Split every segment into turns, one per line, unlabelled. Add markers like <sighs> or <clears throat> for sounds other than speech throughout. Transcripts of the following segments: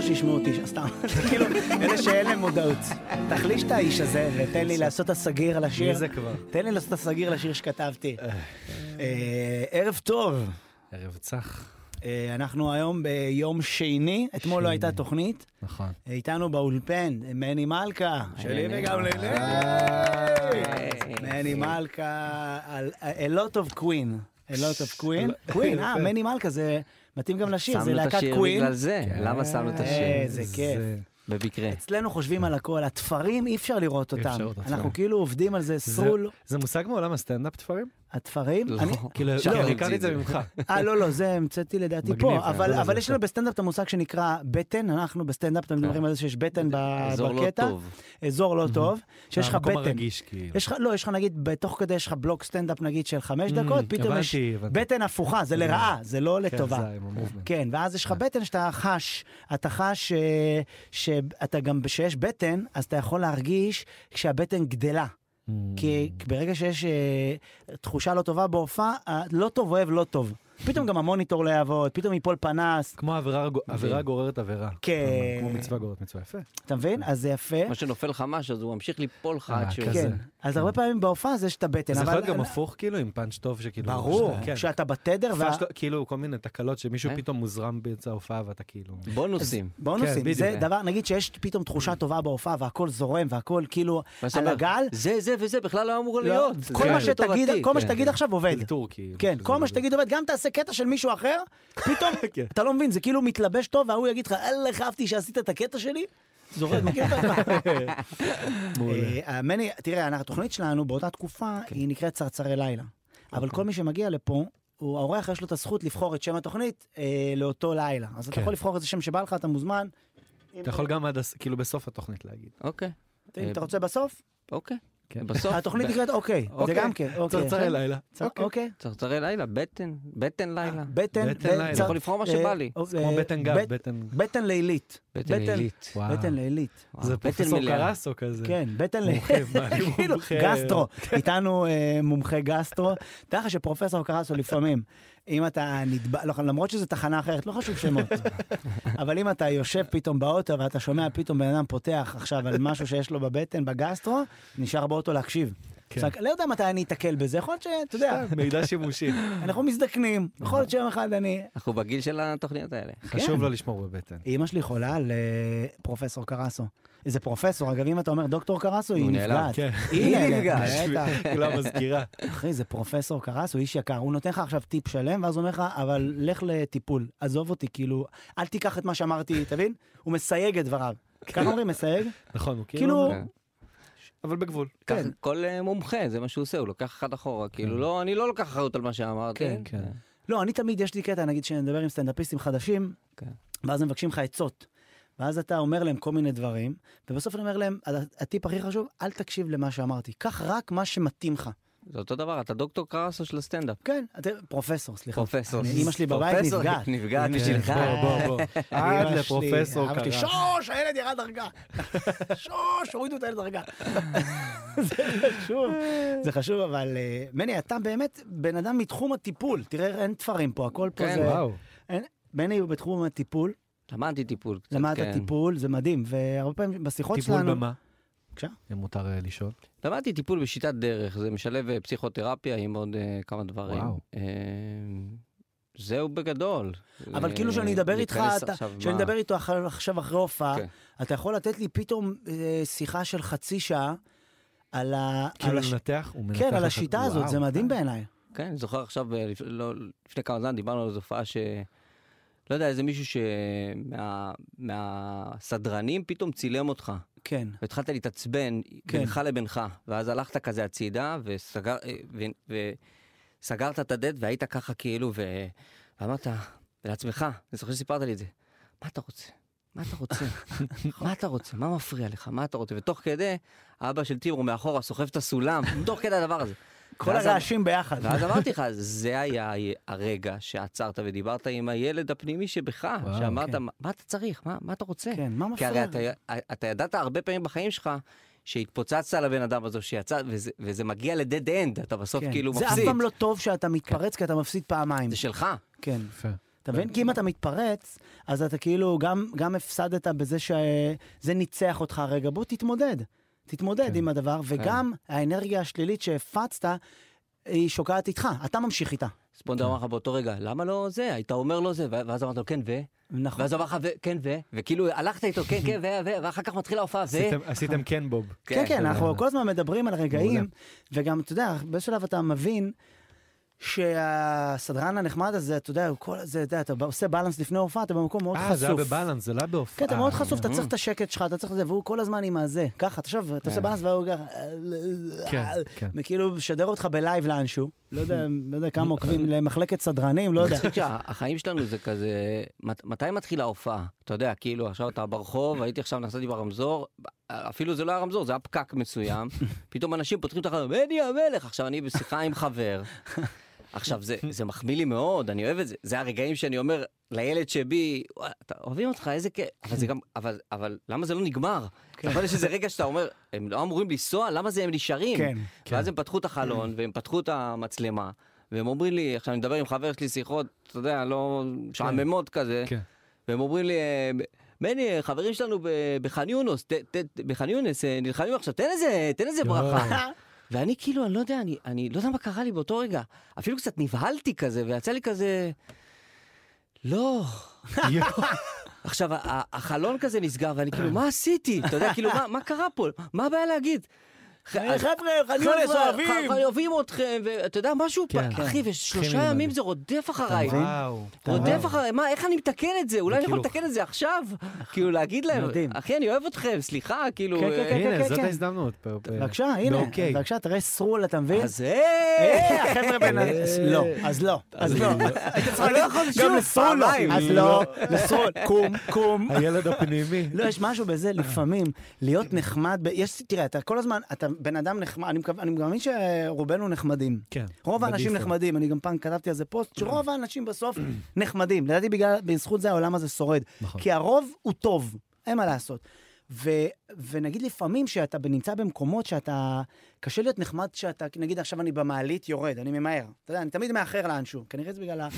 שישמעו אותי, סתם, <laughs> זה כאילו, אלה שאין להם מודעות. תחליש את האיש הזה ותן לי לעשות את הסגיר לשיר.
מי זה כבר?
תן לי לעשות את הסגיר לשיר שכתבתי. אה, ערב טוב.
ערב צח.
אה, אנחנו היום ביום שני, אתמול לא הייתה תוכנית.
נכון.
איתנו באולפן, מני מלכה, שלי וגם לילי. מני מלכה, על- a lot of queen. a lot of
<laughs>
queen. queen, אה, מני מלכה זה מתאים גם לשיר, זה
שמנו את
להקת
השיר
queen.
בגלל זה, למה שמנו את השיר?
איזה כיף.
במקרה.
אצלנו חושבים על הכל, התפרים אי אפשר לראות
אפשר
אותם.
לראות אותם.
אנחנו כאילו עובדים על זה, סרול,
זה מושג מעולם הסטנדאפ תפרים?
התפרים. אני-
כאילו,
אפשר
לא,
להמציא
הכרתי את
את
זה
זה.
ממך.
אה, לא, לא, זה המצאתי לדעתי
מגניב,
פה, אבל-
אה,
אבל
זה
יש לנו בסטנדאפ את המושג שנקרא בטן, אנחנו בסטנדאפ אתם מדברים על זה שיש בטן ב-
כן. אזור לא
אה, בקטע.
טוב.
אזור לא טוב, שיש לך
המקום
בטן.
הרגיש, כאילו.
יש לך, לא, יש לך נגיד, בתוך כדי יש לך בלוק סטנדאפ נגיד של חמש דקות, פתאום
Mm, הבנתי,
יש
הבנתי.
בטן הפוכה, זה לרעה, זה לא
כן,
לטובה.
זה אה. עם המובמנט.
כן, ואז יש לך בטן שאתה חש, אתה חש אה, שאתה גם, כשיש בטן, אז אתה יכול להרגיש כשהבטן גדלה.
Mm.
כי ברגע שיש אה, תחושה לא טובה בהופעה, אה, לא טוב אוהב לא טוב. פתאום גם המוניטור לא יעבוד, פתאום ייפול פנס.
כמו עבירה עבירה גוררת עבירה.
כן.
כן. כמו מצווה גוררת מצווה. יפה.
אתה מבין? אז זה יפה.
מה שנופל לך משהו, אז הוא ממשיך ליפול לך עד
אה,
שהוא...
כזה.
כן. אז הרבה פעמים בהופעה אז יש את הבטן.
זה יכול
אבל-
להיות גם הפוך, כאילו, עם פאנץ' טוב, שכאילו...
ברור,
כן.
שאתה בתדר. וה-
פאנץ' טוב, כאילו, כל מיני תקלות שמישהו
אה?
פתאום מוזרם באמצע ההופעה ואתה כאילו...
בונוסים.
בונוסים,
כן,
זה
בדיוק.
דבר, נגיד שיש פתאום תחושה טובה בהופעה והכל זורם והכל כאילו
ואז אתה
על
אומר,
הגל,
זה, זה וזה, בכלל לא אמור
לא,
להיות.
כל
זה
מה
לטובתי.
שתגיד- כל מה
כן.
שתגיד עכשיו עובד.
אלתור, כאילו.
כן,
שזה
כל מה
מדהים.
שתגיד עובד, גם תעשה קטע של מישהו אחר, פתאום,
<laughs> כן.
אתה לא מבין, זה כאילו מתלבש טוב וההוא יגיד לך, אללה, איך אהבתי שעשית את הקטע שלי? זורק, מכיר את
<laughs>
זה? אה, מני, תראה, אנחנו- התוכנית שלנו באותה תקופה,
כן.
היא נקראת צרצרי לילה.
אוקיי.
אבל כל מי שמגיע לפה, הוא, האורח יש לו את הזכות לבחור את שם התוכנית אה, לאותו לילה. אז אתה
כן.
יכול לבחור איזה שם שבא לך, אתה מוזמן.
אתה יכול אה, גם עד... הס- כאילו, בסוף התוכנית להגיד.
אוקיי,
אם אתה רוצה בסוף,
אוקיי. בסוף...
כן. התוכנית נקראת אוקיי, זה
אוקיי.
גם כן, אוקיי.
צרצרי לילה.
צר- אוקיי.
צרצרי לילה, בטן, בטן לילה.
בטן,
בטן לילה.
צר-
יכול לבחור מה
אה,
שבא לי.
אה,
כמו בטן גב,
בט-
בטן...
בטן לילית.
בטן עילית.
וואו.
בטן לילית.
וואו,
זה
בטן
פרופסור
מלאה.
קרסו כזה.
כן, בטן לילית.
מומחה, מה, אני
<laughs> כאילו,
מומחה.
גסטרו. איתנו אה, מומחה גסטרו. תאר לך שפרופסור
<laughs>
קרסו לפעמים, אם אתה נדבק, לא, למרות שזו תחנה אחרת, לא חשוב
<laughs>
שמות. אבל אם אתה יושב פתאום באוטו ואתה שומע פתאום בן אדם פותח עכשיו על משהו שיש לו בבטן, בגסטרו, נשאר באוטו להקשיב.
כן.
פסק- לא יודע מתי אני אתקל בזה, יכול להיות שאתה יודע, <laughs>
מידע שימושי.
אנחנו מזדקנים, יכול להיות שיום אחד אני...
אנחנו בגיל של התוכניות האלה.
חשוב לא לשמור בבטן.
אימא שלי חולה על אה, פרופסור קרסו. איזה פרופסור, אגב, אם אתה אומר דוקטור קרסו, היא
הוא נעלב,
נפגעת.
כן.
היא נפגעת, בטח.
<laughs> כאילו המזכירה.
אחי, זה פרופסור קרס, הוא איש יקר, הוא נותן לך עכשיו טיפ שלם, ואז הוא אומר לך, אבל לך לטיפול, עזוב אותי, כאילו, אל תיקח את מה שאמרתי, <laughs> תבין? הוא מסייג את דבריו. ככה אומרים, מסייג?
נכון, הוא כאילו...
כאילו,
כן.
אבל בגבול.
ככה
כן.
כל אה, מומחה, זה מה שהוא עושה, הוא לוקח אחד אחורה. כאילו, לא, אני לא לוקח אחריות על מה שאמרתי. אה,
כן, כן.
לא, אני תמיד, יש לי קטע, נגיד, שאני מדבר עם סטנדאפיסטים חדשים,
כן.
ואז הם מבקשים לך עצות. ואז אתה אומר להם כל מיני דברים, ובסוף אני אומר להם, "ה- הטיפ הכי חשוב, אל תקשיב למה שאמרתי, קח רק מה שמתאים לך.
זה אותו דבר, אתה דוקטור קרסו של הסטנדאפ.
כן, אתה פרופסור, סליחה.
פרופסור.
נכון. אני- אמא שלי בבית
פרופסור
נפגעת.
נפגעת
כן,
בשבילך.
בוא, בוא, בוא. <laughs> עד
אמא שלי,
לפרופסור
אהבתי,
קרסו.
שוש, הילד ירד דרגה. <laughs> שוש, הורידו את הילד דרגה. <laughs> זה חשוב, זה חשוב, אבל אה, מני, אתה באמת בן אדם מתחום הטיפול. תראה, אין תפרים פה, הכל פה
כן,
זה...
וואו.
אין- מני הוא בתחום הטיפול,
למדתי טיפול קצת,
למדת
כן.
טיפול, זה מדהים, והרבה פעמים בשיחות שלנו...
טיפול במה?
בבקשה.
אם מותר אה, לשאול.
למדתי טיפול בשיטת דרך, זה משלב אה, פסיכותרפיה עם עוד אה, כמה דברים.
וואו.
אה, זהו בגדול.
אבל
אה,
כאילו שאני אדבר איתך,
להיכנס
אתה-
עכשיו,
שאני
מה?
אדבר איתו אח- עכשיו אחרי הופעה,
כן.
אתה יכול לתת לי פתאום אה, שיחה של חצי שעה על ה... על
כאילו
הש-
לנתח, הוא מנתח.
כן, על
לך-
השיטה הזאת,
וואו.
זה מדהים בעיניי.
כן, אני זוכר עכשיו, אה, לפ- לא- לפני כמה זמן דיברנו על איזו הופעה ש... לא יודע, איזה מישהו שמהסדרנים פתאום צילם אותך.
כן.
והתחלת להתעצבן
כן.
בינך לבינך, ואז הלכת כזה הצידה, וסגר, אה, ו, וסגרת את הדלת והיית ככה כאילו, ו, ואמרת לעצמך, אני זוכר שסיפרת לי את זה, מה אתה רוצה? מה אתה
<laughs>
רוצה? מה אתה רוצה? מה מפריע לך? מה אתה רוצה? ותוך כדי, אבא של טימור מאחורה סוחב
<laughs>
את הסולם, תוך כדי הדבר הזה.
כל
ואז אמ-
הרעשים ביחד.
ואז אמרתי לך, זה היה הרגע שעצרת ודיברת עם הילד הפנימי שבך,
וואו,
שאמרת,
כן.
"מה- מה אתה צריך? מה מה אתה רוצה?
כן, מה
כי
מפריע?
הרי אתה, אתה ידעת הרבה פעמים בחיים שלך שהתפוצצת על הבן אדם הזה, שיצא, וזה, וזה מגיע לדד אנד, אתה בסוף
כן.
כאילו
זה
מפסיד.
אף פעם לא טוב שאתה מתפרץ, כי אתה מפסיד פעמיים.
זה שלך.
כן.
יפה.
אתה מבין? כי אם אתה מתפרץ, אז אתה כאילו גם, גם הפסדת בזה שזה ניצח אותך הרגע. בוא תתמודד. תתמודד
כן.
עם הדבר, וגם האנרגיה השלילית שהפצת, היא שוקעת איתך, אתה ממשיך איתה.
ספונדר
כן.
אמר לך באותו רגע, למה לא זה? היית אומר לו זה, ואז אמרת לו, כן, ו?
נכון.
ואז אמר לך, "ו- כן, ו? וכאילו, הלכת איתו, כן, כן, ו, ו, ואחר כך מתחילה ההופעה, ו...
עשיתם- עשיתם כן בוב.
כן, כן, אנחנו
מעולה.
כל הזמן מדברים על רגעים,
מעולה.
וגם, אתה יודע, באיזשהו שלב אתה מבין שהסדרן הנחמד הזה, אתה יודע, הוא כל זה, אתה יודע, אתה עושה בלנס לפני ההופעה, אתה במקום מאוד חשוף.
אה, זה היה בבלנס, זה לא היה בהופעה.
כן, אתה מאוד חשוף, אתה
אה,
צריך את השקט שלך, אתה צריך את זה, והוא כל הזמן עם הזה, ככה, תחשוב, אתה עושה
כן.
בלנס והוא ככה, אה,
כן, כן.
וכאילו משדר אותך בלייב לאנשהו, לא יודע, לא יודע כמה עוקבים למחלקת סדרנים, לא
<laughs>
יודע.
מצחיק שהחיים שלנו זה כזה, מת- מתי מתחילה ההופעה? אתה יודע, כאילו, עכשיו אתה ברחוב, הייתי עכשיו, נסעתי ברמזור, אפילו זה לא היה רמזור, זה היה פקק מסוים, פתאום אנשים פותחים את החלום, אני המלך! עכשיו אני בשיחה עם חבר. עכשיו, זה, זה מחמיא לי מאוד, אני אוהב את זה. זה הרגעים שאני אומר לילד שבי, "וואי, אתה- אוהבים אותך, איזה כיף. אבל זה גם, אבל, אבל למה זה לא נגמר? אתה יכול שזה רגע שאתה אומר, הם לא אמורים לנסוע, למה זה הם נשארים?
כן.
ואז הם פתחו את החלון, והם פתחו את המצלמה, והם אומרים לי, עכשיו אני מדבר עם חבר שלי שיחות, אתה יודע, לא משעממות כזה,
<laughs>
כן.
והם אומרים לי, אה, מני, אה, חברים שלנו ב- בח'אן יונס, ת- ת- בח'אן יונס אה, נלחמים עכשיו, תן איזה, תן איזה
יואו.
ברכה. <laughs> ואני כאילו, אני לא יודע, אני, אני לא יודע מה קרה לי באותו רגע. אפילו קצת נבהלתי כזה, ויצא לי כזה... לא.
יואו,
עכשיו, ה- ה- החלון כזה נסגר, ואני כאילו, מה עשיתי? אתה יודע, כאילו, מה, מה קרה פה? מה הבעיה להגיד?
"אה, חבר'ה,
חבר'ה,
חניונס אוהבים!
חבר'ה, אוהבים אתכם, ואתה יודע, משהו,
כן.
פ- אחי, ושלושה
מתחילים
ימים
ללמד.
זה רודף אחריי.
מבין?
וואו.
רודף
וואו.
אחריי, מה, איך אני מתקן את זה? אולי אני יכול
כאילו-
לתקן את זה
<laughs>
עכשיו? כאילו, להגיד להם,
מדהים.
אחי, אני אוהב אתכם, סליחה, כאילו...
כן, כן,
אה,
כן,
הנה, זאת
כן.
ההזדמנות.
בבקשה, הנה,
אוקיי.
בבקשה, תראה סרול, אתה מבין?
אז אה...
אה, החבר'ה בין... ה-
אה.
לא, אז לא, אז לא. היית צריך להגיד, גם
שוב,
לסרול לא.
פעמיים.
אז לא, לסרול, קום, קום.
הילד הפנימי.
לא, יש משהו בזה לפעמים, להיות נחמד, ב- יש, תראה, אתה כל הזמן, אתה בן אדם נחמד, אני מקו- אני מאמין שרובנו נחמדים.
כן.
רוב האנשים
בדיפולט.
נחמדים, אני גם פעם כתבתי על זה פוסט, שרוב האנשים בסוף נחמדים. לדעתי בגלל, בזכות זה העולם הזה שורד.
נכון.
כי הרוב הוא טוב, אין מה לעשות. ו, ונגיד לפעמים שאתה נמצא במקומות שאתה, קשה להיות נחמד שאתה, נגיד עכשיו אני במעלית יורד, אני ממהר. אתה יודע, אני תמיד מאחר לאנשהו, כנראה זה בגלל ה-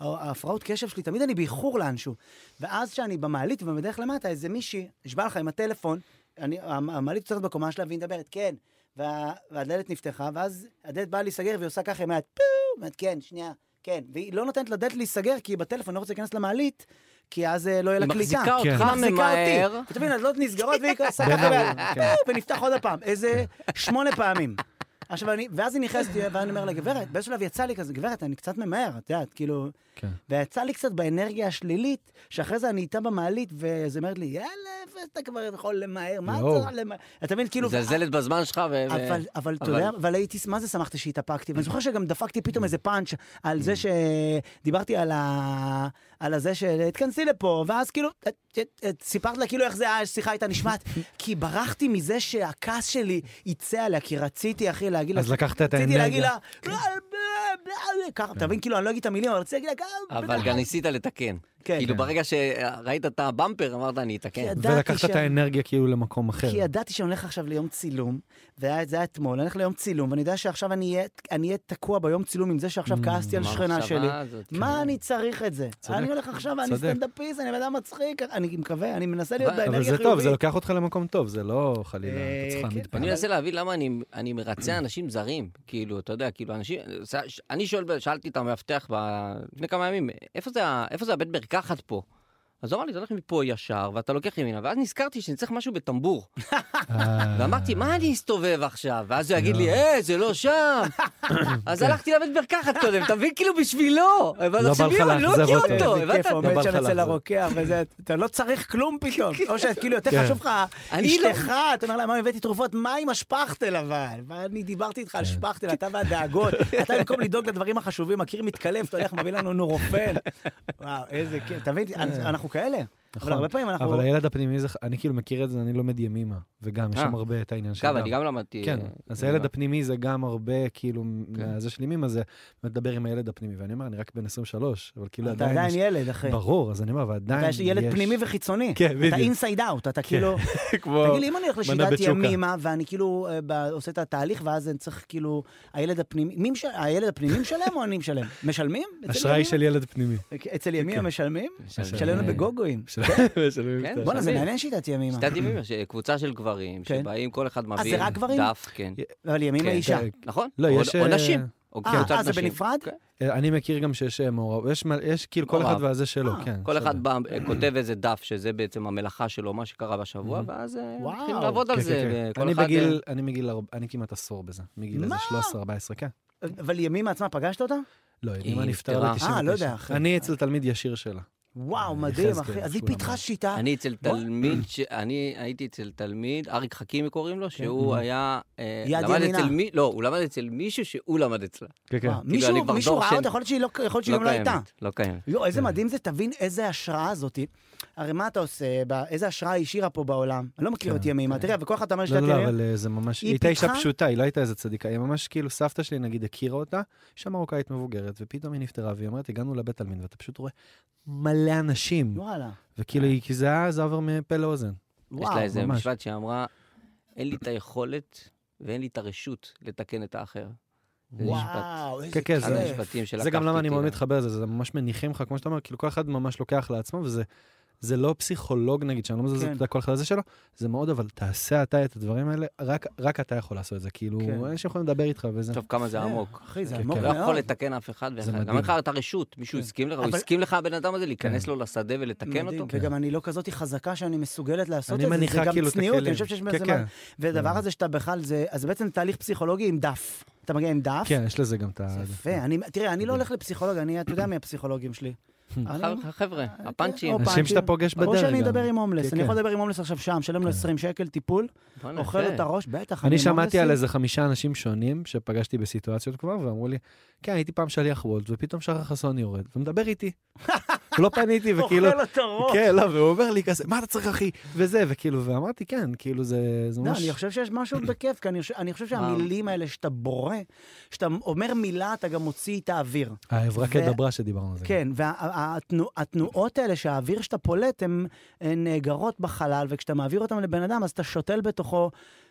ההפרעות קשב שלי, תמיד אני באיחור לאנשהו. ואז כשאני במעלית ובדרך למטה, איזה מישהי, נשבע לך עם הטלפון, אני, המ- המעלית יוצאת בקומה שלה והיא מדברת, כן. וה, והדלת נפתחה, ואז הדלת באה להיסגר והיא עושה ככה עם היד, פו, אומרת, כן, שנייה, כן. והיא לא נותנת לדלת להיסגר, כי היא בטלפון לא רוצה להיכנס למעלית, כי אז אה, לא יהיה לה
היא
קליטה.
מחזיקה
כן.
אותך
היא
ממהר.
אתה מבין, הדלות נסגרות והיא עושה
בין
ככה,
ה-
ביד,
כן.
"פו", ונפתח עוד הפעם, איזה שמונה פעמים. עכשיו אני, ואז היא נכנסת, ואני אומר לה, גברת, באיזשהו שלב יצא לי כזה, גברת, אני קצת ממהר, את יודעת, כאילו, <laughs>
כן.
ויצא לי קצת באנרגיה השלילית, שאחרי זה אני איתה במעלית, ואז היא אומרת לי, יאללה, איפה אתה כבר יכול למהר, מה
יואו.
אתה למהר? אתה מבין, כאילו,
מזלזלת בזמן שלך, ו... ו-
אבל, אבל אתה
אבל-
יודע, אבל הייתי, מה זה שמחתי שהתאפקתי? ואני זוכר שגם דפקתי פתאום איזה פאנץ' על
Mm.
זה שדיברתי על ה... על הזה של תכנסי לפה, ואז כאילו, את, את, את, סיפרת לה כאילו איך זה היה, השיחה הייתה
<laughs>
נשמעת, כי ברחתי מזה שהכעס שלי יצא עליה, כי רציתי, אחי, להגיד לה...
אז לקחת את
כאילו, רציתי להגיד
האנרגיה.
לה... "לא, בלה, בלה", ככה, אתה מבין? כאילו, אני לא אגיד את המילים, אבל רציתי להגיד לה... "ככה,
אבל
בלה".
גם ניסית לתקן.
כן.
כאילו,
כן.
ברגע שראית את הבמפר, אמרת, אני אתקן.
ידעתי
ולקחת את
שאני-
האנרגיה כאילו למקום אחר.
כי ידעתי שאני הולך עכשיו ליום צילום, והיה- זה היה אתמול, אני הולך ליום צילום, ואני יודע שעכשיו אני אהיה- אני אהיה תקוע ביום צילום עם זה שעכשיו
Mm, אה,
כעסתי על
מה
שכנה
המחשבה
שלי.
הזאת?
מה
כן.
אני צריך את זה?
צודק.
אני הולך עכשיו, אני
צודק.
סטנדאפיסט, אני בן אדם מצחיק, אני מקווה, אני מנסה להיות
אבל-
באנרגיה
אבל
חיובית.
זה טוב, זה לוקח אותך למקום טוב, זה לא חלילה,
אה,
אתה
כן.
צריך להעמיד
אני
פנים.
מנסה להבין למה אני, אני מרצה אנשים זרים, כאילו, אתה יודע, כאילו, אנשים, אני שואל, שאלתי את המאבטח ב- לפני כמה ימים, איפה זה, ה- איפה זה הבית מרקחת פה? אז הוא אמר לי, אתה הולך מפה ישר, ואתה לוקח ימינה, ואז נזכרתי שאני צריך משהו בטמבור.
אה,
ואמרתי, מה אני אסתובב עכשיו? ואז הוא יגיד לי, אה, זה לא שם. אז הלכתי לבית מרקחת קודם, אתה מבין? כאילו בשבילו. אבל
לא בא
בשבילי,
לך
אני לא
לאכזב
מכיר
אותו.
אותו,
איזה
הבנת?
כיף, עומד
בא
שם
לך
אצל
לחזור.
הרוקח, וזה, אתה לא צריך כלום
<laughs>
פתאום. או שכאילו יותר
כן.
חשוב לך,
אני לא-
אשתך, אתה אומר לה, מה הבאתי תרופות? מה עם השפכטל אבל? ואני דיברתי איתך על
כן.
<laughs>
שפכטל, אתה והדאגות. אתה במקום לדאוג לדברים
<laughs>
החשובים, הקיר מתקלף, אתה הולך, מביא לנו נורופן. וואו, איזה כיף, אתה מבין? אנחנו כאלה. אבל הרבה פעמים אנחנו...
כן. נכון. אבל הילד הפנימי זה, אני כאילו מכיר את זה, אני לומד ימימה, וגם, יש
אה.
שם הרבה את העניין של...
אגב, אני גם למדתי...
כן,
אה,
אז
אני
לא-
הילד
גם-
הפנימי זה גם הרבה, כאילו,
כן.
מהזה של ימימה זה, מדבר עם הילד הפנימי, ואני אומר, אני רק בן 23, אבל כאילו
אתה
עדיין...
עדיין
יש-
ילד, אחי.
ברור, אז אני אומר, ועדיין
אתה
יש...
יש ילד פנימי וחיצוני.
כן,
אתה
בדיוק.
אינסייד אאוט, אתה
כן.
כאילו...
כמו...
תגיד לי, אם אני הולך לשיטת
בצ'וקה.
ימימה, ואני כאילו אה, ב- עושה את התהליך, ואז אני צריך כאילו... הילד הפנימי... מי מש- הילד הפנימי משלם או אני משלם? משלמים? אצל
אשראי
ימימה? אוקיי,
של ילד פנימי.
<laughs> אצל ימימה
כן.
משלמים?
משלמים.
משלמים בגוגויים.
של- של-
כן,
של-
בואנה, זה
משלמים.
מעניין שיטת ימימה.
שיטת ימימה, ש- קבוצה של גברים,
כן.
שבאים, כל אחד מביא...
רק גברים?
דף, כן.
אבל ימימה
כן,
אישה.
כן.
נכון?
לא,
או-
יש,
או
אה,
נשים. או
אה,
קבוצת
אה, זה
נשים.
בנפרד?
כן.
אני מכיר גם שיש אה, מעורב, יש מ- יש כאילו כל אחד
מעורב.
והזה שלו,
אה,
כן.
כל
בסדר.
אחד בא, אה, כותב איזה דף, שזה בעצם המלאכה שלו, מה שקרה בשבוע, ואז אה,
וואו.
מתחילים לעבוד
כן,
על
כן, כן.
זה. וכל
אני
אחד, אה,
בגיל, אני מגיל, ארבע- אני כמעט עשור בזה, מגיל איזה
מה?
13-14, כן.
אבל ימימה עצמה, פגשת אותה?
לא, יודעים
היא
מה נפטרה
נפטרה.
ב-99.
אה, לא יודע, אחי.
אני אצל תלמיד ישיר שלה.
וואו,
אה,
מדהים,
יחזקאל,
אחי. אז היא
כולם.
פיתחה שיטה.
אני אצל תלמיד, ש- אני הייתי אצל תלמיד, אריק חכימי קוראים לו, שהוא
Mhm.
היה... אה,
יד
למד
ימינה.
אצל מי- לא, הוא למד אצל מישהו שהוא למד אצלה.
כן, כן.
וואו, מישהו-
כאילו, אני כבר
מישהו
דור
ראה
שני.
אותה, יכול להיות שהיא לא- יכול להיות שהיא
לא
גם לא הייתה.
קיימת, לא קיימת.
יואו, איזה
כן.
מדהים זה, תבין איזה השראה זאתי. הרי מה אתה עושה, ב- איזה השראה היא השאירה פה בעולם? אני לא מכיר
כן,
אותי ימימה,
כן.
תראה, וכל אחד אתה אומר
לא,
שאתה
לא, לא,
תראה.
אבל אה, זה ממש...
היא
היא הייתה אישה
פיתחה-
פשוטה, היא לא הייתה איזה צדיקה. היא ממש כאילו, סבתא שלי נגיד הכירה אותה, אישה מרוקאית מבוגרת, ופתאום היא נפטרה, והיא אומרת, הגענו לבית עלמין, ואתה פשוט רואה מלא אנשים.
וואלה.
וכאילו, היא- כי זה היה, זה עבר מפה לאוזן.
יש
וואו,
לה איזה
ממש.
משפט שאמרה, אין לי את היכולת ואין לי את הרשות לתקן את האחר. זה משפט.
וואו, איזה
כן, כן,
אחד
זה-
כיף.
המשפטים שלקחתי.
זה גם למה אני
איתי
מאוד
גם.
מתחבר לזה, זה ממש מניחים לך, כמו שאתה אומר, כאילו כל אחד ממש לוקח לעצמו, וזה זה לא פסיכולוג נגיד, שאני לא מזלזל,
כן.
אתה יודע, כל אחד זה שלו, זה מאוד, אבל תעשה אתה את הדברים האלה, רק- רק אתה יכול לעשות את זה, כאילו,
כן.
אנשים יכולים לדבר איתך וזה.
תחשוב כמה זה עמוק.
אחי, זה
כן,
עמוק
כן.
לא
מאוד.
יכול לתקן אף אחד ואחד. גם
מדהים.
אין לך את הרשות, מישהו
כן.
הסכים לך, הוא
אבל-
הסכים לך הבן אדם הזה להיכנס
כן.
לו לשדה ולתקן
מדהים,
אותו?
וגם אני לא כזאת חזקה שאני מסוגלת לעשות את זה,
אני
זה
מניחה
גם
כאילו את הכלים.
צניעות, אני חושב שיש
כן,
בזה
כן.
מה... והדבר הזה שאתה בכלל, זה אז זה בעצם תהליך פסיכולוגי עם דף. אתה מגיע עם דף,
כן, יש לזה גם את ה...
זה יפה. אני- תראה, אני לא הולך לפסיכולוג, אני, אתה יודע מי הפסיכולוגים שלי.
Hmm.
אני-
הח- החבר'ה,
אה,
הפאנצ'ים.
אופה.
אנשים שאתה
פאנצ'ים.
פוגש בדרך גם.
או שאני אדבר עם הומלס,
כן,
אני
כן.
יכול לדבר עם הומלס עכשיו שם, שלם לו 20 שקל טיפול,
בואנה,
אוכל
יפה.
לו את הראש, בטח,
אני
עם
שמעתי על
הומלסים.
איזה חמישה אנשים שונים שפגשתי בסיטואציות כבר, ואמרו לי, כן, הייתי פעם שליח וולט, ופתאום שחר חסון יורד, ומדבר
<laughs>
איתי. לא פניתי, וכאילו...
אוכל לו את <laughs> הראש.
כן, לא, והוא אומר לי כזה, מה אתה צריך, אחי? וזה, וכאילו, ואמרתי, כן, כאילו, זה זה
לא,
ממש...
אני חושב שיש משהו בכיף, כי אני חושב- אני חושב שהמילים האלה שאתה בורא, שאתה אומר מילה, אתה גם מוציא את האוויר.
האברק
ו-
הדברה אה, שדיברנו על זה.
כן, והתנועות האלה שהאוויר שאתה פולט, הן הן נאגרות בחלל, וכשאתה מעביר אותן לבן אדם, אז אתה שותל בתוכו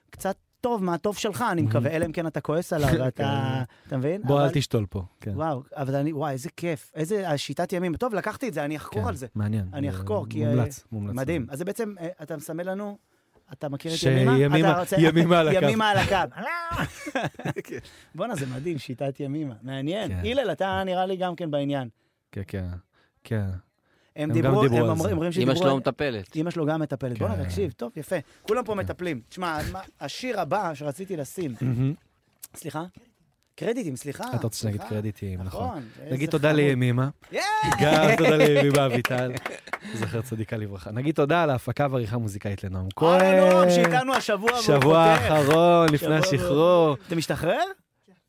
קצת טוב מהטוב שלך, אני מקווה, אלא אם כן אתה כועס
<laughs>
עליו, ואתה... אתה מבין?
כן. בוא, אל
אבל-
תשתול פה. כן.
וואו, אבל אני, וואי, איזה כיף. איזה השיטת ימים. טוב, לקחתי את זה, אני אחקור
כן,
על זה.
מעניין.
אני
זה
אחקור, כי... אה,
מומלץ, מומלץ.
מדהים. אז זה בעצם, אה, אתה מסמל לנו, אתה מכיר את ימימה?
שימימה-
אתה רוצה-
ימימה על הקו.
ימימה על
<laughs>
הקו. כן. בואנה, זה מדהים, שיטת ימימה. מעניין.
כן.
הלל, אתה נראה לי גם כן בעניין.
כן, כן. כן.
הם
גם
דיברו, הם
דיברו על
אמר-
זה.
אומרים שדיברו...
אמא שלו
על-
מטפלת.
אמא שלו גם מטפלת. בואנה,
כן.
תקשיב, טוב, יפה. כולם פה מטפלים. תשמע, מה- השיר הבא שרציתי
<clears throat>
לשים,
מהמם.
סליחה? קרדיטים, סליחה.
אתה רוצה שנגיד
אה, סליחה.
קרדיטים, נכון.
נכון. איזה
נגיד תודה
חמוד. <laughs>
לימימה.
ייי!
גם תודה לימימה אביטל. זכר צדיקה לברכה. נגיד תודה על ההפקה והעריכה מוזיקאית
אה,
לנועם כהן.
אהלן אורם, שאיתנו השבוע, לא, והוא
שבוע
חותך.
האחרון, לפני
שבוע-
השחרור.
אתה משתחרר?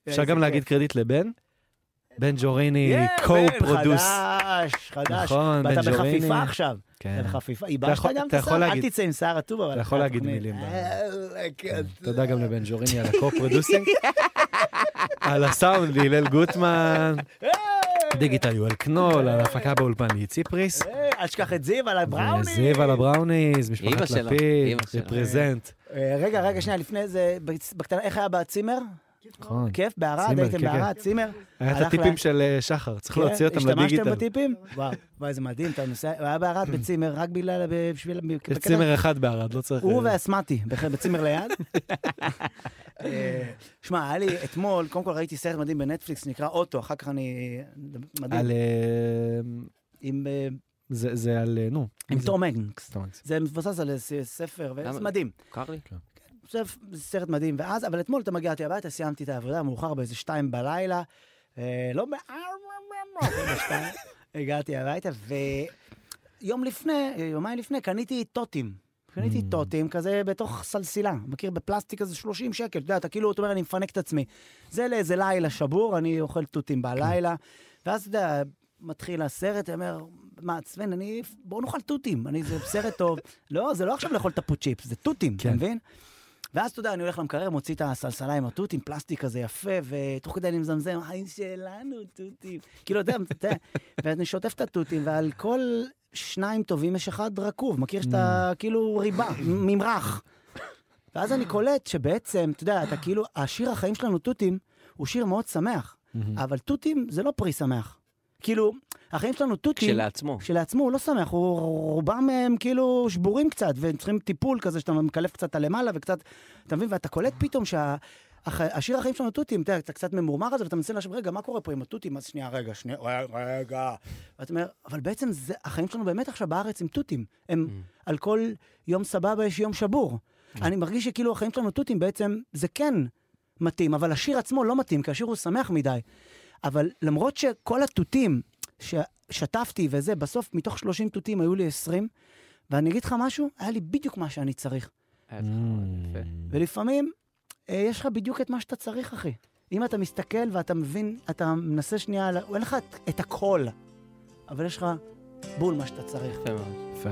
אפשר
איזה
גם להגיד
כיף.
קרדיט לבן? בן ג'וריני,
יא, בן,
co-produce.
חדש, חדש.
נכון,
ואתה
בן ג'וריני.
בחפיפה עכשיו.
כן.
אתה בחפיפה. ייבשת
יכול-
גם את
אתה יכול
השיער? אל
להגיד-
תצא עם שיער רטוב, אבל...
אתה
אחרי
יכול להגיד
התוכנית.
מילים ב-
אה, כן.
תודה גם לבן ג'וריני על הקו-פרודוסינג. <laughs> על הסאונד להלל גוטמן,
אה,
דיגיטל יואל קנול, על ההפקה באולפן איצי פריס.
אה, אל תשכח את זיו על הבראוני.
זיו על הבראוניז,
אמא
משפחת
שלה,
לפיד,
אמא שלה.
רפרזנט.
אה, רגע, רגע, שנייה, לפני זה, בקצ- בקטנה, איך היה בצימר?
נכון.
כיף, בערד,
צימר,
הייתם
כן, כן.
בערד, צימר.
היה את
הלך
הטיפים
לה-
של אה, שחר, צריך
כן,
להוציא אותם
השתמשתם
לדיגיטל.
בטיפים? וואו, וואי, זה מדהים, אתה נוסע, היה בערד בצימר, רק בגלל, בשביל...
יש
בקטע-
צימר אחד בערד, לא צריך... <laughs>
הוא
אה,
והסמטי, בכלל, בצימר ליד. <laughs> אה, שמע, היה לי אתמול, קודם כל ראיתי סרט מדהים בנטפליקס, נקרא אוטו, אחר כך אני... מדהים.
על... אה,
עם אה,
זה זה על... אה, נו.
עם
מי זה?
תום הנקס.
תום הנקס.
זה מבוסס על ס- ספר,
למה?
וזה מדהים.
קר לי?
זה סרט מדהים. ואז, אבל אתמול אתה מגיע אותי הביתה, סיימתי את העבודה מאוחר באיזה שתיים בלילה. אה, לא בארבע, הגעתי הביתה, ויום לפני, יומיים לפני, קניתי טוטים. קניתי
Mm.
טוטים כזה בתוך סלסילה, מכיר בפלסטיק כזה 30 שקל, אתה יודע, אתה כאילו, אתה אומר, אני מפנק את עצמי. זה לאיזה לילה שבור, אני אוכל תותים בלילה, ואז אתה יודע, מתחיל הסרט, אני אומר, מה, סוון, אני... בואו נאכל תותים, אני, זה סרט טוב. לא, זה לא עכשיו לאכול תפו צ'יפס, זה תותים, אתה
כן.
מבין? ואז, אתה יודע, אני הולך למקרר, מוציא את הסלסלה עם התות, עם פלסטיק כזה יפה, ותוך כדי אני מזמזם, חיים שלנו, תותים. כאילו, אתה יודע, אתה יודע, ואני שוטף את התותים, ועל כל שניים טובים יש אחד רקוב, מכיר שאתה כאילו ריבה, ממרח. ואז אני קולט שבעצם, אתה יודע, אתה כאילו, השיר החיים שלנו, תותים, הוא שיר מאוד שמח,
Mm. אה,
אבל תותים זה לא פרי שמח. כאילו, החיים שלנו תותים...
כשלעצמו.
כשלעצמו הוא לא שמח, הוא רובם הם כאילו שבורים קצת, והם צריכים טיפול כזה שאתה מקלף קצת למעלה וקצת, אתה מבין? ואתה קולט פתאום שה... הח... השיר החיים שלנו תותים, אתה יודע, אתה קצת ממורמר על זה, ואתה מנסה לחשוב, רגע, מה קורה פה עם התותים? אז שנייה, רגע, שנייה, רגע, רגע. ואתה אומר, אבל בעצם זה, החיים שלנו באמת עכשיו בארץ עם תותים. הם, על כל יום סבבה יש יום שבור. אני מרגיש שכאילו החיים שלנו תותים בעצם, זה כן מתאים, אבל השיר עצמו לא מתאים, כי השיר הוא שמח מדי. אבל למרות שכל התותים ששטפתי וזה, בסוף מתוך 30 תותים היו לי 20, ואני אגיד לך משהו, היה לי בדיוק מה שאני צריך.
היה צריך מאוד יפה.
Mm.
ולפעמים אה, יש לך בדיוק את מה שאתה צריך, אחי. אם אתה מסתכל ואתה מבין, אתה מנסה שנייה, ל- אין לך את, את הכל, אבל יש לך בול מה שאתה צריך.
יפה מאוד.
יפה.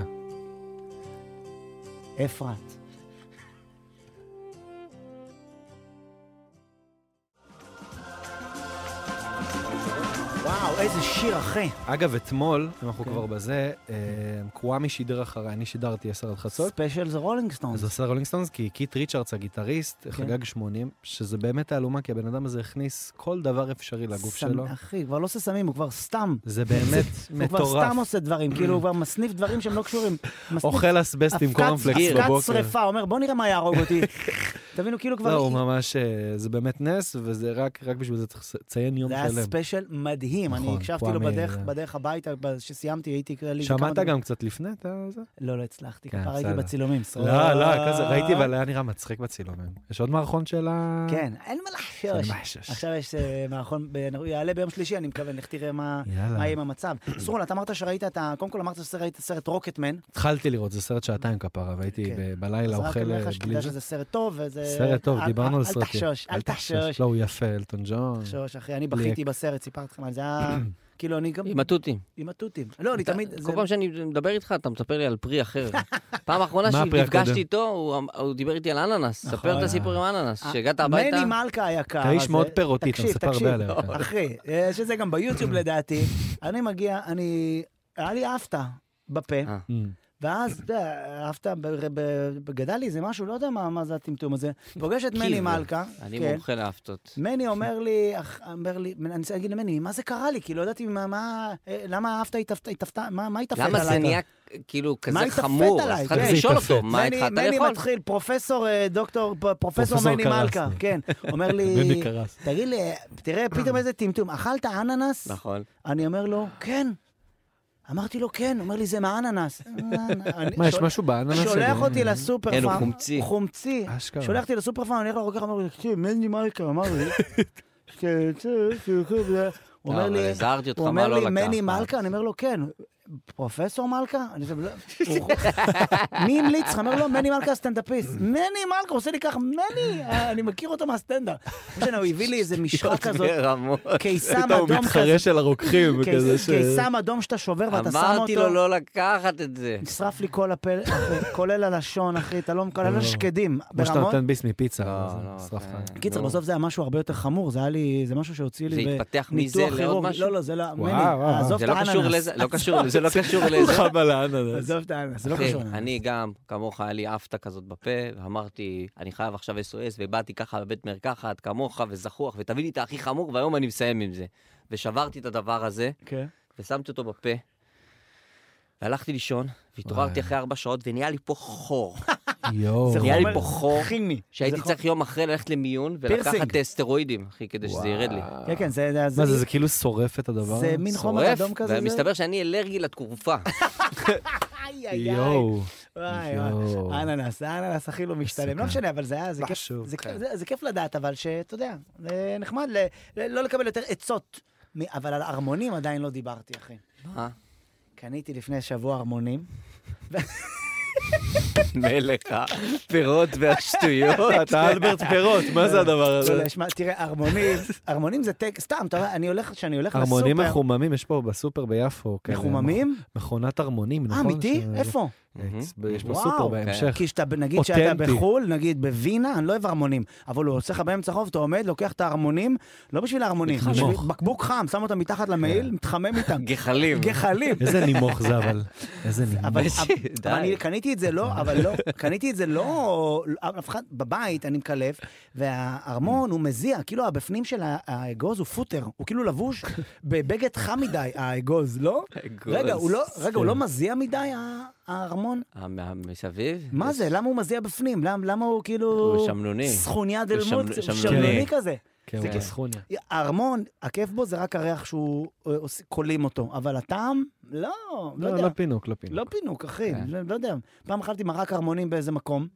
אפרת. וואו, איזה שיר, אחי.
אגב, אתמול, אם אנחנו כבר בזה, אה, קוואמי שידר אחריי, אני שידרתי 10 עד חצות.
ספיישל זה רולינג סטונס.
אז עושה רולינג סטונס, כי קיט ריצ'רדס הגיטריסט חגג 80, שזה באמת תעלומה, כי הבן אדם הזה הכניס כל דבר אפשרי לגוף
סמ-
שלו.
אחי, כבר לא עושה סמים, הוא כבר סתם.
זה באמת
הוא כבר סתם
מטורף.
עושה דברים, כאילו הוא כבר מסניף דברים שהם לא קשורים. מסניף
אוכל אסבסט עם
אבקת-
קורנפלקס
אבקת
בבוקר.
שרפה, אומר בוא נראה מה יהרוג
<laughs>
אותי. תבינו, כאילו
לא,
כבר...
הוא ממש, אה, זה באמת נס, וזה רק רק בשביל זה צריך לציין יום
זה היה
שלם.
ספיישל מדהים, אני
נכון,
הקשבתי
וואמי,
לו בדרך-
זה-
בדרך הביתה, כשסיימתי הייתי כללי.
שמעת גם קצת לפני את זה?
לא, לא הצלחתי,
כן,
כבר הייתי
בסדר.
בצילומים.
לא, לא, כזה, ראיתי, אבל היה נראה מצחיק בצילומים. יש עוד מערכון של ה...
כן, אין מה
של
לחשוש.
מחשש.
עכשיו יש אה, מערכון, ב- הוא יעלה ביום שלישי, אני מקווה, לך תראה מה
יאללה.
מה יהיה עם המצב. סרול, אתה אמרת שראית את ה... קודם כל אמרת שראית את הסרט רוקטמן.
התחלתי לראות, זה סרט שעתיים כפרה, והייתי
כן.
ב- בלילה
אז רק
אוכל
אני אומר לך
אה,
שתדע
בלי זה.
שזה סרט טוב, וזה...
סרט טוב,
אל-
דיברנו
אה, אל-
על סרטים.
אל תחשוש, אל תחשוש.
לא, הוא יפה, אלטון ג'ון.
תחשוש, אחי, אני בכיתי בסרט, סיפרתי לכם על זה,
<clears throat>
היה... כאילו, אני גם...
עם התותים.
עם התותים. לא, אני תמיד...
אתה-
זה-
כל פעם שאני מדבר איתך, אתה מספר לי על
<laughs>
פרי אחר. פעם האחרונה
מה הפרי הקודם?
שנפגשתי איתו, הוא אמ- הוא דיבר איתי על אננס. ספר את הסיפור עם אננס. כשהגעת הביתה...
נכון. אה, מני מלכה היקר.
אתה איש
אז,
מאוד
אה,
פירותי, אתה
תקשיב,
מספר הרבה
תקשיב,
עליך.
אחי, אה, שזה גם
<clears throat>
ביוטיוב לדעתי. אני מגיע, אני... היה לי אפתא בפה,
אה.
אמ,
ואז, אתה יודע, אפתא, ב- ב- ב- גדל לי איזה משהו, לא יודע מה מה זה הטמטום הזה. פוגש את מני
קיב.
מלכה.
אני
כן.
מומחה להפתות.
מני אומר לי, אח- אומר לי, אני רוצה להגיד למני, מה זה קרה לי? כי לא ידעתי מה, מה, אה, למה האפת התאפת, התאפת- מה מה התאפת עליי?
למה זה נהיה כאילו כזה
התאפת
חמור?
עליי?
אז התחלתי
כן.
לשאול
זה
אותו,
התאפת.
מה איתך אתה
מני
יכול?
מתחיל, פרופסור, אה, דוקטור, פ- פרופסור
פרופסור
מני
קרסני.
מלכה, כן. אומר
<laughs>
לי,
מני קרס.
תגיד לי, תראה, פתאום איזה טמטום, אכלת אננס?
נכון.
אני אומר לו, כן. אמרתי לו, כן. אומר לי, זה מהאננס. אני-
מה, יש
שול-
משהו באננס שלי? אה,
שולח אותי לסופר פארם.
אין, הוא חומצי.
חומצי.
אשכרה.
שולח אותי לסופר פארם, אני הולך לרוקח, אומר לי, תקשיב, מני מלכה, אמר
<laughs>
לי. כן, ש- ש- ש- זה." כן, הוא
לא,
אומר
אבל
לי,
הזהרתי אותך,
הוא
מה
אומר
לא
לי,
לקחת.
מני מלכה? אני אומר לו, כן. פרופסור מלכה? אני חושב, לא, הוא- מי המליץ לך? אומר לו, מני מלכה הסטנדאפיסט. מני מלכה, הוא עושה לי כך, מני, אה, אני מכיר אותו מהסטנדאפ. לא משנה, הוא הביא לי איזה
<laughs>
משחה כזאת, כן,
ברמות.
קיסם
פתאום הוא
אדום כזה,
מתחרה של הרוקחים, וכזה ש...
קיס- קיסם אדום שאתה שובר ואתה שם אותו.
אמרתי לו לא לקחת את זה.
נשרף לי כל הפה, אחי, כולל הלשון, אחי, אתה לא כולל
לא.
השקדים,
כמו שאתה
ברמות.
נותן ביס מפיצה.
לא,
אז
לא,
נשרפת.
אתה-
קיצר,
נו.
בסוף זה היה משהו הרבה יותר חמור, זה היה לי, זה משהו שהוציא לי
זה התפתח מזה
בניתוח
לעוד
כירורגי.
משהו?
לא, לא, זה לא, מני,
וואו, וואו.
עזוב
זה
את
לא
האננס.
קשור לזה, לא קשור לזה, לא קשור לזה.
כולך באננס.
עזוב את האננס, זה לא
אחי,
קשור לאננס.
אני גם, כמוך, היה לי אפתא כזאת בפה, ואמרתי, אני חייב עכשיו SOS, ובאתי ככה לבית מרקחת, כמוך, וזחוח, ותביא לי את הכי חמור, והיום אני מסיים עם זה. ושברתי את הדבר הזה,
כן.
ושמתי אותו בפה, והלכתי לישון, והתעוררתי
וואי.
אחרי ארבע שעות, ונהיה לי פה
<laughs>
חור.
יואו.
זה
נהיה לי
חומר
פה חור,
כימי.
שהייתי
זה
צריך יום אחרי ללכת למיון, ולקחת
פירסינג.
אה, סטרואידים, אחי, כדי שזה ירד לי.
חומר- כן, כן, זה... זה-
מה זה, זה כאילו שורף את הדבר?
זה
הזה?
מין חומר
שורף,
אדום כזה. זה-
ומסתבר שאני אלרגי לתקופה.
איי, איי, איי.
יואו.
וואי,
יואו.
וואי. אננס, האננס הכי לא משתלם. לא
מסוכן.
משנה, אבל זה היה, זה כיף.
משהו,
זה
כן.
כיף- זה- זה כיף לדעת, אבל שאתה יודע, זה נחמד ל- ל- לא לקבל יותר עצות. מ- אבל על ארמונים עדיין לא דיברתי, אחי.
אה?
אה,
קניתי לפני שבוע ארמונים. ו-
מלך הפירות והשטויות.
<laughs>
אתה אלברט פירות, מה זה הדבר
לא,
הזה?
לא, שמע, תראה,
<laughs>
ארמונים, ארמונים זה טק, סתם, אתה רואה, אני הולך, כשאני הולך לסופר,
ארמונים מחוממים, יש פה בסופר ביפו. כאלה,
מחוממים?
מכונת ארמונים,
אה,
נכון?
אמיתי?
ש- אה,
איפה?
יש פה
וואו.
סופר
כן.
בהמשך.
כי שאתה, נגיד שאתה
אותנטי.
בחו"ל, נגיד בווינה, אני לא אוהב ארמונים, אבל הוא עושה לך באמצע חוב, אתה עומד, לוקח את הארמונים, לא בשביל הארמונים,
מתחמוך.
בשביל בקבוק חם, שם אותם מתחת למעיל,
כן.
מתחמם
<laughs>
איתם.
גחלים.
גחלים.
איזה נימוך זה אבל, איזה
אבל
<laughs>
נימוך.
אבל אני קניתי את זה לא, אבל לא, קניתי את זה לא, אף אחד, בבית אני מקלף, והארמון הוא מזיע, כאילו הבפנים של ה- האגוז הוא פוטר, הוא כאילו לבוש בבגד חם מדי, האגוז, לא? רגע, הוא לא, רגע, הוא לא מזיע מדי, ה- הארמון?
מסביב?
מה זה? לא למה הוא מזיע בפנים? למ- למה הוא כאילו...
הוא שמנוני.
סכוניה דל
הוא שמנ-
מוץ, הוא
שמנוני.
שמנוני כזה.
כן,
זה
הוא
כן.
בסכוניה.
הארמון, הכיף בו זה רק הריח שהוא אה, עוש- כולים אותו, אבל הטעם, לא, לא
לא,
יודע.
לא פינוק, לא פינוק.
לא פינוק, אחי,
כן.
זה- לא יודע. פעם אכלתי מרק ארמונים באיזה מקום,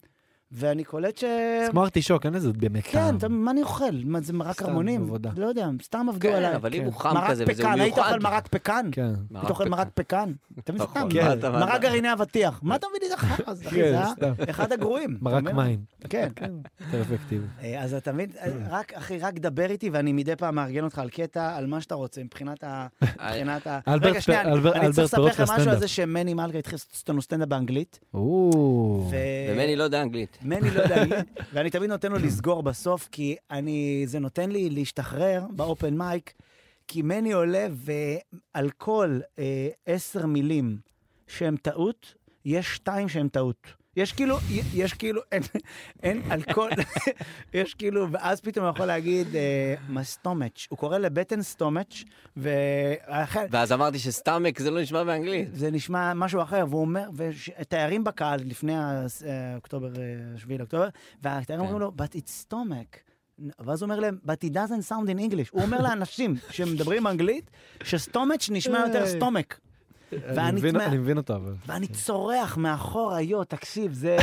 ואני קולט ש...
זה כמו ארטישוק, אין לזה באמת
כן,
טעם.
אתה- מה אני אוכל? מה זה מרק
סתם
ארמונים?
עבודה.
לא יודע, סתם עבדו
כן,
עליי.
אבל אם
כן.
הוא חם
מרק
כזה וזה
פקן, היית
מיוחד.
אוכל מרק פקן?
כן.
מרק
היית אוכל
פקן.
מרק פקן? אתה מבין
נכון,
סתם?
כן.
מה אתה- מה
מרק
אתה-
גרעיני אבטיח. מה אתה מביא לי את החרא? אחי,
כן,
זה היה
סתם.
אחד הגרועים. אתה
מרק
מבין? <laughs>
מים.
כן.
כן, יותר אפקטיבי.
אה, אז אתה מבין, אה, רק, אחי, רק דבר איתי, ואני מדי פעם מארגן אותך על קטע, על מה שאתה רוצה, מבחינת ה...
אה,
מבחינת ה...
אלברט
רגע, שנייה,
פ-
אני-
אלבר-
אני
אלברט
צריך לספר
פירוט
לך משהו על
לסטנדאפ.
זה שמני מלכה התחיל לעשות לנו סטנדאפ באנגלית.
או,
ו-
ומני לא יודע אנגלית.
מני לא יודע, אני- <laughs> ואני תמיד נותן לו לסגור בסוף, כי אני, זה נותן לי להשתחרר באופן מייק, כי מני עולה ועל כל אה, עשר מילים שהן טעות, יש שתיים שהן טעות. יש כאילו, יש כאילו, אין, אין על כל, <laughs> יש כאילו, ואז פתאום הוא יכול להגיד, אה, מה סטומץ', הוא קורא לבטן סטומץ', ואחר,
ואז אמרתי שסטאמק זה לא נשמע באנגלית.
זה נשמע משהו אחר, והוא אומר, ותיירים בקהל לפני ה- אה, אוקטובר, אה, 7 לאוקטובר, והתיירים אומרים לו, but it's stomach. ואז הוא אומר להם, but it doesn't sound in English. הוא אומר לאנשים שמדברים אנגלית, שסטומץ' נשמע יותר
איי.
סטומק.
אני
ואני
מבין-
תמה-
אני מבין אותו, אבל...
ואני צורח מאחורה, יו, תקשיב, זה...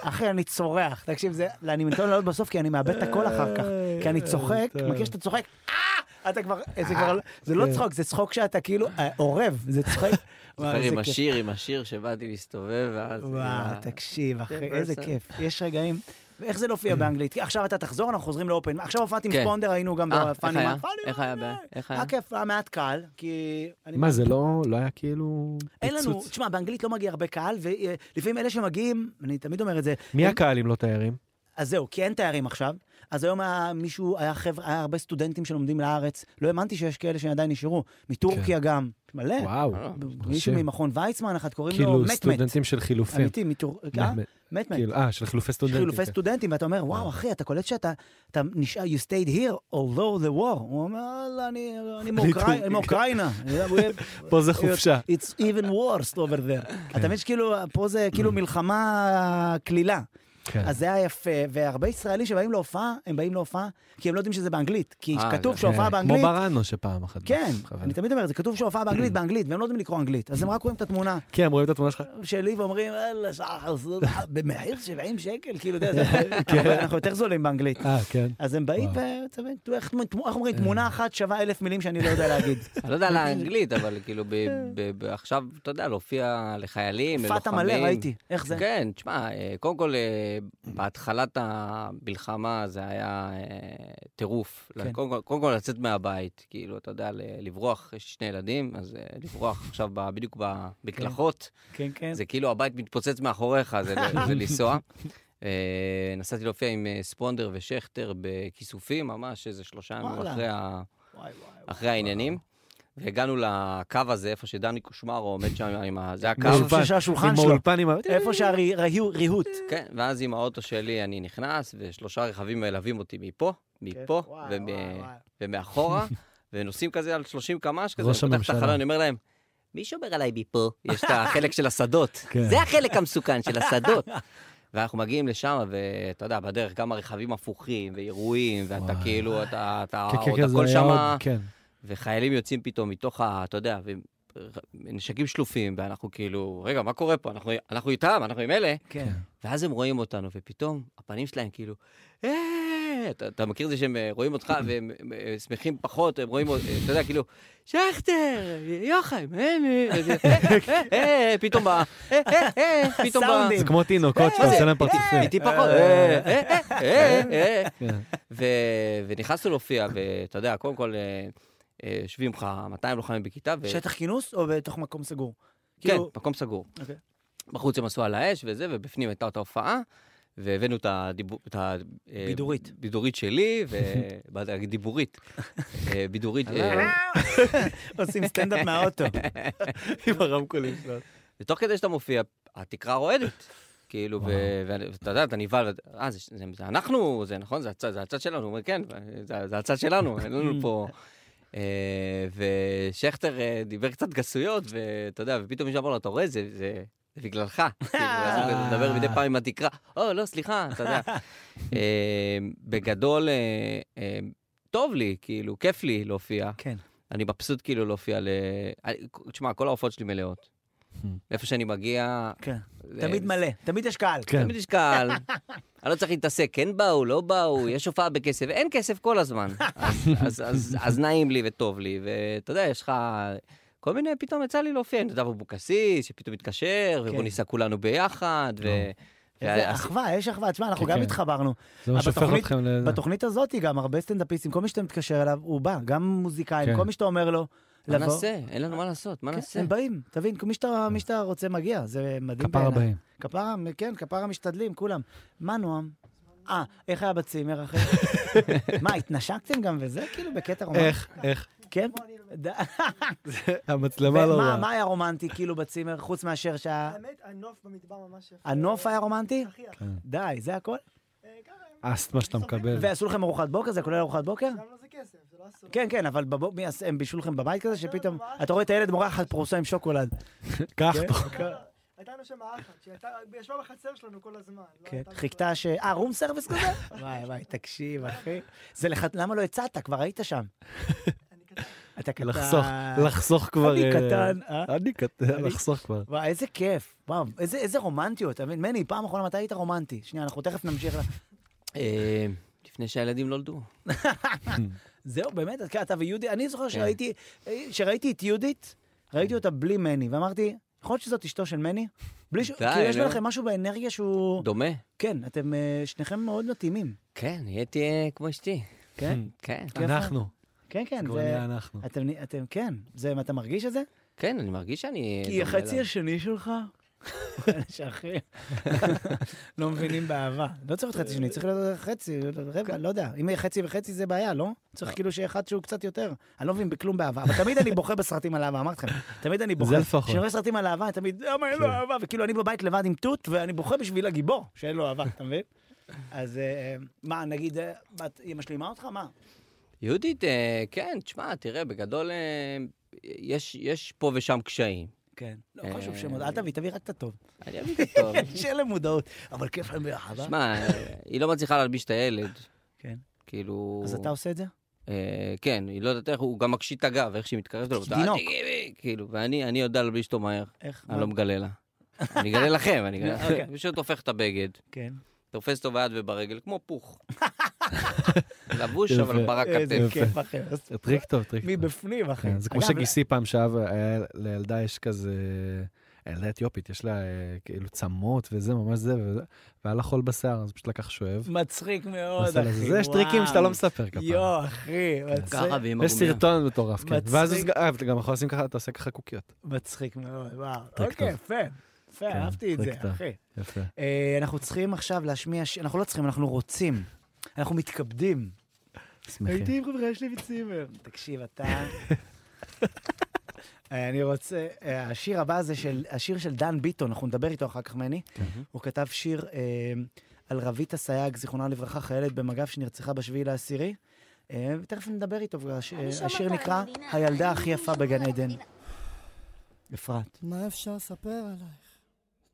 אחי, אני צורח, תקשיב, זה... אני מתכוון לעלות בסוף, כי אני מאבד את הקול אחר כך. כי אני צוחק,
טוב.
מכיר שאתה צוחק, אה! אתה כבר... זה כבר... לא- זה לא צחוק, זה צחוק שאתה כאילו אה, עורב, זה צחוק. וואי,
זוכר
איזה
עם
כיף.
השיר, עם השיר שבאתי להסתובב, ואז...
וואו, תקשיב, אחי,
כן,
איזה
בסדר.
כיף. יש רגעים... איך זה לא
אה.
הופיע באנגלית? כי עכשיו אתה תחזור, אנחנו חוזרים לאופן. עכשיו הופעתי עם
כן.
ספונדר, היינו גם
אה, איך
בפאני
היה?
מאן. לא, פאני
איך
מאן,
היה?
אה.
ב- איך היה?
היה כיף, היה מעט קהל, כי... אני
מה, זה לא לא היה כאילו
אין לנו,
פיצוץ?
תשמע, באנגלית לא מגיע הרבה קהל, ולפעמים אלה שמגיעים, אני תמיד אומר את זה,
מי הקהל אם לא תיירים?
אז זהו, כי אין תארים עכשיו. אז היום היה מישהו, היה חבר'ה, היה הרבה סטודנטים שלומדים לארץ. לא האמנתי שיש כאלה שעדיין נשארו. מטורקיה גם. מלא.
כן. וואו.
אה,
מישהו
מרשים.
ממכון ויצמן, אחת קוראים לו
כאילו
מטמט.
סטודנטים של חילופים.
לא- אמיתי, אה? מטורקיה.
באמת,
מטמט.
כאילו, אה, של חילופי
יש
סטודנטים.
חילופי
כן.
סטודנטים, ואתה אומר, וואו, אחי, אתה קולט שאתה אתה נשאר, you stayed here, although the war. הוא אומר, "אללה, אני- אני מאוקראי- אני
<laughs>
מאוקראינה.
פה זה חופשה.
<laughs>
כן.
It's even worse over there. אתה מבין שכאילו, פה זה
<clears throat>
כאילו מלחמה קלילה.
כן.
אז זה היה יפה, והרבה ישראלים שבאים להופעה, הם באים להופעה, כי הם לא יודעים שזה באנגלית. כי
אה,
כתוב
זה-
שהופעה
כן,
באנגלית...
כמו ברנו שפעם אחת.
כן,
בכוונה.
אני תמיד אומר את זה, כתוב שהופעה
<clears throat>
באנגלית באנגלית, והם לא יודעים לקרוא אנגלית. אז הם רק רואים את התמונה
כן, הם רואים את התמונה שלך.
שלי ואומרים, אללה, שעה חסוד, במחיר 70 שקל, כאילו, אתה יודע, זה- אבל אנחנו יותר זולים באנגלית.
אה, כן.
אז הם באים, ואתה מבין, תראו, איך איך אומרים, תמונה אחת שווה אלף מילים שאני לא יודע להגיד.
אני לא
<laughs>
יודע על האנגלית, אבל כאילו, ב- ב- ב- עכשיו, אתה יודע, להופיע לחיילים, ללוחמים.
פאטה מלא, ראיתי, איך זה?
כן, תשמע, אה, קודם כל, אה, בהתחלת המלחמה זה היה אה, טירוף.
כן.
קודם כל- קודם כל, לצאת מהבית, כאילו, אתה יודע, ל- לברוח, יש שני ילדים, אז אה, לברוח עכשיו ב- בדיוק במקלחות,
כן, כן.
זה כאילו הבית מתפוצץ מאחוריך, זה ל- זה לנסוע.
<laughs>
אה, נסעתי להופיע עם אה, ספונדר ושכטר בכיסופים, ממש איזה שלושה ימים
וואלה.
אחרי ה...
וואי, וואי.
אחרי העניינים. והגענו לקו הזה, איפה שדני קושמרו עומד שם עם ה... זה הקו.
מאולפן.
באולפן.
שהשולחן
עם
שלו.
האולפן עם ה...
איפה שהריהוט.
כן, ואז עם האוטו שלי אני נכנס, ושלושה רכבים מלווים אותי מפה, מפה
כן, וואי,
ומ-
וואי, וואי.
ומאחורה,
<laughs>
ונוסעים כזה על 30 קמ"ש כזה,
ראש
אני פותח את
הממשלה.
החלון, אני אומר להם, מי שומר עליי מפה? <laughs> יש את החלק של השדות.
כן.
זה החלק המסוכן של השדות. <laughs> ואנחנו מגיעים לשם, ואתה יודע, בדרך גם הרכבים הפוכים, ואירועים, ואתה
וואי.
כאילו, אתה, אתה,
כן, כן,
עוד
כן, זה
הכל
היה
שמה...
עוד- כן.
וחיילים יוצאים פתאום מתוך ה... אתה יודע, נשקים שלופים, ואנחנו כאילו, רגע, מה קורה פה? אנחנו, אנחנו איתם, אנחנו עם אלה.
כן.
ואז הם רואים אותנו, ופתאום הפנים שלהם כאילו, "אה, יפה, אתה, אתה מכיר את זה שהם אה, רואים <clears throat> אותך והם אה, אה, שמחים פחות, הם רואים, אה, אתה יודע, כאילו, שכטר, יוחאי, אה, אה, אה, אה, אה, אה, פתאום ב... אה, אה, אה, פתאום ב...
הסאונדים.
זה כמו תינוקות
כן,
שאתה
אה,
עושה להם
אה,
פרצופים.
איתי פחות, אה, אה, אה, אה, אה.
כן.
ו- ונכנסנו להופיע, ואתה יודע, קודם כל, אה, אה, יושבים לך 200 לוחמים בכיתה, ו-
שטח כינוס או בתוך מקום סגור?
כן,
כאילו-
מקום סגור.
אוקיי.
בחוץ הם עשו על האש וזה, ובפנים הייתה אותה הופעה, והבאנו את הדיבור... את ה- אה,
בידורית.
בידורית שלי, ו... <laughs> באתי להגיד דיבורית. אה, בידורית... אה,
עושים סטנדאפ מהאוטו.
עם הרמקולים שלו.
ותוך כדי שאתה מופיע, התקרה רועדת. כאילו, ו- ואני- ואתה יודע, אתה נבהל, אה, זה, זה, זה אנחנו, זה נכון, זה הצד, זה הצד שלנו, הוא אומר, כן, זה, זה הצד שלנו, אין לנו פה... אה, ושכטר אה, דיבר קצת גסויות, ואתה יודע, ופתאום מישהו אמר לו, אתה רואה, זה, זה, זה בגללך. כאילו, אז הוא מדבר מדי פעם עם התקרה, או, לא, סליחה, אתה יודע. אה, בגדול, אה, אה, טוב לי, כאילו, כיף לי להופיע.
כן.
אני מבסוט כאילו להופיע ל... אני- תשמע, כל ההופעות שלי מלאות. איפה שאני מגיע...
כן.
זה-
תמיד מלא, תמיד יש קהל.
כן.
תמיד יש
<laughs>
קהל. אני לא צריך להתעסק, כן באו, לא באו, יש הופעה בכסף, אין כסף כל הזמן. אז- אז- אז- אז נעים לי וטוב לי, ואתה יודע, יש לך... כל מיני, פתאום יצא לי להופיע, נדב אבוקסיס, שפתאום התקשר,
כן.
ובוא ניסע כולנו ביחד, ו...
זה
וה-
אחווה, יש אחווה. תשמע, אנחנו
כן,
גם
כן.
התחברנו.
זה מה שהופך
בתוכנית-
אתכם ל...
בתוכנית הזאת גם הרבה סטנדאפיסטים, כל מי שאתה מתקשר אליו, הוא בא, גם מוזיקאים,
כן.
כל מי שאתה אומר לו,
מה
לבוא.
נעשה? אין לנו מה לעשות, מה
כן,
נעשה?
הם באים, תבין, מי שאתה- מי שאתה רוצה מגיע, זה מדהים
כפרה בהם.
כפרה, כן, כפרה משתדלים, כולם. מה נועם? אה, איך היה בצימר
<laughs>
אחי? מה, התנשקתם גם וזה? כאילו בקטע רומנטי.
איך, איך?
כן. ד-
המצלמה לא
ומה
רואה.
מה היה רומנטי כאילו בצימר, חוץ מאשר שה...
האמת, הנוף במדבר ממש יפה.
הנוף היה רומנטי?
הכי יפה.
די, זה הכל?
אה, ככה,
האסתמה שאתה מקבל.
ועשו לכם ארוחת בוקר? זה כולל ארוחת בוקר?
גם לא זה כסף, זה לא אסור.
כן, כן, אבל בבוק- מי עשה- הם בישלו לכם בבית כזה, שפתאום... אתה רואה את הילד מורחת פרוסה עם שוקולד.
<laughs> קח
כן?
פה.
לא, לא, הייתה לנו שם האחת, שישבה בחצר שלנו כל הזמן. לא
כן,
הייתה
חיכתה ש... אה, רום סרוויס כזה? וואי, וואי, תקשיב, אחי. זה לך... למה לא הצעת? כבר היית שם.
בכלל, אני קטן.
אתה קטן.
לחסוך, לחסוך כבר...
אני
אה,
קטן, אה?
אני קטן,
אני-
לחסוך כבר.
וואי, איזה כיף. וואו, איזה, איזה רומנטיות. אתה מבין? מני, פעם אחרונה מתי היית רומנטי? שנייה, אנחנו תכף נמשיך. ל-
אה, לפני שהילדים נולדו.
זהו, באמת, אתה- אתה ויהודית, אני
כן.
זוכר שראיתי, שראיתי את יהודית, ראיתי אותה בלי מני, ואמרתי, יכול להיות שזאת אשתו של מני? בלי ש...
די,
כאילו, יש
נו.
לכם משהו באנרגיה שהוא...
דומה?
כן, אתם אה, שניכם מאוד מתאימים.
כן, נהייתי אה, כמו אשתי.
כן,
כן.
כיף לך?
אנחנו,
כן, כן.
כבר
זה-
נהיה אנחנו.
אתם, נ- אתם, כן. זה, אתה מרגיש את זה?
כן, אני מרגיש שאני...
כי
דומה
החצי
לה.
השני <laughs> שלך... שאחי, <laughs> לא מבינים באהבה. לא צריך להיות חצי שני, צריך להיות חצי, רבע, לא יודע. אם יהיה חצי וחצי זה בעיה, לא? צריך כאילו שיהיה אחד שהוא קצת יותר. אני לא מבין בכלום באהבה, אבל תמיד אני בוכה בסרטים על אהבה, אמרתי לכם. תמיד אני בוכה.
זה לפחות.
כשאני רואה סרטים על אהבה, אני תמיד, למה אין לו אהבה? וכאילו אני בבית לבד עם תות, ואני בוכה בשביל הגיבור, שאין לו אהבה, אתה מבין? אז אה, מה, נגיד, אה, בת- היא משלימה אותך? מה?
יהודית, אה, כן, תשמע, תראה, בגדול אה, יש- יש פה ושם קשיים.
כן. לא
אה,
חשוב שמות, אל תביא, תביא רק את הטוב.
אני אביא את
<laughs>
הטוב.
שאין כן, להם מודעות, אבל כיף להם ביחד, אה?
שמע, אה, היא לא מצליחה להלביש את הילד.
כן.
כאילו...
אז אתה עושה את זה?
אה, כן, היא לא יודעת איך, הוא גם מקשיט את הגב, איך שהיא מתקרבת אליו.
תינוק.
"אל תיגעי בי", כאילו, ואני אני יודע להלביש אותו מהר.
איך?
אני לא מגלה לה. אני אגלה לכם, אני אגלה
אוקיי.
לכם. <laughs> פשוט הופך את הבגד.
כן.
תופס אותו ביד וברגל, כמו
<laughs>
פוך. לבוש,
יפה.
אבל ברק
איזה
כתף.
כיף
<laughs>
אחר.
טריק טוב, טריק טוב.
מבפנים, אחי.
כן, זה כמו
אגב,
שגיסי פעם שאב, היה- לילדה יש כזה, הילדה אתיופית, יש לה אה, כאילו צמות וזה, ממש זה, וזה, והיה לה חול בשיער, אז פשוט לקח שואב.
מצחיק מאוד,
ועשה לה זה.
לא, אחי.
זה, יש טריקים שאתה לא מספר כפעם.
יואו, אחי, מצחיק-
כן, ככה ועם
יש
הגומיה.
סרטון מטורף, כן.
מצחיק.
ואז הסג- אה, אתה גם יכול לשים ככה, אתה עושה ככה קוקיות.
מצחיק מאוד, וואו.
טריק
אוקיי,
טוב.
יפה. יפה,
כן,
אהבתי את זה,
טריק טוב.
אחי.
יפה.
אה, אנחנו צריכים עכשיו להשמיע, ש- אנחנו לא צריכים, אנחנו רוצים. אנחנו מתכבדים.
שמחים.
עם חברה שלי בצימר. תקשיב, אתה... אה, אני רוצה, אה, השיר הבא זה של, השיר של דן ביטון, אנחנו נדבר איתו אחר כך מני. הוא כתב שיר אה, על רבית אסייג, זיכרונה לברכה, חיילת במג"ב שנרצחה בשביעי לעשירי. אה, ותכף נדבר איתו, והש- אה, השיר נקרא הילדה הכי יפה בגן עדן. אפרת.
מה אפשר לספר עלייך?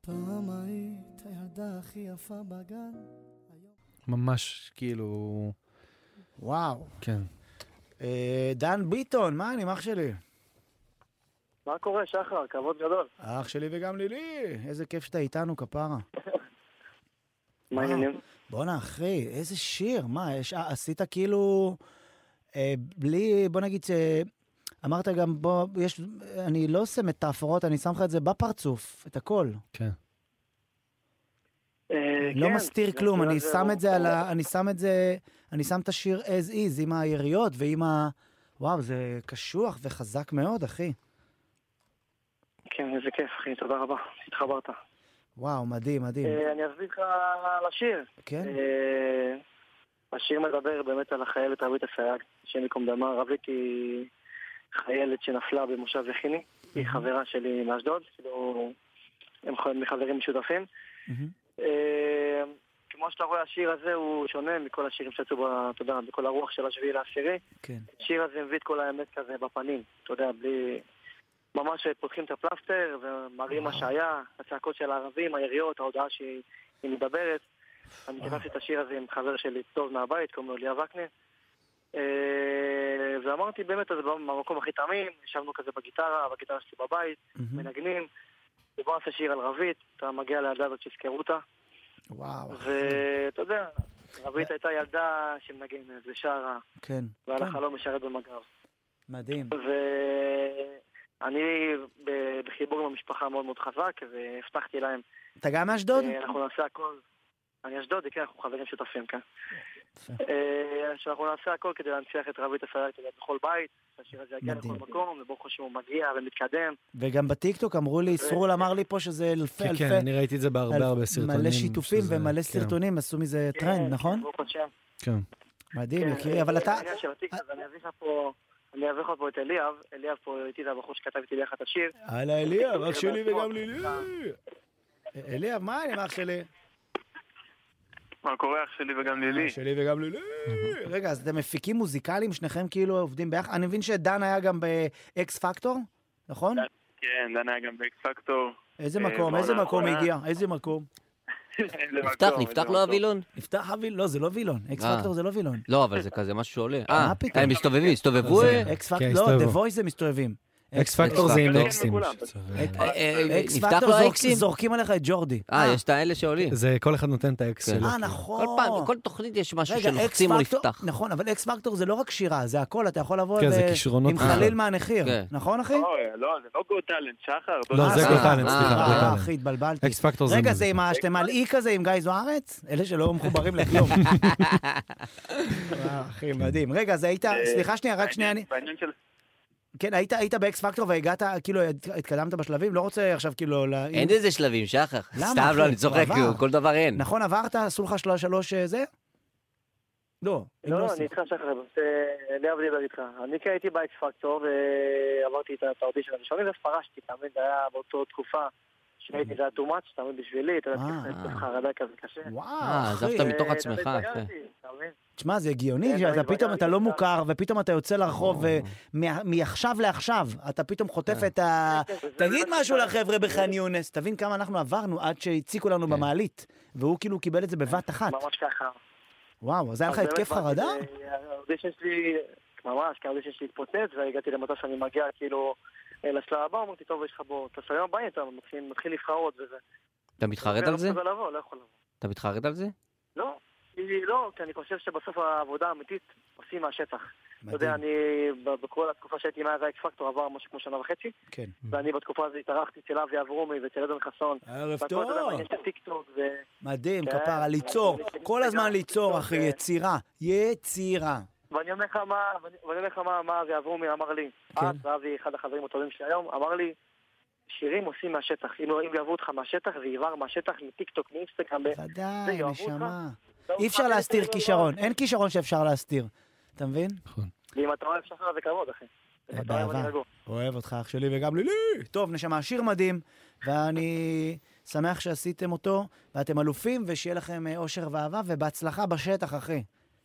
פעם היית הילדה הכי יפה בגן.
ממש, כאילו,
וואו.
כן.
אה, דן ביטון, מה אני, אח שלי?
מה קורה, שחר? כבוד גדול.
אח שלי וגם לילי, איזה כיף שאתה איתנו, כפרה. אה,
מה העניינים?
בואנה, אחי, איזה שיר, מה, יש, אה, עשית כאילו... אה, בלי, בוא נגיד ש... אמרת גם, בוא, יש, אני לא עושה מטאפורות, אני שם לך את זה בפרצוף, את הכל.
כן.
אה,
לא
כן,
מסתיר
זה-
כלום, אני שם
הוא-
את זה על
הוא-
ה... אני שם את זה... אני שם את השיר as is עם היריות ועם ה... וואו, זה קשוח וחזק מאוד, אחי.
כן, איזה כיף, אחי, תודה רבה, התחברת.
וואו, מדהים, מדהים.
אה, אני אסביר לך על השיר.
כן?
אה, השיר מדבר באמת על החיילת רבית אסייג, השם ייקום דמה. רבית היא חיילת שנפלה במושב יחיני.
Mm-hmm.
היא חברה שלי מאשדוד, כאילו, הם חו- מחברים משותפים.
מהמם.
אה, כמו שאתה רואה, השיר הזה הוא שונה מכל השירים שיצאו, ב- אתה יודע, בכל הרוח של השביעי לעשירי.
כן.
השיר הזה מביא את כל האמת כזה בפנים, אתה יודע, בלי... ממש פותחים את הפלסטר ומראים מה שהיה, הצעקות של הערבים, היריות, ההודעה שהיא היא מדברת. אני נכנסתי את השיר הזה עם חבר שלי טוב מהבית, קוראים לו ליה וקנין. אה, ואמרתי באמת, אז במקום הכי תמים, ישבנו כזה בגיטרה, בגיטרה שלי בבית,
מהמם.
מנגנים. ובוא נעשה שיר על רבית, אתה מגיע לילדה הזאת שיזכרו אותה.
וואו, אחי.
ואתה יודע, רבית הייתה ילדה שמנגנת ושרה,
כן.
והיה לה
כן,
חלום לשרת במג"ב.
מדהים.
ואני ב- בחיבור עם המשפחה מאוד מאוד חזק, והבטחתי להם,
אתה גם מאשדוד?
אה, אנחנו נעשה הכל. אני אשדודי, כן, אנחנו חברים שותפים כאן. אה, שאנחנו נעשה הכל כדי להנציח את רבית הסלט בכל בית, שהשיר הזה יגיע לכל
מדהים.
מקום, וברוך השם הוא מגיע ומתקדם.
וגם בטיקטוק אמרו לי, סרול אמר לי פה שזה אלפי
כן,
אלפי...
כן, אני ראיתי את זה בהרבה
אלפ-
הרבה סרטונים.
מלא שיתופים
שזה-
ומלא
כן,
סרטונים, עשו מזה
כן,
טרנד, נכון?
ברוך השם.
כן.
מדהים,
כן,
יקירי, אבל
אה,
אתה...
העניין של הטיקטוק, אז אני אביא לך פה... אני אביא לך פה את אליאב, אליאב פה איתי, זה הבחור שכתב איתי לך את השיר.
הלאה, אליאב,
כן,
אח שלי
בעצמו.
וגם לילי. אליאב, מה העניינים, אח שלי?
מה קורה אח שלי וגם לילי?
אח שלי וגם לילי. <laughs> רגע, אז אתם מפיקים מוזיקליים, שניכם כאילו עובדים ביחד? אני מבין שדן היה גם באקס פקטור, נכון?
כן, דן היה גם באקס פקטור.
איזה
אה,
מקום,
בעונה
איזה מקום
האחרונה.
הגיע? איזה מקום?
נפתח, נפתח לו הווילון?
נפתח הווילון, לא, זה לא וילון. אקס
אה.
פקטור זה לא וילון.
לא, אבל זה כזה משהו שעולה. אה,
פתאום?
הם מסתובבים, הסתובבו... אה,
אקס
כן,
פקטור, לא, דה
הסתובבו.
וויס הם מסתובבים.
אקס פקטור זה עם
פקטור.
נוקסים.
כן, לכולם.
שצריך-
אה, אה,
אקס
נפתח
פקטור
לו
זורק-
האקסים?
זורקים עליך את ג'ורדי.
אה, יש את האלה שעולים.
זה כל אחד נותן את האקס
כן.
שלו.
אה, נכון.
כל פעם, כל תוכנית יש משהו
רגע, אקס
שלוחצים או
פקטור,
נפתח.
נכון, אבל אקס פקטור זה לא רק שירה, זה הכל, אתה יכול לבוא
כן,
ב-
זה כישרונות
עם
שלך.
חליל מהנחיר,
כן.
נכון אחי?
אה,
לא, זה לא גו טאלנט, שחר.
לא, זה
אה,
גו
אה,
טאלנט,
אה,
סליחה, גו
אה,
טאלנט.
אחי, התבלבלתי.
אקס פקטור זה
רגע,
מוזיקה.
זה עם השתם על אי כזה, עם גיא זוארץ? אלה שלא מחוברים
<laughs>
לכלום. וואו, אחי, מדהים. רגע, אז היית, סליחה שנייה, רק שנייה, אני...
בעניין של...
כן, היית- היית באקס פקטור והגעת, כאילו, הת- התקדמת בשלבים? לא רוצה עכשיו, כאילו, ל-
אין איזה שלבים, שחר.
למה,
סתם,
אחי?
לא, אני צוחק,
הוא
כאילו,
עבר.
כל דבר אין.
נכון, עברת? עשו לך שלוש, שלוש, אה, זה? לא.
לא,
לא
לא, אני
עשו.
איתך שחר, אה, אליאב דיבר איתך. אני כי הייתי באקס פקטור, ועברתי את האודישן הראשונים, ואז פרשתי, תמיד זה היה באותה תקופה שהייתי, זה היה too much, תמיד בשבילי, אתה יודע,
אה.
צריך לעשות חרדה כזה קשה.
וואו,
אה,
אחי.
עזבת אתה מתוך
אה,
עצמך,
תמיד
כן.
סגרתי, אתה מבין?
תשמע, זה הגיוני
כן,
שאתה
תמיד
פתאום, אתה
בגרתי
לא
אותה.
מוכר, ופתאום אתה יוצא לרחוב,
אה.
ומה- מעכשיו לעכשיו, אתה פתאום חוטף את ה...
כן, זה
אה, תגיד
באמת
משהו
קשה.
לחבר'ה בח'אן יונס, תבין כמה אנחנו עברנו עד שהציקו לנו במעלית, והוא כאילו קיבל את זה בבת אחת.
ממש ככה.
וואו, אז היה לך
אז
התקף
באמת באתי
חרדה?
ל- האודישן שלי, ממש, כי האודישן שלי התפוצץ, והגעתי למצב שאני מגיע כאילו אה, לשלב הבא, אמרתי, טוב, יש לך בו, את השלבים הבאים, אתה מתחיל- מתחיל לבחרות וזה.
אתה מתחרט על זה?
לא יכול לבוא, לא יכול לבוא.
אתה מתחרט על זה?
לא, אני- לא, כי אני חושב שבסוף העבודה האמיתית עושים מהשטח. אתה יודע, אני ב- בכל התקופה שהייתי עם האקס פקטור עבר משהו כמו שנה וחצי,
כן.
ואני בתקופה הזאת התארחתי אצל אבי אברומי ואצל עדן חסון.
ערב
והכל, אתה יודע,
טוב.
מעניין של טיקטוק, ו-
מדהים,
כן.
כפרה, ליצור. כל הזמן ליצור, אחי,
כן.
יצירה. יצירה.
ואני אומר לך מה, ואני ואני אומר לך מה, מה אבי אברומי אמר לי.
כן.
אז, ואבי, אחד החברים הטובים שלי היום, אמר לי, שירים עושים מהשטח. אם לא, אם יאהבו אותך מהשטח, זה יבער מהשטח, מטיקטוק, מאינסטגרם. ב- זה
ודאי,
יאהבו
נשמה.
לא
אי אפשר
אוכל,
להסתיר
לא-
כישרון, אין כישרון שאפשר להסתיר. אתה מבין?
נכון.
ואם אתה אוהב שחר זה כבוד, אחי. אם אתה אוהב,
אה, באהבה.
אני רגוע.
אוהב אותך, אח שלי, וגם לילי. טוב, נשמה, שיר מדהים, ואני שמח שעשיתם אותו, ואתם אלופים, ושיהיה לכם אה, אושר ואהבה, ובהצלחה בשטח, אחי.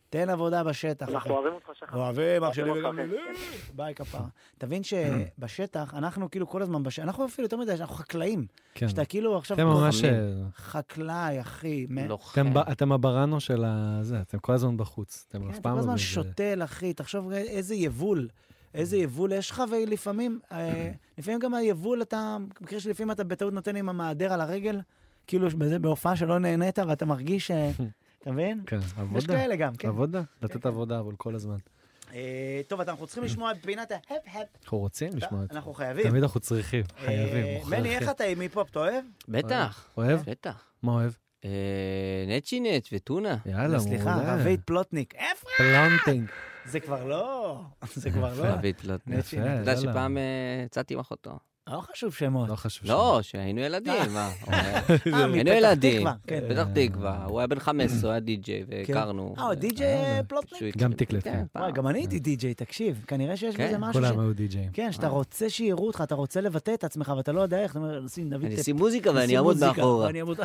תן עבודה בשטח, אחי.
אנחנו אוהבים אותך, שחר.
אוהבים, אח שלי
אוהבים
וגם
אותך,
לילי. ביי, כפרה. <clears throat> תבין שבשטח, אנחנו כאילו כל הזמן בשטח, אנחנו אפילו יותר מדי, אנחנו חקלאים.
כן.
שאתה כאילו עכשיו...
אתם ממש...
לוחמים.
אה,
חקלאי, אחי. מ-
לוחם.
אתם ב- אתם הברנו של ה... זה, אתם כל הזמן בחוץ. אתם אף
כן, אתה
פעם
כל
לא...
הזמן
באיזה-
שותל, אחי, תחשוב רגע איזה יבול, איזה יבול יש לך, ולפעמים, אה,
<coughs>
לפעמים גם היבול, אתה, במקרה
<laughs>
שלפעמים אתה בטעות נותן עם המעדר על הרגל, כאילו בזה- בהופעה שלא נהנית, ואתה מרגיש ש- אתה מבין?
כן,
יש
עבודה.
כאלה גם, כן.
עבודה, לתת עבודה, אבל כל הזמן.
אה, טוב, אז אנחנו צריכים לשמוע את פינת ההפ-הפ.
אנחנו רוצים <coughs> לשמוע את זה.
אנחנו חייבים.
תמיד אנחנו צריכים, חייבים, כן.
אה, מני, איך
מוכרחים.
אתה כן. עם היפ-הופ, אתה אוהב?
בטח,
אוהב?
בטח.
מה אוהב?
אה, נצ'ינט וטונה.
יאללה,
לא, סליחה,
מעולה.
רבית פלוטניק. איפה? <laughs>
פלנטינג.
זה כבר
<laughs>
לא... זה כבר לא...
רבית פלוטניק.
נצ'ינט.
יפה,
אתה יודע
אה, יאללה.
שפעם אה, יצאתי עם אחותו.
לא חשוב שמות.
לא חשוב.
לא, שהיינו ילדים, מה?
אה, מפתח
היינו ילדים. אה,
תקווה, כן.
פתח תקווה, הוא היה בן 15, הוא היה די-ג'יי, והכרנו.
אה, הוא די-ג'יי
יאללה.
פלוטניק?
שהוא
גם
התחיל-
תקלטו.
כן, פעם.
וואי, גם אני הייתי די-ג'יי, תקשיב. כנראה שיש
כן,
בזה משהו ש...
כולם היו די-ג'אים.
כן, שאתה רוצה שיראו אותך, אתה רוצה לבטא את עצמך, ואתה לא יודע איך, אתה אומר, נשים דוד...
אני
טפ-
אשים מוזיקה ואני
נשים
אעמוד
מוזיקה,
מאחורה.
ואני
<laughs>
אעמוד-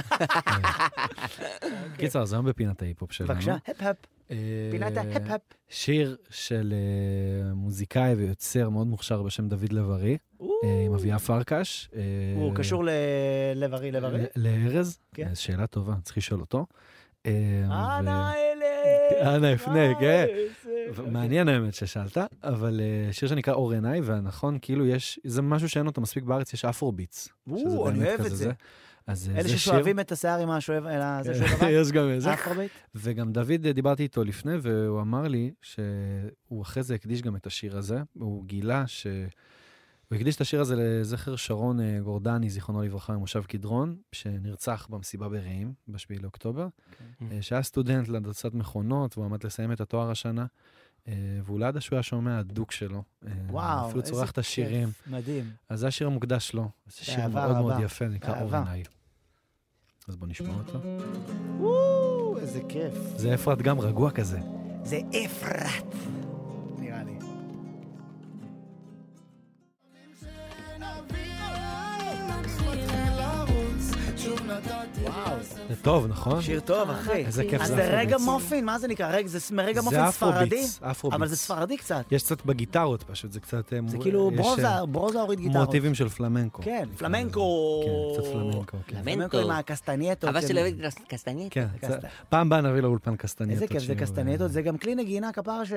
קיצר, אז היום בפינת ההיפ-הופ שלנו.
כן. בבקשה, הפ-הפ,
אה,
פינת ההפ-הפ.
שיר של אה, מוזיקאי ויוצר מאוד מוכשר בשם דוד לב-ארי, אה, עם אביה פרקש. אה,
הוא קשור ללב-ארי, לב-ארי?
ל- לארז?
כן.
כן. שאלה טובה, צריך לשאול אותו. אה, ו-
אנא
אה,
אלה!
אנא אפנה, כן.
איזה-
ו- מעניין האמת ששאלת, אבל אה, שיר שנקרא אור עיניי, והנכון, כאילו יש, זה משהו שאין אותו מספיק בארץ, יש אפרוביטס.
וואו,
שזה
אני
באמת
אוהב את
כזה
זה.
אז אה,
אלה
זה שיר-
ששואבים את השיער עם השואב,
<laughs>
אלא זה שואב הבא.
יש גם איזה.
אפרובייט?
וגם דוד, אה, דיברתי איתו לפני, והוא אמר לי שהוא אחרי זה הקדיש גם את השיר הזה. הוא גילה ש... הוא הקדיש את השיר הזה לזכר שרון אה, גורדני, זיכרונו לברכה, ממושב קדרון, שנרצח במסיבה ברעים, ב-7 לאוקטובר,
אוקיי.
אה, שהיה סטודנט להנדסת מכונות, והוא עמד לסיים את התואר השנה, אה, והוא ליד שהוא היה שומע הדוק שלו. אה,
וואו,
אפילו צורך את השירים.
כיף, מדהים.
אז זה השיר המוקדש לו. זה שיר
באהבה
מאוד מאוד
רבה.
יפה, נקרא אור
באהבה.
עיניי. אז בוא נשמע אותו.
וואו, איזה כיף.
זה אפרת גם רגוע כזה.
זה אפרת, נראה לי. וואו,
זה טוב, נכון?
שיר טוב, אחי.
איזה כיף
אז
זה
זה רגע
אפרוביטס.
מופין, מה זה נקרא? רגע, זה רגע
זה
מופין ספרדי?
אפרוביטס, אפרוביטס.
אבל זה ספרדי קצת.
יש קצת בגיטרות פשוט, זה קצת... אה,
זה
מ-
כאילו
יש, אה,
ברוזה, ברוזה הוריד גיטרות.
מוטיבים של פלמנקו.
כן,
נקרא
פלמנקו.
לזה. כן, קצת פלמנקו, כן.
פלמנקו.
פלמנקו עם הקסטנייטות.
אבא
של-
שלי אוהב קסטנית.
כן,
זה
זה-
קסט-
פעם הבאה נביא לאולפן קסטנייטות.
איזה כיף זה
שיהיו, אה,
קסטנייטות, זה גם כלי נגינה כפרה ש...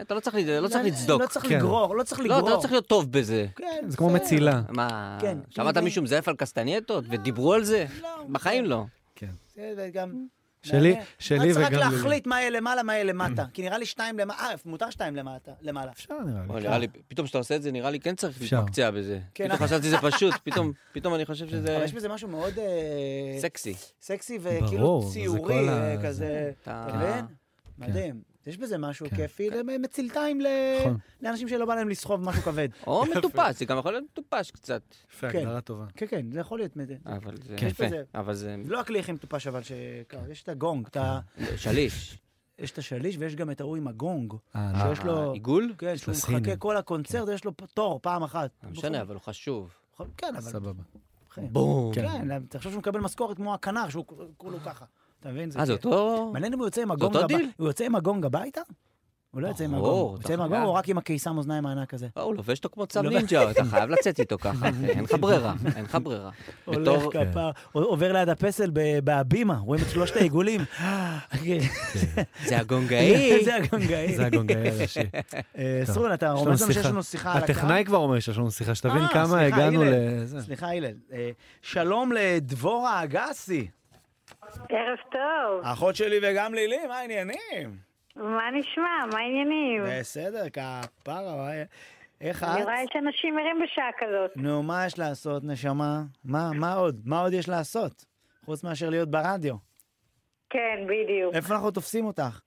אתה לא צריך לד- לא צריך
לא-
לצדוק.
לא צריך
כן.
לגרור, לא צריך
לא,
לגרור.
אתה לא צריך להיות טוב בזה.
כן,
זה כמו
בסדר.
מצילה.
מה,
כן.
שמעת מישהו מזייף על קסטנייטות? ודיברו על זה?
לא,
בחיים לא.
כן.
בסדר, גם...
שלי,
מעניין.
שלי
אז
וגם...
צריך רק להחליט מה יהיה למעלה, מה יהיה
<clears throat>
למטה. כי נראה לי שתיים למעלה, אה, מותר שתיים למטה. למעלה.
אפשר נראה
אבל
לי.
נראה לי, פתאום כשאתה עושה את זה, נראה לי כן צריך
אפשר.
להתמקצע בזה.
כן,
פתאום חשבתי שזה פשוט, פתאום- פתאום אני חושב שזה
אבל יש בזה משהו מאוד אה,
סקסי.
סקסי
ברור,
וכאילו
זה
ציורי
כל ה-
אה, כזה.
אתה-
אתה מבין? מדהים. יש בזה משהו
כן.
כיפי, למ- מצילתיים ל-
נכון.
לאנשים שלא בא להם לסחוב משהו כבד. <laughs>
או מטופש, זה גם יכול להיות מטופש קצת.
יפה,
כן.
הגדרה טובה.
כן, כן, זה יכול להיות מדי.
אבל זה
כן.
יפה.
יש בזה-
אבל זה
זה לא הכלי הכי מטופש, אבל שכבר, יש את הגונג, את ה-
כן.
שליש.
יש את השליש ויש גם את ההוא עם הגונג.
אה,
שיש
לא.
לו-
עיגול?
כן, שהוא
לסינים.
מחכה כל
כן.
הקונצרט, יש לו פ- תור פעם אחת.
לא משנה, אבל הוא חשוב.
כן, אבל...
סבבה.
בום.
כן.
כן, תחשוב שהוא מקבל משכורת כמו הכנר, שהוא כולו ככה. אתה מבין? כן.
אה, זה אותו...
מעניין אם הוא יוצא עם
זה
הגונג
אותו
הביתה.
דיל?
הוא יוצא עם הגונג הביתה? הוא לא יוצא עם הגונג.
ברור,
הוא
אתה
יוצא עם
חייב.
הגונג או רק עם הקיסם אוזניים הענק הזה?
לא, הוא לובש אותו כמו צו
לא-
נינג'ה, אתה חייב לצאת איתו ככה, אין לך ברירה, אין לך ברירה.
הולך
בתור- כן.
כפר, עובר ליד הפסל ב- בהבימה, רואים את שלושת
<laughs>
העיגולים. כן.
זה הגונגאי.
<laughs> זה הגונגאי.
זה הגונגאי הראשי.
<laughs> אה,
טוב.
סרון, אתה
יש לנו
אומר לנו שיש
שיחה.
לנו שיחה על הקו?
הטכנאי כבר אומר שיש לנו שיחה, שתבין
אה,
כמה
סליחה,
הגענו
הלל.
לזה.
סליחה, הלל. אה, שלום לדבורה אגסי,
ערב טוב,
אחות שלי וגם לילי, מה העניינים?
מה נשמע? מה העניינים?
בסדר, כפרה, וואי. איך
אני
את?
רואה יש אנשים ערים בשעה כזאת.
נו, מה יש לעשות, נשמה? מה, מה עוד? מה עוד יש לעשות? חוץ מאשר להיות ברדיו.
כן, בדיוק. <laughs>
איפה אנחנו תופסים אותך?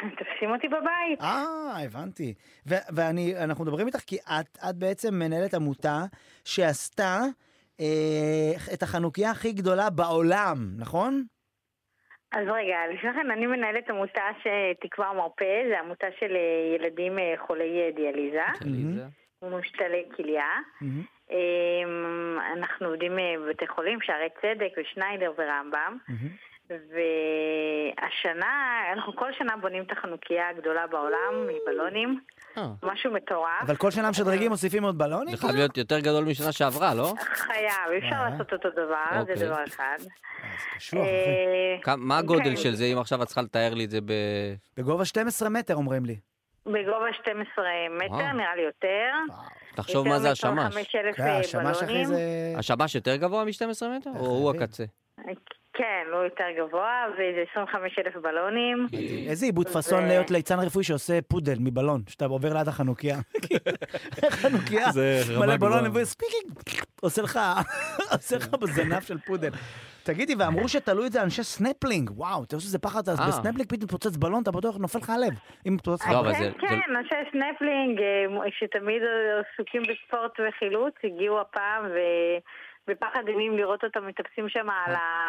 תופסים אותי בבית.
אה, הבנתי. ו- ואני, אנחנו מדברים איתך כי את, את בעצם מנהלת עמותה שעשתה אה, את החנוכיה הכי גדולה בעולם, נכון?
אז רגע, לפני כן אני מנהלת עמותה שתקווה מרפא, זו עמותה של אה, ילדים אה, חולי אה, דיאליזה
אוקיי.
עליזה.
ומושתלי כליה.
מהמם.
אמ, אנחנו עובדים אה, בבתי חולים, שערי צדק ושניידר ורמב"ם.
מהמם.
והשנה, אנחנו כל שנה בונים את החנוכיה הגדולה בעולם, מבלונים,
אה,
משהו מטורף.
אבל כל שנה משדרגים, מוסיפים עוד בלונים?
זה חייב להיות יותר גדול משנה שעברה, לא?
חייב, אי אפשר
אה.
לעשות אותו דבר,
אוקיי.
זה דבר אחד.
אה, זה קשוח, אחי.
אה,
כמה- מה הגודל
כן.
של זה, אם עכשיו את צריכה לתאר לי את זה ב...
בגובה 12 מטר, אומרים לי.
בגובה 12
וואו.
מטר, נראה לי יותר.
תחשוב מה זה
יותר
השמש.
מכל 5,000
כן, השמש אחי
בלונים.
זה...
השמש יותר גבוה מ-12 מטר, או הוא
חייבים.
הקצה?
כן, כן, הוא יותר גבוה, ואיזה 25 אלף בלונים.
איזה עיבוד פאסון
זה-
להיות ליצן רפואי שעושה פודל מבלון, שאתה עובר ליד החנוכיה. <laughs> חנוכיה,
זה רמה
מלא לא
גבוהה.
בלון, וספיקינג, עושה לך, <laughs> עושה לך בזנב של פודל. תגידי, ואמרו שתלו את זה אנשי סנפלינג, וואו, אתה חושב שזה פחד, אז
אה.
בסנפלינג פתאום מתפוצץ בלון, אתה בטוח נופל לך הלב. אם מתפוצץ לך
לא, אבל
כן,
זה-
כן, אנשי סנפלינג, אה, שתמיד עסוקים בספורט וחילוץ, הגיעו הפעם ו- בפחד אימים לראות אותם מטפסים שם על ה...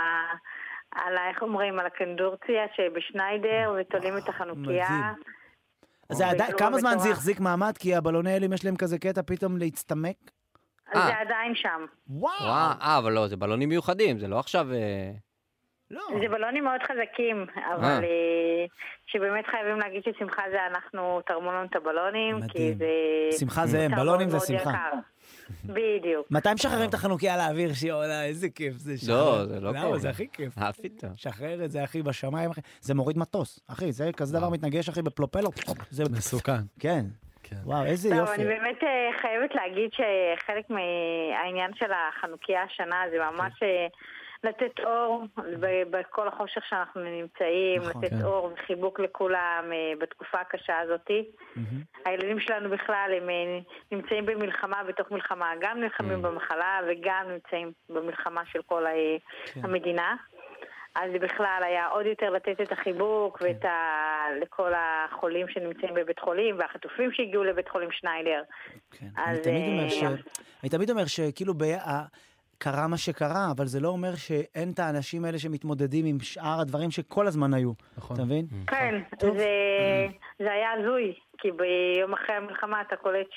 על ה... איך אומרים? על הקנדורציה שבשניידר, ותולים את החנוכיה.
מדהים. אז זה עדיין,
זה
כמה
לא
זמן זה
מטורף.
החזיק מעמד? כי הבלוני אלים יש להם כזה קטע פתאום להצטמק.
אז זה
אה.
עדיין שם.
וואו!
וואה, אה, אבל לא, זה בלונים מיוחדים, זה לא עכשיו... אה,
לא.
זה בלונים מאוד חזקים,
אה.
אבל אה, שבאמת חייבים להגיד ששמחה זה אנחנו תרמו לנו את הבלונים, כי
מדהים.
זה...
שמחה זה הם,
תרבות
בלונים זה
מאוד
שמחה.
יקר. בדיוק.
מתי משחררים את החנוכיה לאוויר שהיא עולה? איזה כיף זה. שחרר.
זה לא
למה?
קורה.
זה הכי כיף.
אה, פתאום.
שחרר את זה, אחי, בשמיים, אחי. זה מוריד מטוס, אחי, זה כזה
אה.
דבר מתנגש, אחי, בפלופלו. זה...
מסוכן.
כן.
כן.
וואו, איזה
טוב,
יופי.
אני באמת אה, חייבת להגיד שחלק מהעניין של החנוכיה השנה זה ממש אה, לתת אור ב- בכל החושך שאנחנו נמצאים,
נכון,
לתת
כן.
אור וחיבוק לכולם אה, בתקופה הקשה הזאת.
מהמם.
הילדים שלנו בכלל, הם אה, נמצאים במלחמה בתוך מלחמה, גם נלחמים במחלה וגם נמצאים במלחמה של כל ה- המדינה. אז בכלל היה עוד יותר לתת את החיבוק ואת ה... לכל החולים שנמצאים בבית חולים והחטופים שהגיעו לבית חולים שניידר.
כן.
אז,
אני תמיד אומר
אה,
ש... אני תמיד אומר שכאילו ב... ה- קרה מה שקרה, אבל זה לא אומר שאין את האנשים האלה שמתמודדים עם שאר הדברים שכל הזמן היו.
נכון.
אתה מבין?
כן,
טוב.
זה, זה היה הזוי, כי ביום אחרי המלחמה אתה קולט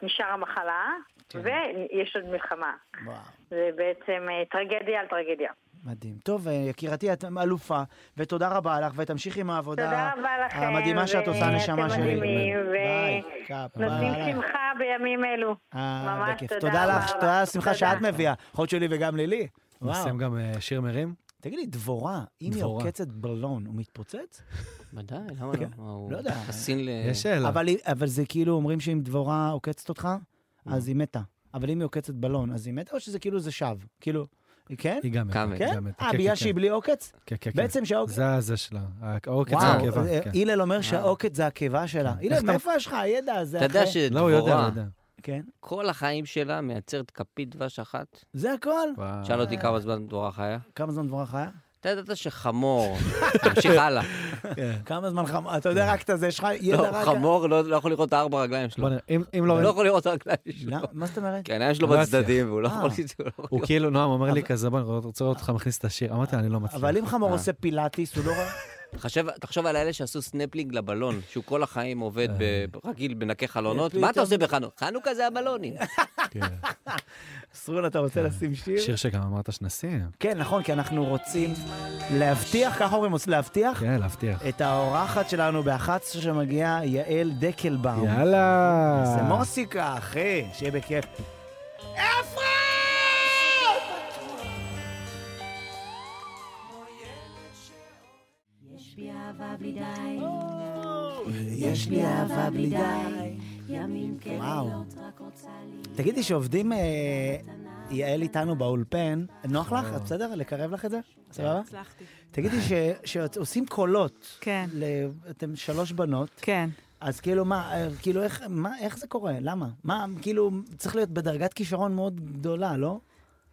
שנשאר המחלה ויש עוד מלחמה.
וואו.
זה בעצם אה, טרגדיה על טרגדיה.
מדהים. טוב, אה, יקירתי, את אלופה, ותודה רבה לך, ותמשיכי עם העבודה
תודה רבה לכם.
המדהימה שאת עושה,
ואתם
נשמה שלי.
מדהימים, ו-
ביי, כפרה
נותנים
עלייך.
שמחה בימים אלו.
אה,
ממש
בכיף.
תודה
תודה
רבה
לך,
רבה.
תודה השמחה
תודה.
שאת מביאה. יכול שלי וגם לילי. וואו.
נשים גם אה, שיר מרים?
תגיד לי, דבורה, אם היא
דבורה.
עוקצת בלון, הוא מתפוצץ?
ודאי, למה לא? מה, הוא
לא יודע.
חסין ל...
יש שאלה.
אבל היא- אבל זה כאילו אומרים שאם דבורה עוקצת אותך, אז היא מתה. אבל אם היא עוקצת בלון, אז היא מתה, או שזה כאילו זה שב? כאילו, היא כן?
היא גם מתה.
כמה?
היא
כן?
גם מתה.
אה,
כן,
בגלל
כן,
שהיא
כן.
בלי עוקץ?
כן, כן, כן.
בעצם שהעוקץ...
זה הזה שלה. העוקץ זה
וואו, כן.
העקיבה.
אה,
כן.
הלל אומר שהעוקץ זה הקיבה שלה. הלל,
איך אתה-
מאיפה יש לך הידע הזה?
אתה יודע
אחי?
לא, הוא יודע, הוא
שדבורה,
יודע.
כן.
כל החיים שלה מייצרת כפית דבש אחת.
זה הכל?
וואו.
שאל אותי כמה זמן דבורה חיה.
כמה זמן דבורה חיה?
אתה ידעת שחמור, תמשיך הלאה.
כמה זמן חמור? אתה יודע רק את הזה, יש לך ידע
לא,
רק...
חמור לא לא יכול לראות את הארבע רגליים שלו.
בוא נראה, אם- אם לא...
הוא לא יכול לראות את הרגליים שלו.
למה? לא, מה זאת אומרת?
כי העיניים שלו
לא
בצדדים, והוא לא
אה.
יכול לראות.
הוא כאילו, נועם אומר לי כזה, בוא, אני רוצה לראות אותך מכניס את השיר. אמרתי, אני לא מצליח.
כן, אבל אם חמור
אה.
עושה פילאטיס, הוא לא רואה...
תחשב, תחשוב על אלה שעשו סנפלינג לבלון, שהוא כל החיים עובד ב- רגיל בנקי חלונות. מה אתה עושה בחנוכה? חנוכה זה הבלונים.
כן.
<laughs> סרול, אתה רוצה לשים שיר?
שיר שגם אמרת שנשים.
כן, נכון, כי אנחנו רוצים להבטיח, ככה אומרים, רוצים להבטיח
כן, להבטיח.
את האורחת שלנו ב-11 שמגיעה יעל דקלבאום.
יאללה.
אה, זה מוסיקה, אחי, שיהיה בכיף.
יש בי אהבה בלי די,
יש לי אהבה בלי די.
ימים
וואו.
כלילות רק רוצה לי.
תגידי, שעובדים אה, יעל איתנו באולפן, נוח לך? את בסדר? לקרב לך את זה? סבבה?
כן, הצלחתי.
תגידי ש- שעושים קולות.
כן.
ל- אתם שלוש בנות,
כן.
אז כאילו מה, אה, כאילו איך, מה, איך זה קורה? למה? מה, כאילו, צריך להיות בדרגת כישרון מאוד גדולה, לא?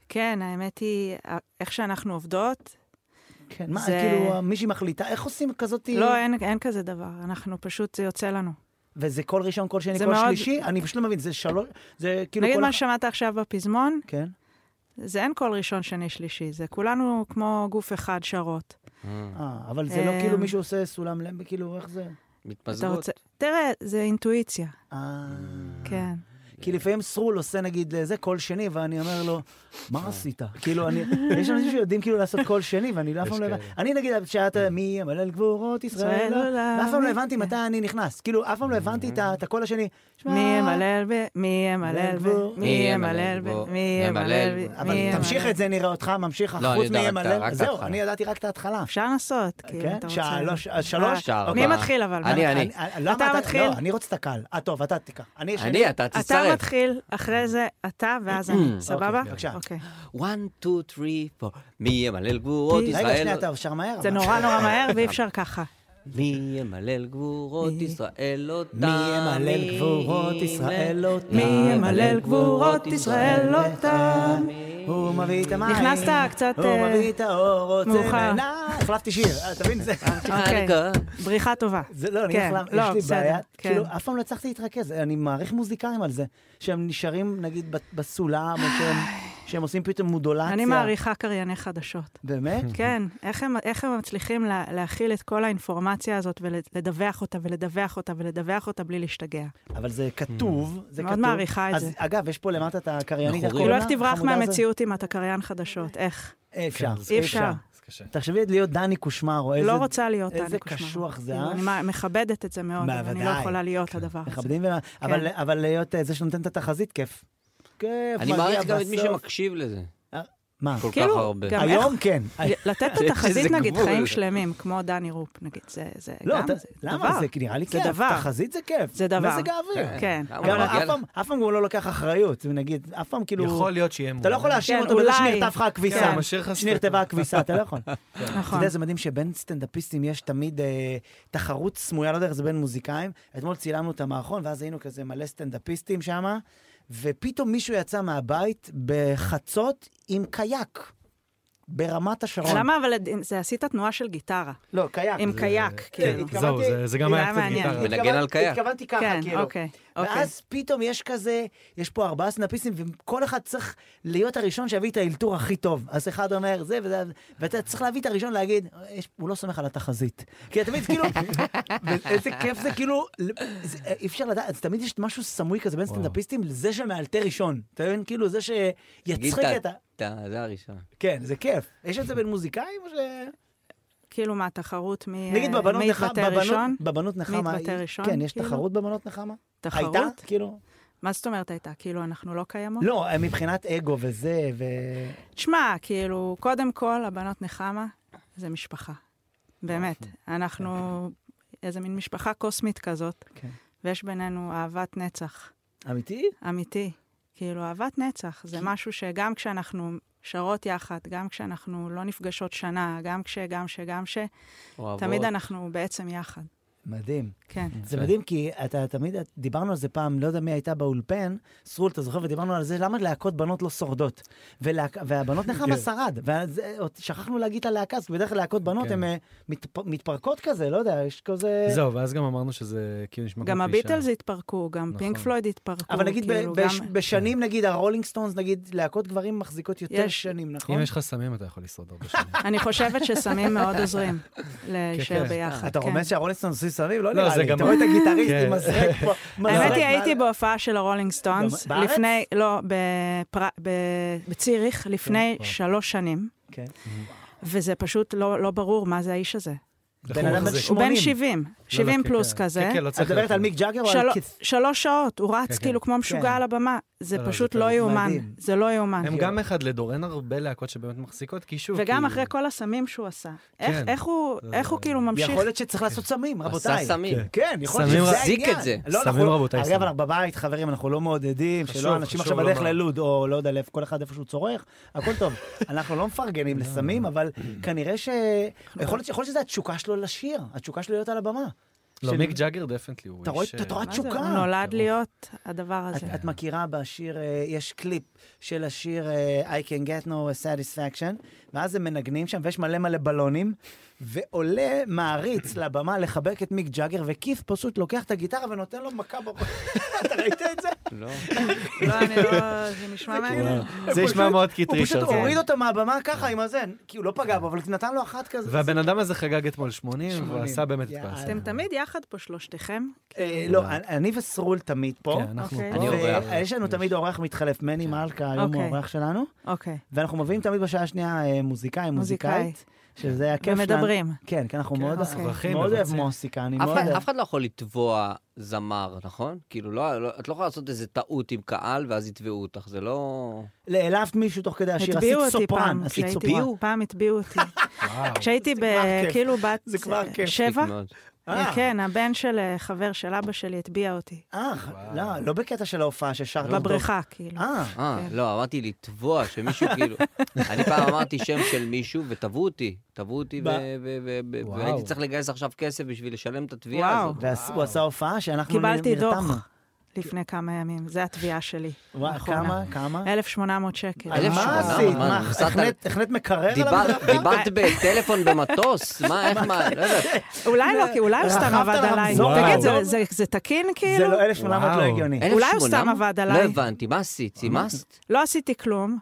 כן, האמת היא, אה, איך שאנחנו עובדות,
כן, מה, זה...
זה-
כאילו, מישהי מחליטה, איך עושים כזאת...
לא, אין, אין כזה דבר. אנחנו פשוט, זה יוצא לנו.
וזה כל ראשון, כל שני,
זה
כל
מאוד-
שלישי? אני פשוט לא מבין, זה שלוש... זה כאילו
נגיד
כל...
מה
אח-
ששמעת עכשיו בפזמון,
כן.
זה אין כל ראשון, שני, שלישי. זה כולנו כמו גוף אחד שרות.
אה, אבל זה לא כאילו
אמ,
מישהו עושה סולם לב, כאילו, איך זה?
אתה
מתמזגות.
רוצה... תראה, זה אינטואיציה.
אה...
כן.
כי לפעמים סרול עושה נגיד אה, זה קול שני, ואני אומר לו,
אה.
מה עשית? כאילו, אני, יש אנשים שיודעים כאילו לעשות קול שני, ואני לא אף פעם לא הבנתי. אני נגיד, שאת
אה.
מי המלל גבורות ישראל,
ישראל עולם."
ואף פעם לא הבנתי מתי אני נכנס. כאילו, אף פעם לא הבנתי את
אה.
ה- את הקול השני. "שמע,
מי ימלל ב... מי ימלל ב...
בוא.
מי ימלל ב... מי ימלל ב...
אבל
מי ימלל
תמשיך
ב-
את זה, נראה אותך ממשיך,
לא, אני
חוץ
יודע
מי
רק את ה- רק
ימלל.
את
זהו,
ההתחלה.
אני ידעתי רק את ההתחלה.
אפשר לנסות, כאילו,
כן,
אתה רוצה...
שלוש, אה, שלוש.
ארבע.
מי מתחיל אבל?
אוקיי. אני,
מה?
אני.
לא,
אתה
אמרת-
מתחיל.
לא, אני רוצה את הקל. אה, טוב, אתה תיקח. אני השני.
אני, אתה
אתה
תצטרף.
הוא מתחיל, אחרי זה אתה ואז אני, סבבה?
אוקיי, בבקשה.
אוקיי.
1, 2, 3, 4, מי ימלל גבורות ישראל?
רגע, שנייה, אתה שר מהר.
זה
אבל.
נורא נורא מהר
אוקיי.
ואי אפשר ככה.
מי ימלל גבורות
מי-
ישראל לא תם.
מי ימלל גבורות ישראל לא תם.
מי ימלל גבורות ישראל לא תם.
הוא מביא את המים.
נכנסת קצת,
הוא
אה,
מביא את האור, רוצה
מאוחר.
נענה. החלפתי שיר, אה, אתה מבין? זה...
אוקיי. בריחה טובה.
זה לא, אני
כן,
אגיד לך,
לא,
למה, יש לי
בסדר,
בעיה,
כן.
כאילו, אף פעם לא הצלחתי להתרכז, אני מעריך מוזיקאים על זה, שהם נשארים, נגיד, ב- בסולם, או שהם,
<sighs>
שהם עושים פתאום מודולציה.
אני מעריכה קרייני חדשות.
באמת?
כן, איך הם, איך הם מצליחים לה, להכיל את כל האינפורמציה הזאת ולדווח אותה ולדווח אותה ולדווח אותה בלי להשתגע.
אבל זה כתוב, זה
מאוד
כתוב.
מעריכה את
אז,
זה.
אגב, יש פה למטה את הקריינית, איך
כאילו,
קוראים
איך
לה?
תברח
החמודה הזאת?
מהמציאות אם אתה קריין חדשות? איך?
אי אפשר,
אי
אי
אפשר.
אפשר.
זה קשה.
תחשבי להיות דני קושמרו, איזה...
לא רוצה להיות
איזה
דני קושמרו.
קשוח זה,
כאילו,
אה?
אני מה- מכבדת את זה מאוד,
מה,
אבל אני לא
ודאי.
יכולה להיות הדבר הזה.
מכבדים, ו... אבל, אבל להיות אה, זה שנותן את התחזית, כיף. כיף,
אני
מגיע
מעריך גם את מי
בסוף.
שמקשיב לזה.
מה?
כל כך
כאילו,
הרבה.
גם
היום כן.
אה, לתת
<laughs>
זה-
לו תחזית,
זה
נגיד,
גבול.
חיים שלמים, כמו דני רופ, נגיד, זה זה
לא,
גם
אתה-
זה
למה?
דבר.
זה נראה לי
זה
כיף.
דבר.
תחזית זה כיף.
זה דבר.
מזג האוויר.
כן.
למה?
גם
אבל
אף
מגיע
פעם- אף פעם הוא לא לוקח אחריות, נגיד, אף פעם כאילו...
יכול להיות שיהיה
אתה לא יכול להאשים
כן,
אותו בזה
אולי.
שנרטב לך הכביסה,
כן,
משאיר לך
שנרטבה הכביסה, אתה
<laughs>
לא יכול. אתה
נכון.
יודע, זה מדהים שבין סטנדאפיסטים יש תמיד אה, תחרות סמויה, לא יודע איך זה בין מוזיקאים. אתמול צילמנו את המערכון, ואז היינו כזה מלא סטנדאפיסטים שם, ופתאום מישהו יצא מהבית בחצות עם קיאק. ברמת השרון.
למה אבל זה עשית תנועה של גיטרה,
לא, קיאק.
עם קיאק, כאילו.
התכוונתי-
כן, זהו, זה- זה גם
זה
היה
היה
קצת
מעניין.
גיטרה.
אה, מנגן על קיאק.
התכוונתי ככה,
כן,
כאילו.
אוקיי. אוקיי.
ואז פתאום יש כזה, יש פה ארבעה סנאפיסטים, וכל אחד צריך להיות הראשון שיביא את האלתור הכי טוב. אז אחד אומר זה וזה, ואתה צריך להביא את הראשון להגיד, "יש- הוא לא סומך על התחזית. כי אתה מבין, כאילו, <laughs> איזה כיף זה, כאילו, זה- אי אפשר לדעת, אז תמיד יש משהו סמוי כזה בין סטנדאפיסטים לזה שמאלתר ראשון. אתה מבין, כאילו, זה
תגיד,
שיצחיק
אתה-
את ה...
אתה- זה הראשון.
כן, זה כיף. יש את זה בין מוזיקאים או ש...
כאילו מה, תחרות מי
נגיד
אה,
בבנות
מי
נחמה,
יתבטא ראשון?
בבנות- בבנות נחמה,
יתבטא ראשון,
כן, יש
כאילו?
תחרות בבנות נחמה?
תחרות?
הייתה? כאילו?
מה זאת אומרת הייתה? כאילו, אנחנו לא קיימות?
לא, מבחינת אגו וזה, ו...
תשמע, כאילו, קודם כל, הבנות נחמה זה משפחה. באמת. אנחנו איזה מין משפחה קוסמית כזאת,
כן.
ויש בינינו אהבת נצח.
אמיתי?
אמיתי. כאילו, אהבת נצח זה משהו שגם כשאנחנו שרות יחד, גם כשאנחנו לא נפגשות שנה, גם כש, גם ש, גם ש,
אוהבות.
תמיד אנחנו בעצם יחד.
מדהים.
כן.
זה מדהים כי אתה תמיד, דיברנו על זה פעם, לא יודע מי הייתה באולפן, סרול, אתה זוכר? ודיברנו על זה, למה להקות בנות לא שורדות? ולהק... והבנות נחמה שרד, ושכחנו להגיד את הלהקה, אז בדרך כלל להקות בנות
כן.
הן אה, מתפ... מתפרקות כזה, לא יודע, יש כזה...
זהו, ואז גם אמרנו שזה כאילו נשמע
גם
כמו קלישאה.
הביטלס התפרקו, גם
נכון.
פינק פלויד התפרקו.
אבל נגיד ב-
כאילו,
בש...
גם-
בשנים, נגיד, הרולינג סטונס, נגיד, להקות גברים מחזיקות יותר
יש-
שנים, נכון?
אם יש לך סמים, אתה יכול לשרוד הרבה שנים.
אני חושבת שסמים מאוד
<laughs>
עוזרים להישאר
כן.
ביחד.
אתה
כן.
רומז שהרולינג סטונס עושים סביב? לא
לא,
נראה
זה
לי.
גם-
אתה רואה את הגיטריסט
כן.
עם מזרק פה.
האמת
מזרק
היא, הייתי
מעל-
בהופעה של הרולינג סטונס,
לא, בארץ?
לפני, לא, בפר... ב- בציריך, לפני שלוש שנים,
כן.
וזה פשוט לא, לא ברור מה זה האיש הזה.
<laughs> בן אדם בן
הוא
80.
בן 70, 70
לא, כן,
פלוס
כן.
כזה.
כן, כן, לא
את
צריך...
מדברת על מיק ג'אגר או על
של-
כיס?
שלוש שעות, הוא רץ
כן,
כאילו
כן.
כמו משוגע
לא, כן.
על הבמה. זה
לא,
פשוט
זה
לא
פשוט
יאומן,
מדהים.
זה לא יאומן.
הם גם אחד לדור, אין הרבה להקות שבאמת מחזיקות, כי שוב...
וגם
כאילו,
אחרי כל הסמים שהוא עשה. איך-
כן. לא.
איך הוא-
זה-
איך הוא כאילו ממשיך...
יכול להיות שצריך לעשות סמים, רבותיי.
עשה סמים.
כן.
כן, יכול להיות
סמים
שזה
רבותיי.
העניין.
את זה.
לא,
סמים
אנחנו-
רבותיי,
אגב,
סמים.
אנחנו בבית, חברים, אנחנו לא מעודדים,
חשוב,
שלא אנשים
חשוב
עכשיו בדרך
לומר.
ללוד, או לא יודע, לאיפה- כל אחד איפה שהוא צורך, הכל טוב. אנחנו לא מפרגנים לסמים, אבל כנראה ש... יכול להיות יכול להיות שזה התשוקה שלו לשיר, התשוקה שלו להיות על הבמה.
לא,
של-
מיק ג'אגר דפנטלי הוא
אתה רואה-
איש,
אתה
אה,
רואה
מה זה?
תשוקה.
הוא נולד להיות הדבר
את,
הזה.
אוקיי.
את מכירה בשיר, אה, יש קליפ של השיר אה, I can get no satisfaction, ואז הם מנגנים שם ויש מלא מלא בלונים, ועולה
<coughs>
מעריץ לבמה לחבק את מיק ג'אגר, וכיף פשוט לוקח את הגיטרה ונותן לו מכה בראש. <laughs> אתה ראית את זה?
לא.
לא, אני לא... זה נשמע מעניין.
זה
פשוט-
נשמע מאוד כן. אוקיי.
הוא
קטרי
פשוט
של זה.
הוריד אותו מהבמה ככה עם הזה, כי הוא לא פגע בו, אבל נתן לו אחת כזה.
והבן אדם הזה חגג אתמול 80, והוא
80.
עשה באמת כן, את
יאללה.
פס.
אתם תמיד יחד פה שלושתכם.
אה, לא, אני- אני וסרול תמיד פה.
כן, אנחנו
אוקיי.
פה.
אני אורח.
ויש אה, לנו תמיד אורח מתחלף, מני מלכה, היום הוא
אוקיי.
האורח שלנו.
אוקיי.
ואנחנו מביאים תמיד בשעה השנייה אה, מוזיקאי,
מוזיקאי.
מוזיקאית, שזה הכיף שלנו.
ומדברים.
כן, כן, אנחנו
כן,
מאוד
אוקיי.
מברכים,
מאוד אוהב
מבצעים.
מוסיקה, אני
אף
מאוד
אחד-
אוהב.
אף אחד לא יכול לתבוע זמר, נכון? כאילו, לא- לא- את לא יכולה לעשות איזה טעות עם קהל ואז יתבעו אותך, זה לא...
העלבת מישהו תוך כדי השיר, עשית
הטביעו אותי
סופרן,
פעם,
עשית
כשהייתי-
סופרן. <laughs>
פעם הטביעו אותי.
וואו.
כשהייתי ב-
כבר כיף.
כאילו בת
זה כבר
אה,
כיף.
שבע,
מאוד.
אה.
כן, הבן של אה, חבר של אבא שלי הטביע אותי.
אה, לא, לא בקטע של ההופעה ששרת אותו.
בבריכה, כאילו.
לא, אה,
אה, לא, אמרתי לתבוע שמישהו כאילו... אני פעם אמרתי שם של מישהו ותבעו אותי. תבעו אותי, ו-
ב-
ו- ו- ו-
וואו.
והייתי צריך לגייס עכשיו כסף בשביל לשלם את התביעה
וואו.
הזאת.
והוא עשה הופעה שאנחנו נ- נרתמנו.
קיבלתי דוח נכון. לפני כמה ימים, זו התביעה שלי.
וואי,
האחרונה.
כמה? כמה?
1,800 שקל.
על
אלף
מה
שמונה מאות,
עשית?
מה,
מה,
נסעת-
החנית- החנית מקרר על
דיברת-
המדרכה?
דיברת בטלפון במטוס? מה, איך מה? לא יודעת.
אולי לא, כי אולי הוא סתם
רכבת
עבד
על
עליי.
רמזור?
תגיד,
וואו.
זה- זה- זה תקין
זה
כאילו?
לא 1,800 לא
וואו.
הגיוני.
אולי הוא סתם
1,800?
עבד
לא
עליי.
הבנתי, מה עשית? סימסת? <laughs>
לא עשיתי כלום.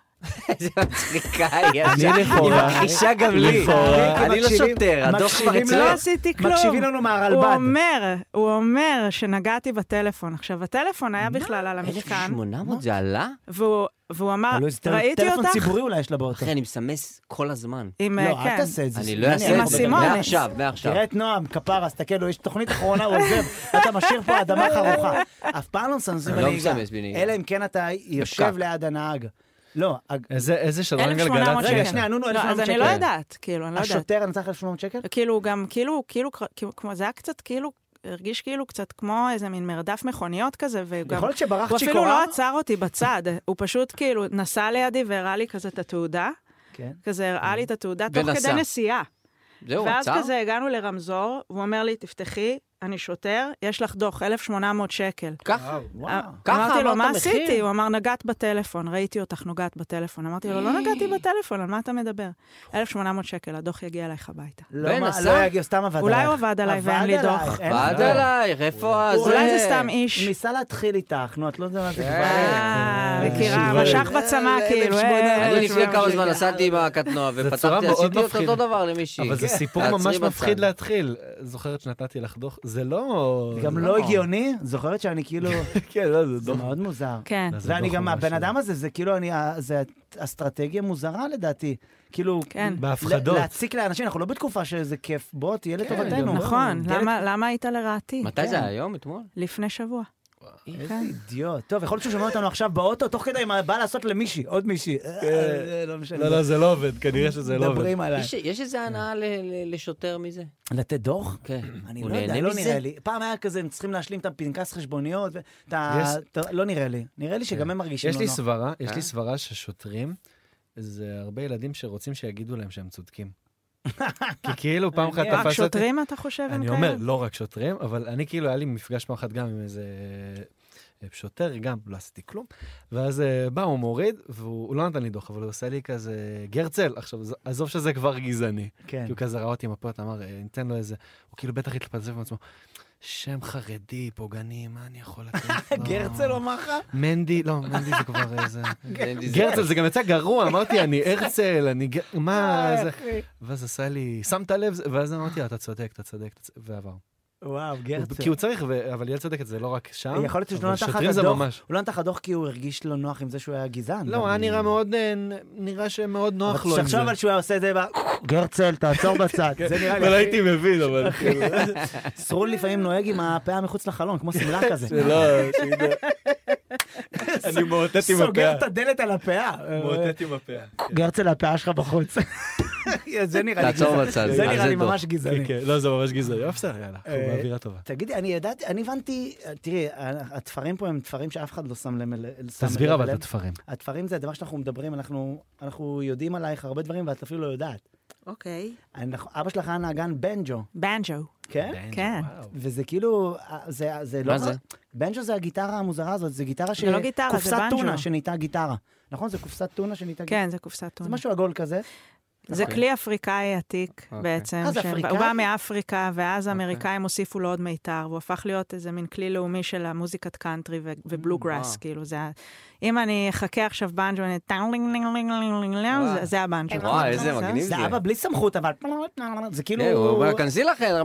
איזה מצחיקה היא.
אני לכאורה,
מכחישה גם לי.
לכאורה.
אני לא
מקשיבים-
שוטר, הדוח כבר
מקשיבים
אצלך.
לא עשיתי כלום.
מקשיבים לנו
הוא
מהרלב"ד.
אומר, הוא אומר שנגעתי בטלפון. עכשיו, הטלפון היה בכלל על המשכן,
1,800 זה עלה?
והוא והוא אמר,
תלוי, זה טל-
ראיתי
טלפון
אותך
ציבורי אולי יש לה באוטו.
אחי, אני מסמס כל הזמן.
עם,
לא,
אה,
אל
כן.
תעשה את זה.
אני לא
אני
אעשה
עם
את זה.
האסימון.
מעכשיו, מעכשיו.
תראה את נועם, כפרה, תסתכל, לו, יש תוכנית אחרונה, הוא עוזב, <laughs> אתה משאיר פה אדמה חרוכה. אף פעם לא מסמסים
לא
בנהיגה.
מסמס בנהיגה.
אלא אם כן אתה יושב
בפקק.
ליד הנהג. לא, הג-
איזה- איזה שדרן
1,800
גלגלצ.
רגע,
שקל.
שנייה, נו, נו,
לא,
1,800
אז אני
שקל.
לא יודעת, כאילו, אני לא יודעת.
השוטר נצח 1,800 שקל?
כאילו, הוא גם, כאילו, כאילו, כאילו, כמו- זה היה קצת, כאילו, הרגיש כאילו קצת כמו איזה מין מרדף מכוניות כזה, וגם
יכול להיות שברח
הוא אפילו
צ'יקורה?
לא עצר אותי בצד, הוא פשוט כאילו נסע לידי והראה לי כזה את התעודה,
כן.
כזה הראה לי את התעודה תוך
ונסע.
כדי נסיעה.
זהו,
ואז
עצר?
כזה הגענו לרמזור, והוא אומר לי, תפתחי, אני שוטר, יש לך דוח, 1,800 שקל. אה,
ככה.
וואו.
ככה
אמרתי לו,
אמרת
מה
מחיר?"
עשיתי? הוא אמר, נגעת בטלפון, ראיתי אותך נוגעת בטלפון. אמרתי לו, לא נגעתי בטלפון, על מה אתה מדבר? 1,800 שקל, הדוח יגיע אלייך הביתה.
לא,
בן,
מה,
עשה?
לא יגיע, סתם עבד עלייך.
אולי הוא עבד עליי ואין לי דוח.
עלייך, אין
ועד
לך.
עלייך, איפה זה?
אולי זה סתם איש.
הוא ניסה להתחיל איתך, נו, את לא יודעת מה זה
אה, מכירה,
אה,
משך בצמא, כאילו. אה,
אני לפני
1,800
כמה
שקל.
זמן נסעתי עם הקטנוע
צורה מאוד
ופתחתי, עשיתי את
מפחידה.
אותו דבר למישהי.
אבל זה
כן.
סיפור
תעצרי
ממש
בצד.
מפחיד להתחיל. זוכרת שנתתי לך דוח? זה לא...
גם
זה
לא הגיוני, זוכרת שאני כאילו...
כן, לא, זה
זה
דוח.
מאוד מוזר.
כן,
אז זה
ואני
דוח
גם,
ממש
הבן
לא.
אדם הזה, זה כאילו, אני, אה, זה אסטרטגיה מוזרה לדעתי. כאילו,
כן.
ל-
בהפחדות.
להציק לאנשים, אנחנו לא בתקופה שזה כיף, בוא, תהיה
כן,
לטובתנו.
נכון,
תהיה
למה- למה היית לרעתי?
אה,
כן.
מתי זה היה? היום? אתמול?
לפני שבוע.
איזה
כן.
אידיוט. טוב, יכול להיות שהוא שומע אותנו עכשיו באוטו, תוך כדי מה בא לעשות למישהי, עוד מישהי. אה, זה לא משנה.
כן. לא, לא, זה לא עובד, כנראה שזה לא עובד.
מדברים עליי.
יש- יש איזה הנאה ל- ל- לשוטר מזה?
לתת דוח?
כן.
אני
הוא
לא יודע,
נהנה
לא
מזה?
נראה לי. פעם היה כזה, הם צריכים להשלים את הפנקס חשבוניות, ו- את ה-
יש- כן.
את ה- לא נראה לי. נראה לי שגם הם מרגישים
יש
לא
לי
נוח.
סברה, יש
אה?
לי סברה ששוטרים, זה הרבה ילדים שרוצים שיגידו להם שהם
<laughs>
צודקים. כי כאילו פעם אחת
מעניין.
רק
תפס אותי...
שוטרים, אתה חושב, הם
אני
כאלה?
אומר, לא רק שוטרים, אבל אני כאילו, היה לי מפגש פעם אחת גם עם איזה אה, שוטר, גם לא עשיתי כלום. ואז אה, בא, הוא מוריד, והוא הוא לא נתן לי דוח, אבל הוא עושה לי כזה, גרצל, עכשיו, ז- עזוב שזה כבר גזעני.
כן.
כי הוא כזה ראה אותי עם הפוט, אמר, "אה, ניתן לו איזה... הוא כאילו בטח התפזר עם עצמו. שם חרדי, פוגעני, מה אני יכול לתת לו?
<laughs> גרצל אמר לך?
מנדי, לא, מנדי זה כבר איזה...
אין לי זה.
גרצל, זה גם יצא גרוע, אמרתי, אני הרצל, אני... ג- מה זה... ואז עשה לי, שמת לב? זה?" ואז אמרתי, "אה, אתה צודק, אתה צודק, אתה צודק", ועבר.
וואו,
הוא-
גרצל.
כי הוא צריך, ו- אבל ילד צודקת, זה לא רק שם.
יכול להיות שהוא לא
אבל
נתן לך
שוטרים
את
זה
הדוח.
ממש-
הוא לא נתן לך דוח כי הוא הרגיש לא נוח עם זה שהוא היה גזען.
לא, היה נראה מאוד, אה, נ- נראה שמאוד נוח לו עם זה.
תחשוב על אוקיי. שהוא היה עושה את זה, ב- גרצל, תעצור בצד. זה נראה
אבל
לי...
הייתי מבין, אבל כאילו,
אוקיי. שרון לפעמים נוהג עם הפאה מחוץ לחלון, כמו
<laughs>
שמלה כזה.
שלא, שידע. לא,
<laughs>
אני מאותת עם
סוגר את
הפאה.
הדלת על הפאה.
מאותת
<laughs>
עם הפאה.
גרצל, הפאה שלך בחוץ. <laughs> זה נראה לי
תעצור
גזעני.
בצד,
זה
על
נראה
זה
לי
דוח.
ממש גזעני.
כן, כן, לא, זה ממש גזעני. אבל בסדר, יאללה, אנחנו
אה,
באווירה טובה.
תגידי, אני ידעתי, אני הבנתי, תראי, התפרים פה הם תפרים שאף אחד לא שם לב אליהם.
תסביר אבל את התפרים.
התפרים זה הדבר שאנחנו מדברים, אנחנו, אנחנו יודעים עלייך הרבה דברים ואת אפילו לא יודעת.
אוקיי.
אנחנו, אבא שלך היה נגן בנג'ו,
בנג'ו.
כן?
כן.
וואו.
וזה כאילו, אה, זה, זה לא...
מה זה?
בנג'ו זה הגיטרה המוזרה הזאת, זה גיטרה ש...
זה לא גיטרה, זה
קופסת
בנג'ו.
טונה שנהייתה גיטרה. נכון? זה קופסת טונה שנהייתה גיטרה.
כן, זה קופסת
זה
טונה.
משהו עגול כזה.
זה
אוקיי.
כלי אפריקאי עתיק
אוקיי.
בעצם.
אה, זה
ש-
אפריקאי?
הוא בא מאפריקה, ואז האמריקאים הוסיפו לו עוד מיתר, והוא הפך להיות איזה מין כלי לאומי של המוזיקת קאנטרי ובלו גראס,
וואו.
כאילו, זה ה... אם אני אחכה עכשיו בנג'ו, אני... טאולינג, לינג, לינג, לינג, לינג, לינג,
וואו.
זה- זה הבנג'ו.
וואו, איזה
זה-
מגניב זה.
זה אבא בלי סמכות, אבל... זה כאילו...
אה, הוא אומר, כנסי לכם,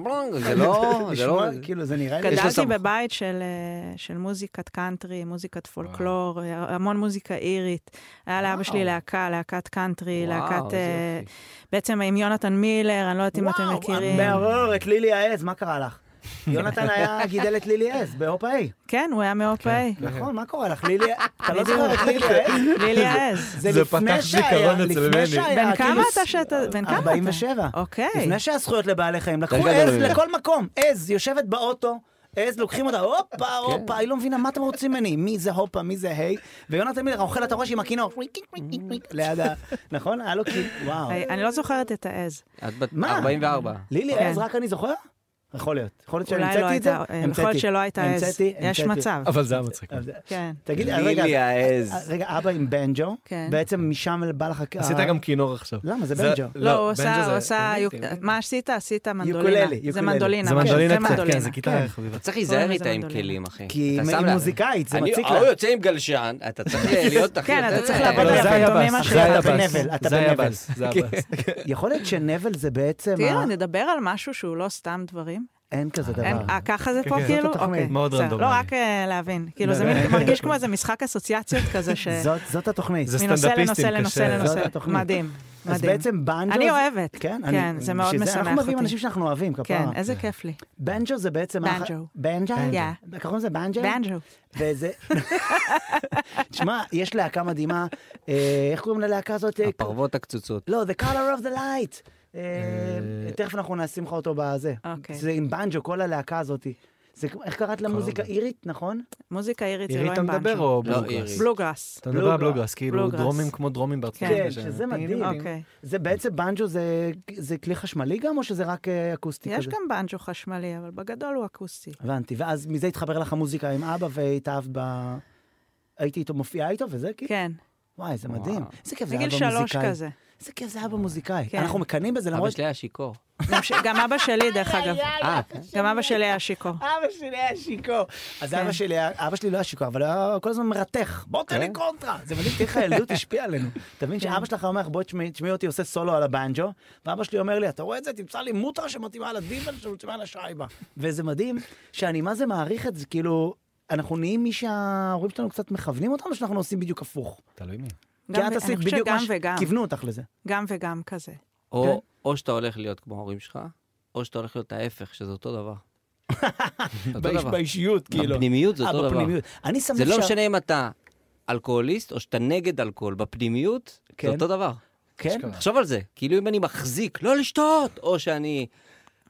<laughs>
זה לא... זה לא...
לשמוע, כאילו, זה נראה לי...
יש לו
גדלתי
סמכות.
בבית של, אה, של מוזיקת קאנטרי, מוזיקת פולקלור, אה, המון מוזיקה אירית. היה לאבא שלי
וואו.
להקה, להקת קאנטרי,
וואו,
להקת...
איזה
אה,
יופי.
בעצם עם יונתן מילר, אני לא יודעת אם אתם מכירים.
<laughs>
וואו, מעוררת, לילי העז, מה קרה לך? יונתן היה גידל את לילי עז באופה איי.
כן, הוא היה מאופה
<laughs>
איי.
נכון, מה קורה לך? לילי, אתה לא
בדיוק.
זוכר את לילי
<laughs>
עז?
לילי עז.
זה
זה
לפני
פתח
שהיה,
זיכרון אצל
לפני
מני.
שהיה.
בן כמה
כאילו,
אתה שאתה... בן כמה אתה?
47.
אוקיי.
לפני שהזכויות לבעלי חיים, לקחו
רגע,
עז
רגע.
לכל מקום, עז יושבת באוטו. עז, לוקחים אותה,
כן.
הופה, הופה, היא לא מבינה מה אתם רוצים ממני, מי זה הופה, מי זה היי, ויונתן מילר אוכל את הראש עם הכינור, ליד ה... נכון? היה לו כאילו, וואו.
היי, אני לא זוכרת את העז.
את בת
מה?
44.
לילי
כן.
עז, רק אני זוכר? יכול להיות. יכול להיות
אולי לא
שהמצאתי את זה?
הייתה... יכול להיות שלא הייתה עז.
המצאתי,
יש
המצאתי.
מצב.
אבל זה היה מצחיק.
אז-
כן.
תגיד, אז רגע,
לילי
אז
העז.
רגע, אבא עם בנג'ו,
כן.
בעצם משם בא לך... ה-
עשית גם כינור עכשיו.
למה? אה, זה
זה-
בנג'ו.
לא, הוא
בנג'ו
עושה,
זה-
הוא עשה,
אני
יוק-
הייתי.
מה שעשית, עשית מנדולינה.
יוקוללי,
זה
יוקוללי.
מנדולינה.
זה
כן,
מנדולינה קצת, כן,
מנדולינה.
זה כיתה חביבה.
צריך להיזהר
זה
איתה עם
מנדולינה.
כלים, אחי.
כי היא
אתה שם
היא
לה-
מוזיקאית, זה
אני-
מציק
ההוא
לה.
יוצא עם גלשן, אתה צריך להיות אחי.
כן, אתה
יותר- אה,
צריך לעבוד
אבל
על
זה היה
הפנטומימה
בס,
שלך.
זה היה
אתה
בס,
בנבל, אתה
זה היה
בנבל.
בס,
כן.
זה היה בס.
יכול להיות שנבל זה בעצם...
תראה,
ה-
נדבר על משהו שהוא לא סתם דברים.
אין כזה
אין-
דבר.
אה, ככה זה פה
כן,
כאילו?
זאת התוכנית.
אוקיי.
מאוד
בסדר.
רנדומלי.
לא, רק אה, להבין.
<laughs>
כאילו, זה מין- מרגיש כמו איזה משחק אסוציאציות כזה, ש...
זאת- זאת התוכנית.
זה
מנושא לנושא
סטנדאפיסטים
לנושא
קשה.
זאת
לנושא.
התוכנית.
מדהים,
אז
מדהים.
בעצם בנג'ו...
אני
זה-
אוהבת.
כן, אני-
כן, זה מאוד
בשביל
משמח
אנחנו מביאים
אותי.
אנשים שאנחנו אוהבים, כפרה.
כן, איזה כיף לי.
בנג'ו זה בעצם... האח-
בנג'ו.
בנג'ו?
בנג'ו.
קוראים לזה בנג'ו?
בנג'ו. <laughs>
וזה... תשמע, יש להקה מדהימה, אה, איך קוראים ללהקה הזאת? אה,
הפרוות הקצוצות.
לא, The Color of the Light. אה, תכף אנחנו נשים לך אותו בזה.
אוקיי.
זה עם בנג'ו, כל הלהקה הזאת. זה כמו- איך קראת למוזיקה אירית, נכון?
מוזיקה אירית זה לא
עירי אתה
עם
מדבר
בנג'ו.
או
לא,
בלוגרס?
אירי.
בלוגראס.
לא, אתה מדבר על
בלוגרס.
בלוגרס, כאילו
בלוגרס.
דרומים כמו דרומים בארצות
כן,
כן,
הברית.
שזה מדהים.
אוקיי.
זה בעצם בנג'ו, זה- זה כלי חשמלי גם, או שזה רק אה, אקוסטי כזה?
יש גם בנג'ו חשמלי, אבל בגדול הוא אקוסטי.
הבנתי, ואז מזה התחבר לך המוזיקה עם אבא והתאהבת ב... הייתי איתו, מופיעה איתו וזה כאילו?
כן,
וואי, זה מדהים. איזה כיף זה אבא
בגיל
מוזיקאי.
שלוש כזה.
איזה כיף זה אבא מוזיקאי.
כן.
אנחנו מקנאים בזה
אבא
למרות...
שלי היה שיכור.
גם ש- גם אבא שלי, דרך אגב.
אה,
גם אבא שלי היה שיכור.
אבא שלי היה שיכור. אז
כן.
אבא שלי היה- אבא שלי לא היה שיכור, אבל הוא היה כל הזמן מרתך. בוא
כן.
תן לי קונטרה. זה מדהים, תראה איך
<laughs>
הילדות השפיעה עלינו. אתה מבין שאבא שלך אומר לך, בוא תשמעי תשמעי אותי עושה סולו על הבנג'ו, ואבא שלי אומר לי, אתה רואה את זה? תמצא לי מוטרה שמתאימה לדיבל שמתאימה לשייבה. וזה מדהים שאני מה זה מעריך את זה, כאילו... אנחנו נהיים מי שההורים שלנו קצת מכוונים אותנו, או שאנחנו עושים בדיוק הפוך.
תלוי מי.
גם-
כי את
אני
עשית
חושבת
בדיוק מה
שגם וגם.
שכיוונו אותך לזה.
גם וגם כזה.
או- או שאתה הולך להיות כמו ההורים שלך, או שאתה הולך להיות ההפך, שזה אותו דבר. אותו דבר.
באישיות, כאילו.
בפנימיות זה
אה,
אותו דבר.
בפנימיות. אני שם
זה
לב
לא
שה-
משנה אם אתה אלכוהוליסט או שאתה נגד אלכוהול, בפנימיות
כן.
זה אותו דבר.
כן?
תחשוב על זה, כאילו אם אני מחזיק לא לשתות, או שאני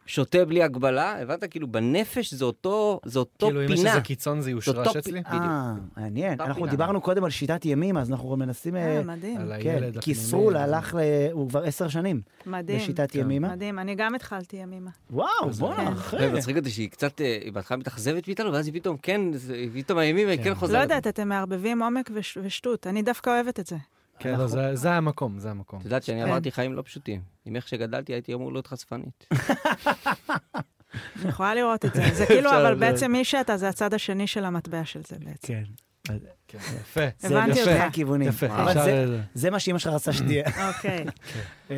שותה בלי הגבלה, הבנת? כאילו בנפש זה אותו, זה אותו
כאילו אם יש
פינה.
איזה קיצון זה
זה
יושרש
אותו
אצלי?
פינה.
אה, מעניין.
אותה
אנחנו
פינה.
דיברנו קודם על שיטת ימים, אז אנחנו מנסים... אה,
אה, מדהים,
על הילד
כן, כי
הפנימי. כן.
סרול הלך, ל- הוא כבר עשר שנים
מדהים.
בשיטת ימימה.
מדהים, אני גם התחלתי ימימה.
וואו, בואנה,
כן.
אחי.
זה מצחיק לא, אותי שהיא קצת, אה, היא בהתחלה מתאכזבת מאיתנו, ואז היא פתאום, כן, זה- היא פתאום הימים, היא כן
לא
חוזרת.
יודעת, אתם מערבבים עומק וש- ושטות, אני דווקא
<laughs>
אוהבת את זה.
כן, לא, זה- זה המקום, זה המקום.
את יודעת שאני
כן.
עברתי חיים לא פשוטים. עם איך שגדלתי הייתי אמור להיות חשפנית.
אני יכולה לראות את זה. זה כאילו,
אפשר
אבל
לדעת.
בעצם מי שאתה זה הצד השני של המטבע של זה בעצם.
כן.
כן, יפה.
זה
הבנתי
יפה.
אותך.
שני הכיוונים.
יפה,
אבל
אפשר... כן.
זה-
לזה.
זה מה שאימא שלך רצתה שתהיה.
אוקיי.
אה,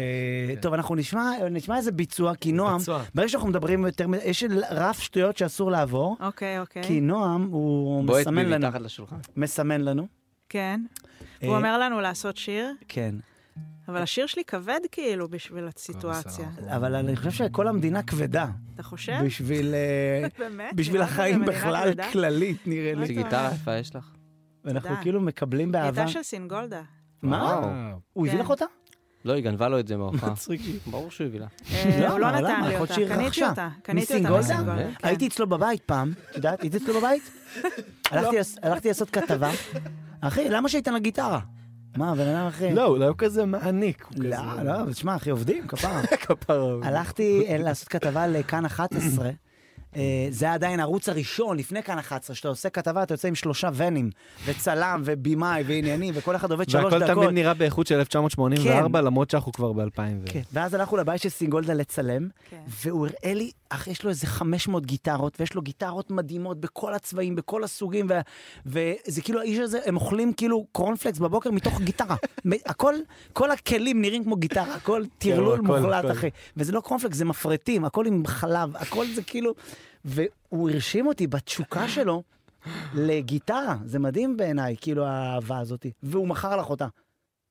טוב, אנחנו נשמע נשמע איזה ביצוע, כי נועם,
כן. ביצוע.
ברגע שאנחנו מדברים יותר מדי, יש רף שטויות שאסור לעבור,
אוקיי, אוקיי.
כי נועם הוא
בועט
מסמן
בי
לנו.
מתחת לשולחן.
מסמן לנו.
כן.
אה,
הוא אומר לנו לעשות שיר,
כן.
אבל השיר שלי כבד כאילו בשביל הסיטואציה.
אבל אני חושב שכל המדינה כבדה,
אתה חושב?
בשביל... אה,
<laughs> באמת?
בשביל
נראה לך
החיים
במדינה
בכלל,
כבדה?
כללית, נראה לי.
איזה גיטרה
אה.
יפה יש לך.
ואנחנו
תודה.
כאילו מקבלים
היא
באהבה.
הייתה של סינגולדה.
לא, מה?
וואו.
וואו.
הוא הביא
כן.
לך אותה?
לא, היא גנבה לו את זה מההופעה. ברור שהוא הביא לה.
אה,
למה?
הוא לא נתן
למה?
לי
יכול
אותה.
שהיא
קניתי
רכשה.
אותה. קניתי אותה
מסינגולדה?
מסינגולדה. כן. לא.
הייתי אצלו בבית פעם, את יודעת? הייתי אצלו
<laughs>
בבית? הלכתי לעס- הלכתי לעשות כתבה. אחי, למה שהייתן לה גיטרה? מה, בן אדם אחי?
לא, אולי הוא כזה מעניק. הוא
לא,
כזה-
לא, אבל תשמע, אחי, עובדים, כפרה.
<laughs> כפרה.
הלכתי אה, לעשות כתבה לכאן 11. אה, זה היה עדיין הערוץ הראשון, לפני כאן 11, שאתה עושה כתבה, אתה יוצא עם שלושה ונים, וצלם, ובמאי, ועניינים, וכל אחד עובד שלוש
והכל
דקות.
תמיד נראה באיכות של 1984, למרות שאנחנו כבר ב-2000.
כן. ואז הלכנו לבית של סינגולדה לצלם,
כן.
והוא הראה לי, אך יש לו איזה 500 גיטרות, ויש לו גיטרות מדהימות בכל הצבעים, בכל הסוגים, ו- וזה כאילו האיש הזה, הם אוכלים כאילו קורנפלקס בבוקר מתוך גיטרה. <laughs> מ- הכל, כל הכלים נראים כמו גיטרה, הכל טרלול
כן, הכל,
מוחלט,
הכל.
אחי. וזה לא קורנפלקס, זה מפרטים, הכל עם חלב, הכל זה כאילו... והוא הרשים אותי בתשוקה שלו לגיטרה, זה מדהים בעיניי, כאילו האהבה הזאת, והוא מכר לך אותה.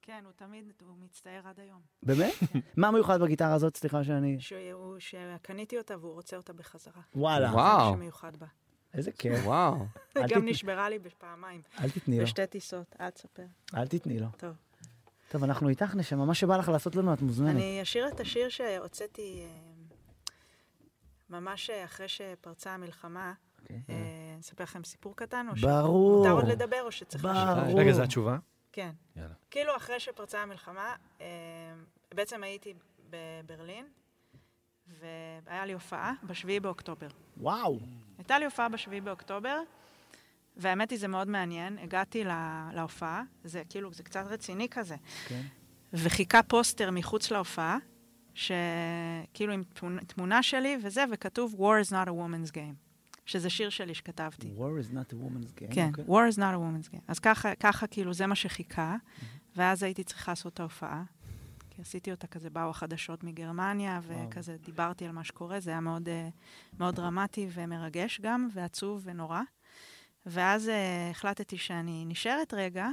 כן, הוא תמיד, הוא מצטער עד היום.
<laughs>
באמת? מה מיוחד בגיטרה הזאת? סליחה שאני...
שהוא- שקניתי אותה והוא רוצה אותה בחזרה.
וואלה.
זה
וואו.
מה שמיוחד בה.
איזה
<laughs>
כיף.
וואו.
אל
גם
תת-
נשברה לי בפעמיים.
אל תתני לו.
בשתי טיסות, אל תספר.
אל תתני לו.
טוב.
טוב, אנחנו איתך, נשמה, מה שבא לך לעשות לנו, את מוזמנת.
אני אשיר את השיר שהוצאתי אה, ממש אה, אחרי שפרצה המלחמה. אה, אני אספר לכם סיפור קטן, או
אוקיי. ברור.
שמותר עוד לדבר, או שצריך...
ברור.
אה, רגע, זו התשובה?
כן.
יאללה.
כאילו אחרי שפרצה המלחמה, אה, בעצם הייתי בברלין, והיה לי הופעה ב-7 באוקטובר.
וואו.
הייתה לי הופעה ב-7 באוקטובר, והאמת היא, זה מאוד מעניין. הגעתי לה, להופעה, זה כאילו, זה קצת רציני כזה.
כן.
וחיכה פוסטר מחוץ להופעה, שכאילו עם תמונה, תמונה שלי וזה, וכתוב War is not a woman's game, שזה שיר שלי שכתבתי.
War is not a woman's game.
כן,
אוקיי.
War is not a woman's game. אז ככה, ככה כאילו, זה מה שחיכה, ואז הייתי צריכה לעשות את ההופעה. כי עשיתי אותה כזה, באו החדשות מגרמניה,
וואו.
וכזה דיברתי על מה שקורה, זה היה מאוד, אה, מאוד דרמטי ומרגש גם, ועצוב ונורא. ואז אה, החלטתי שאני נשארת רגע,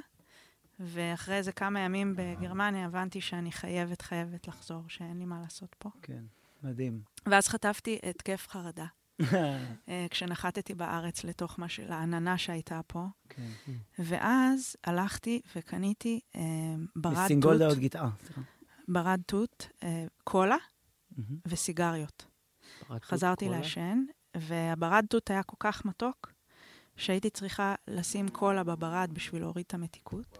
ואחרי איזה כמה ימים בגרמניה הבנתי שאני חייבת, חייבת לחזור, שאין לי מה לעשות פה.
כן,
<laughs>
מדהים.
ואז חטפתי התקף חרדה. אה, כשנחתתי בארץ לתוך מה של העננה שהייתה פה.
כן.
ואז הלכתי וקניתי אה, ברד תות.
מסינגולדה עוד גיטרה. אה, סליחה.
ברד תות, אה, קולה
מהמם.
וסיגריות.
ברד תות,
חזרתי
קולה?
לעשן, והברד תות היה כל כך מתוק, שהייתי צריכה לשים קולה בברד בשביל להוריד את המתיקות.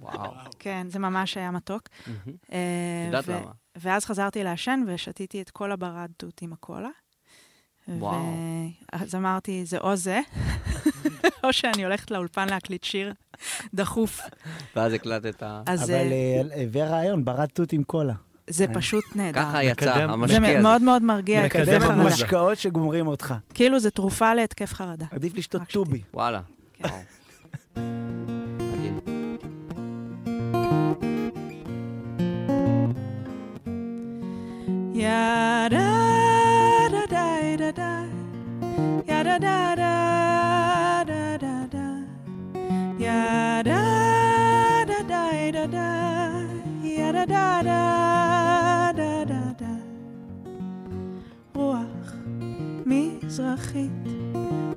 וואו.
כן, זה ממש היה מתוק.
מהמם.
אה,
יודעת
ו-
למה.
ואז חזרתי לעשן ושתיתי את כל הברד תות עם הקולה.
וואו.
אז אמרתי, זה או זה, <laughs> או שאני הולכת לאולפן להקליט שיר דחוף.
ואז הקלטת... ה-
אז,
אבל
אה, כן,
אה, הביא רעיון, ברד תות עם קולה.
זה
אה.
פשוט נהדר.
ככה יצא, מקדם- המשקיע
זה
הזה.
מאוד מאוד מרגיע. התקף
מקדם
חרדה.
את משקאות שגומרים אותך.
כאילו זה תרופה להתקף חרדה.
עדיף לשתות טובי.
וואלה.
כן.
וואו. מדהים.
Ya da da da da da. Ya da da da da da da. Ya da da da da da. Ya da da da da da da. רוח מזרחית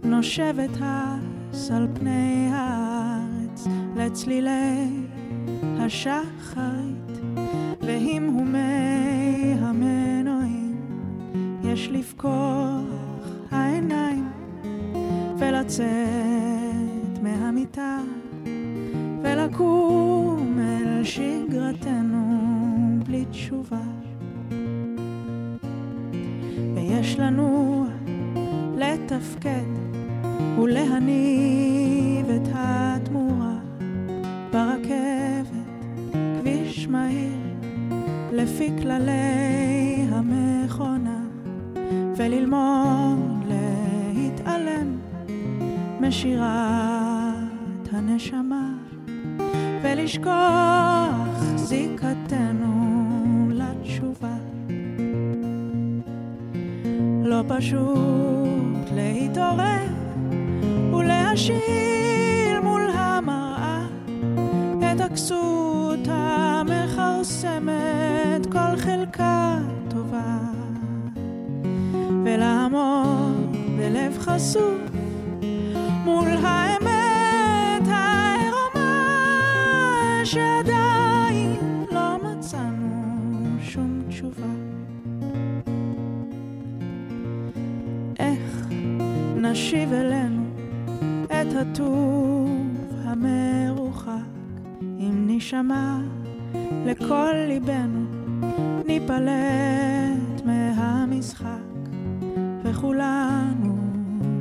נושבת הס על פני הארץ לצלילי השחרית והמהומי המנועים יש לפקוח העיניים ולצאת מהמיטה ולקום אל שגרתנו בלי תשובה ויש לנו לתפקד ולהניב את התמורה ברכבת, כביש מהיר לפי כללי המכונה וללמוד להתעלם משירת הנשמה ולשכוח זיקתנו לתשובה לא פשוט להתעורר ולהשאיל מול המראה את הכסות המכרסמת כל חלקה טובה ולעמוד בלב חשוף מול האמת העירומה שעדיין לא מצאנו שום תשובה איך נשיב אלינו את הטוב המרוחק אם נשמע לכל ליבנו ניפלט מהמשחק וכולנו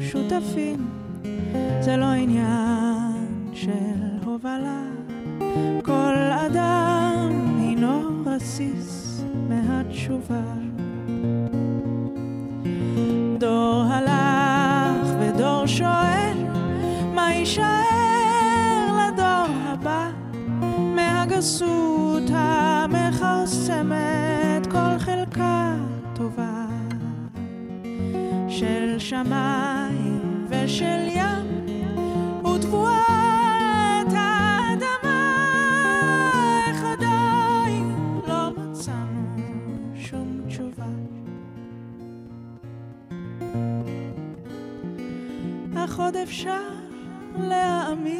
שותפים זה לא עניין של הובלה כל אדם הינו רסיס מהתשובה דור הלך ודור שואל מה יישאר לדור הבא מהגסות המכרסמת כל חלקה טובה של שמיים ושל ים ותבואת האדמה לא אפשר להאמין.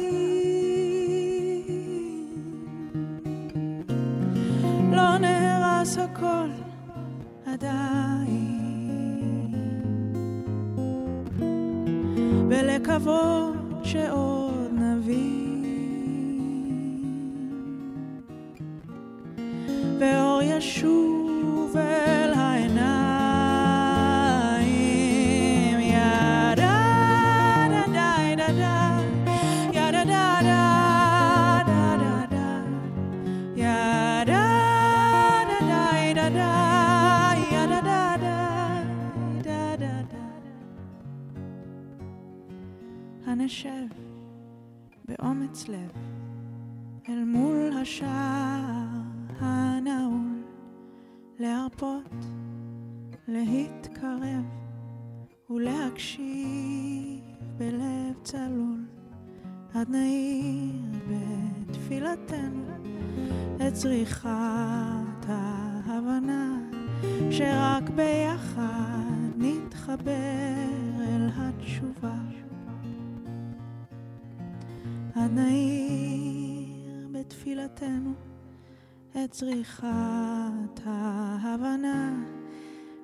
לא נהרס הכל עדיין, ולקוות שעוד נבין, ואור ישוב אל העיניים. ידה דה די דה דה, ידה דה דה דה דה דה. Ya da da da da da, ya da da da da da da. הנשב באומץ לב אל מול השער הנעול להרפות, להתקרב ולהקשיב בלב צלול עד נעיר בתפילתנו את צריכת ההבנה שרק ביחד נתחבר אל התשובה עד נעיר בתפילתנו את צריכת ההבנה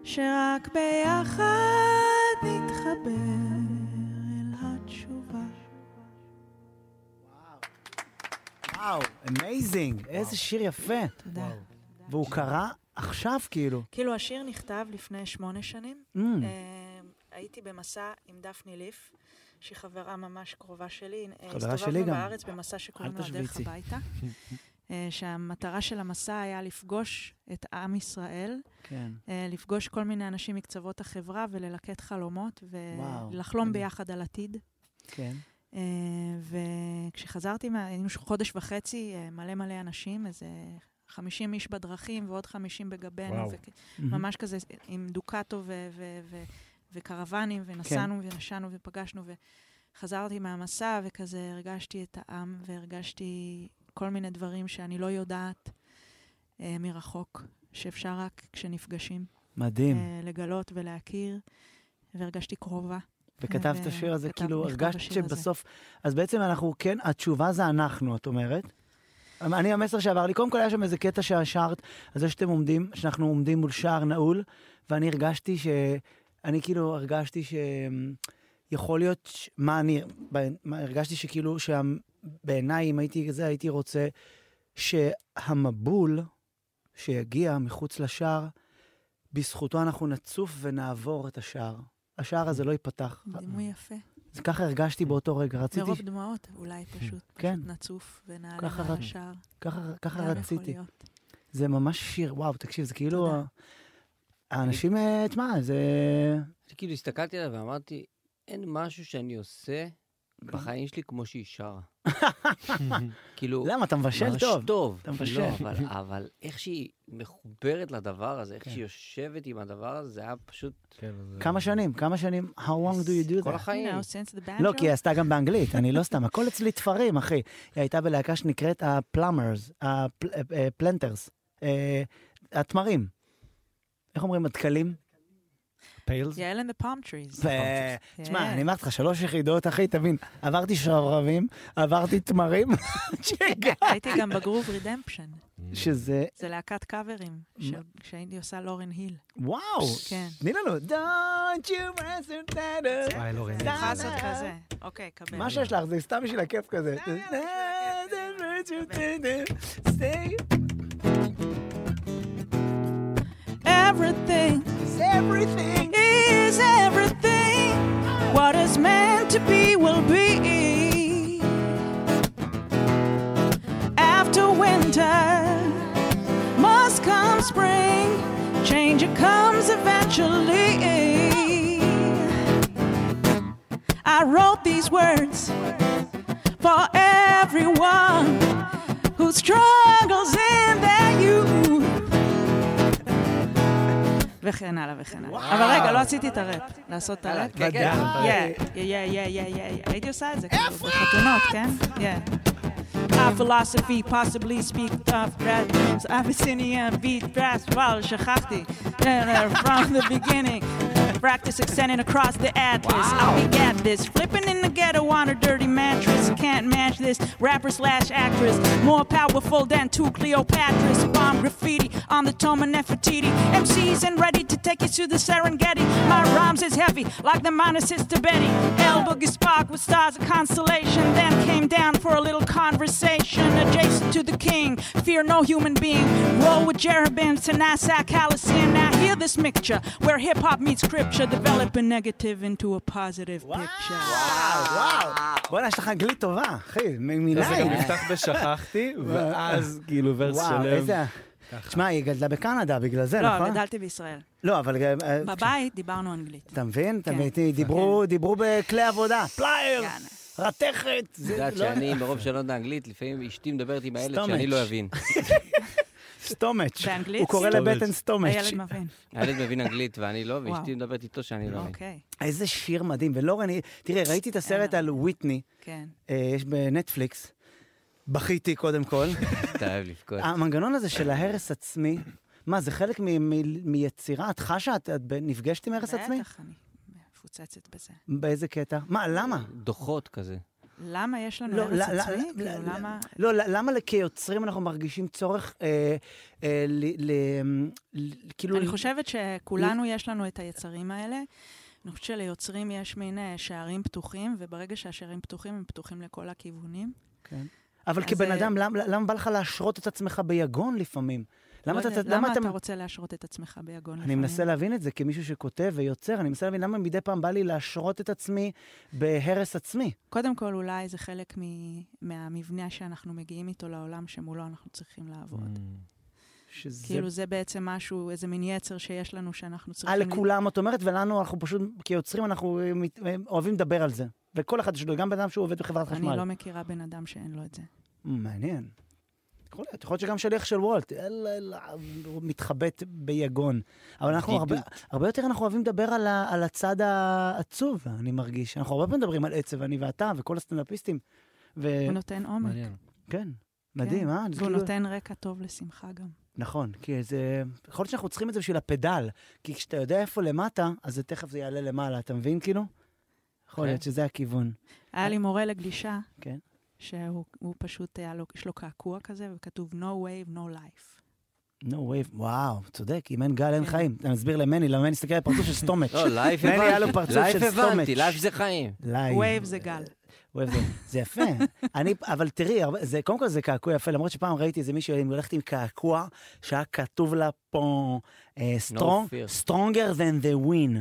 שרק ביחד נתחבר אל התשובה.
וואו, אמייזינג, איזה שיר יפה.
תודה.
והוא קרא עכשיו כאילו.
כאילו, השיר נכתב לפני שמונה שנים.
Mm.
אה, הייתי במסע עם דפני ליף, שהיא חברה ממש קרובה שלי. אה,
חברה שלי גם.
הסתובבנו בארץ במסע שקוראים
אל
לו
תשוויצי. <laughs>
הדרך הביתה. אה, שהמטרה של המסע היה לפגוש את עם ישראל,
כן.
אה, לפגוש כל מיני אנשים מקצוות החברה וללקט חלומות
וואו,
ולחלום ביחד על עתיד.
כן.
אה, וכשחזרתי, מה- היינו ש- חודש וחצי, אה, מלא מלא אנשים, איזה 50 איש בדרכים ועוד 50 בגבינו,
וואו.
Mm-hmm.
מהמם.
וממש כזה עם דוקטו ו- ו- ו- וקרוונים, ונסענו
כן.
ונשענו ופגשנו, וחזרתי מהמסע, וכזה הרגשתי את העם, והרגשתי כל מיני דברים שאני לא יודעת אה, מרחוק, שאפשר רק כשנפגשים.
מדהים.
אה, לגלות ולהכיר, והרגשתי קרובה.
וכתבת את
ו-
השיר הזה,
כתב-
כאילו
נכתב
הרגשת
השיר הזה.
שבסוף... אז בעצם אנחנו, כן, התשובה זה אנחנו, את אומרת. אני, המסר שעבר לי, קודם כל היה שם איזה קטע ששרת, על זה שאתם עומדים, שאנחנו עומדים מול שער נעול, ואני הרגשתי ש... אני כאילו הרגשתי ש... יכול להיות, ש... מה אני, ב- מה, הרגשתי שכאילו, שבעיניי, אם הייתי זה, הייתי רוצה שהמבול שיגיע מחוץ לשער, בזכותו אנחנו נצוף ונעבור את השער. השער הזה לא ייפתח.
דימוי יפה.
אז ככה הרגשתי באותו רגע, רציתי...
מרוב דמעות,
<laughs>
אולי פשוט,
כן.
פשוט נצוף ונעלה
ככה
מעל
רצ-
השער.
ככה- ככה
גם כן, יכול
רציתי.
להיות.
זה ממש שיר, וואו, תקשיב, זה כאילו... ה- האנשים, אה, תשמע, זה...
כאילו הסתכלתי עליה ואמרתי, אין משהו שאני עושה בחיים שלי כמו שהיא שרה. כאילו...
למה? לא, אתה מבשל
ממש
טוב.
טוב.
אתה מבשל.
לא, אבל- אבל איך שהיא מחוברת לדבר הזה, איך שהיא יושבת עם הדבר הזה, זה היה פשוט...
אה,
כמה שנים? כמה שנים? How long do you do that?
כל החיים. Now,
since the
לא, כי היא עשתה גם באנגלית, אני לא סתם, הכל אצלי תפרים, אחי. היא הייתה בלהקה שנקראת הפלאמרס, הפלנטרס, אה, התמרים. איך אומרים? הדקלים? פיילס?
יעל and the palm trees.
אה,
ו- תשמע,
כן.
אני אומרת לך, שלוש יחידות, אחי, תבין, עברתי שרברבים, עברתי תמרים, <laughs>
הייתי גם בגרוב רידמפשן.
שזה...
זה להקת קאברים, של- שהייתי עושה לורן היל.
וואו!
כן.
תני לנו. Don't you answer that.
וואי, לא ראיתי.
אני יכולה לעשות כזה. אוקיי, קבל.
מה שיש לך זה סתם בשביל הכיף כזה.
Everything is everything is everything. What is meant to be will be. After winter must come spring, change it comes eventually. I wrote these words for everyone who struggles in their youth. וכן הלאה וכן הלאה. אבל רגע, לא עשיתי את הראפ. לעשות את הראפ?
כן, כן.
יא, יא, יא, יא, יא, יא. הייתי עושה את זה כאילו בחתונות, כן? יא. Our philosophy possibly speak of breath dreams, Abyssinian beat brass, well, שכחתי, from the uh, beginning, practice extending across the atlas. I'll be at this. Flipping in the ghetto on a dirty mattress. Can't match this. Rapper slash actress. More powerful than two Cleopatras. Bomb graffiti on the tome of Nefertiti. MCs and ready to take you to the Serengeti. My rhymes is heavy, like the minor sister Betty. El Boogie Spark with stars of constellation. Then came down for a little conversation. Adjacent to the king. Fear no human being. Roll with Jerubim to Nassau Coliseum. Now hear this mixture where hip hop meets scripture. Develop a negative into a positive picture.
וואו, בואנה, יש לך אנגלית טובה, אחי, מ-
זה גם
מניין.
נפתח
<laughs>
בשכחתי, ואז כאילו ורס שלם.
אה. וואו, איזה... תשמע, היא גדלה בקנדה בגלל זה,
לא,
נכון?
גדלתי בישראל.
לא, אבל... גם, אה,
בבית דיברנו אנגלית.
אתה מבין? אתה
כן.
מבין? דיברו- דיברו בכלי עבודה. פלייר!
כן.
רתכת!
את יודעת שאני, מרוב שלא יודע אנגלית, לפעמים אשתי מדברת עם הילד
לא- סטומץ'.
שאני לא אבין.
סטומץ'.
באנגלית?
הוא קורא
סטומץ'.
לבטן סטומץ'.
הילד מבין.
הילד מבין אנגלית ואני לא, ואשתי
וואו.
מדברת איתו שאני לא מבין.
אוקיי,
איזה שיר מדהים. ולורן, היא- תראה, ראיתי את הסרט על וויטני,
כן.
אה, יש בנטפליקס. בכיתי קודם
<laughs>
כל.
אתה אוהב לבכות.
המנגנון הזה של ההרס עצמי, מה, זה חלק מ- מ- מיצירה? את חשה? את את ב- נפגשת עם הרס עצמי?
בטח, אני מפוצצת בזה.
באיזה קטע? מה, למה?
דוחות כזה.
למה יש לנו
לא,
ארץ
לא, לא,
עצמי?
לא,
כאילו,
לא,
למה...
לא, ל- למה ל- כיוצרים אנחנו מרגישים צורך, אה, אה, ל- ל- ל- כאילו...
אני חושבת שכולנו יש לנו את היצרים האלה. אני חושבת שליוצרים יש מין אה, שערים פתוחים, וברגע שהשערים פתוחים, הם פתוחים לכל הכיוונים.
כן. אבל
אז,
כבן
אה,
אדם, למ- למה בא לך להשרות את עצמך ביגון לפעמים?
לא
למה אתה...
יודעת,
למה אתה...
רוצה להשרות את עצמך ביגון
אני
לפעמים?
מנסה להבין את זה כמישהו שכותב ויוצר, אני מנסה להבין למה מדי פעם בא לי להשרות את עצמי בהרס עצמי.
קודם כל, אולי זה חלק מ... מהמבנה שאנחנו מגיעים איתו לעולם, שמולו אנחנו צריכים
Mm.
לעבוד.
שזה...
כאילו, זה בעצם משהו, איזה מין יצר שיש לנו שאנחנו צריכים...
אה,
ל-
לכולם את אומרת, ולנו אנחנו פשוט, כיוצרים, אנחנו אה, מת- אה, אוהבים לדבר על זה. וכל אחד יש לו, גם בן אדם שהוא עובד בחברת
אני
חשמל. אה,
לא מכירה בן אדם שאין לו את זה.
מ, מעניין. יכול להיות, יכול להיות שגם שליח של וולט, אללה, אללה, הוא מתחבט ביגון. אבל אנחנו הרבה, הרבה יותר אנחנו אוהבים לדבר על, ה, על הצד העצוב, אני מרגיש. אנחנו הרבה פעמים מדברים על עצב, אני ואתה וכל הסטנדאפיסטים. ו...
הוא נותן עומק.
מעניין.
כן, מדהים, אה? זה
והוא
כאילו-
נותן רקע טוב לשמחה גם.
נכון, כי זה... יכול להיות שאנחנו צריכים את זה בשביל הפדל, כי כשאתה יודע איפה למטה, אז זה תכף זה יעלה למעלה, אתה מבין כאילו? יכול להיות שזה הכיוון.
היה אה, לי מורה לגלישה,
כן.
שהוא הוא פשוט, היה לו, יש לו קעקוע כזה, וכתוב No wave, no life.
No wave, וואו, צודק, אם אין גל אין חיים. אתה מסביר למני, למה אני מסתכל על פרצוף של סטומץ'.
לא, לייף
מני היה לו
הבנתי,
פרצוף
לייף
של סטומץ'.
הבנתי, לייף זה חיים.
לייב.
wave זה גל.
wave זה- זה יפה. אני, אבל תראי, הרבה- זה- קודם כל זה קעקוע יפה, למרות שפעם ראיתי איזה מישהי עם- הולכת עם קעקוע, שהיה כתוב לה פה, אה, strong-
fear.
stronger than the win.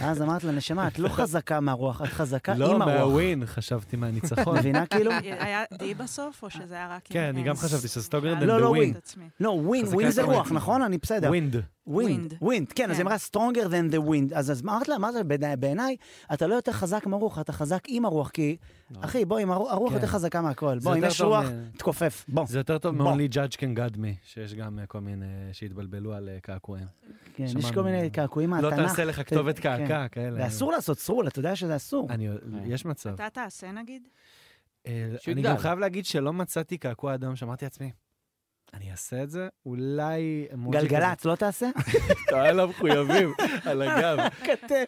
ואז אמרת לה, נשמה, את לא
<laughs>
חזקה מהרוח, את חזקה עם
לא,
הרוח.
מהווין חשבתי מהניצחון.
מבינה
<laughs>
כאילו?
אה, היה D בסוף, או שזה היה רק... עם
כן, אני
N?
גם חשבתי שסטוגרן
שאלתי
and the
את
wind.
עצמי.
לא, ווין,
חזקה
ווין זה
כמוני.
רוח, נכון? אני <laughs> בסדר.
ווינד.
ווינד.
Wind.
ווינד, כן, אז היא
כן.
אמרה stronger than the wind. אז אז אמרת לה, מה זה, בעיני- בעיניי, אתה לא יותר חזק מהרוח, אתה חזק עם הרוח, כי, אחי, בוא, עם הרוח- הרוח
לא. כן.
יותר חזקה מהכל.
זה
בוא, אם
יותר
יש
טוב
רוח,
מ-
תכופף, בוא.
זה יותר טוב
בוא.
מ-Only Judge Can God Me, שיש גם אה, כל מיני שהתבלבלו על אה, קעקועים.
כן, יש
שמענו.
כל מיני קעקועים
לא
מהתנ"ך.
תעשה לך כתובת
כן.
קעקע כאלה.
ואסור לעשות סרול, אתה יודע שזה אסור.
אני- יש מצב.
אתה תעשה נגיד?
אה,
שהוא
אני
יגדל.
גם חייב להגיד שלא מצאתי קעקוע אדום, שאמרתי לעצמי, אני אעשה את זה, אולי... אמוג'י
גלגלצ, לא תעשה?
כזה." אתה <laughs> על המחויבים, על הגב.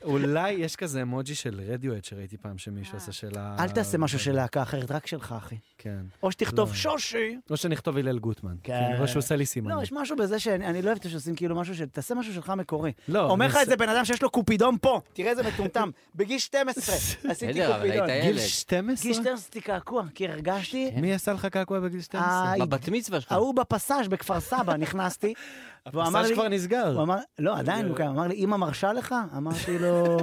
אולי יש כזה אמוג'י של רדיואט שראיתי פעם שמישהו עשה של ה...
אל תעשה משהו של להקה אחרת, רק שלך, אחי.
כן.
או שתכתוב
לא.
שושי.
לא שנכתוב הלל גוטמן.
כן.
כן. אני רואה שהוא עושה לי סימן.
לא, יש משהו בזה שאני אני לא אוהבת שעושים כאילו משהו של... תעשה משהו שלך מקורי.
לא,
אומר
אני
לך את
עושה-
זה בן אדם שיש לו קופידון פה, תראה איזה
<laughs>
מטומטם. בגיל 12 עשיתי
בסדר, אבל
קופידון.
היית
גיל
ילד.
12?
גיל 12 עשיתי קעקוע, כי הרגשתי...
כן.
מי עשה לך קעקוע בגיל 12?
אה,
בבת מצווה שלך.
ההוא בפסאז' בכפר סבא נכנסתי, והוא אמר
הפסאז'
לי...
כבר נסגר.
הוא אמר, לא, עדיין הוא קיים, אמר לי, אמא מרשה לך? אמרתי <laughs> לו,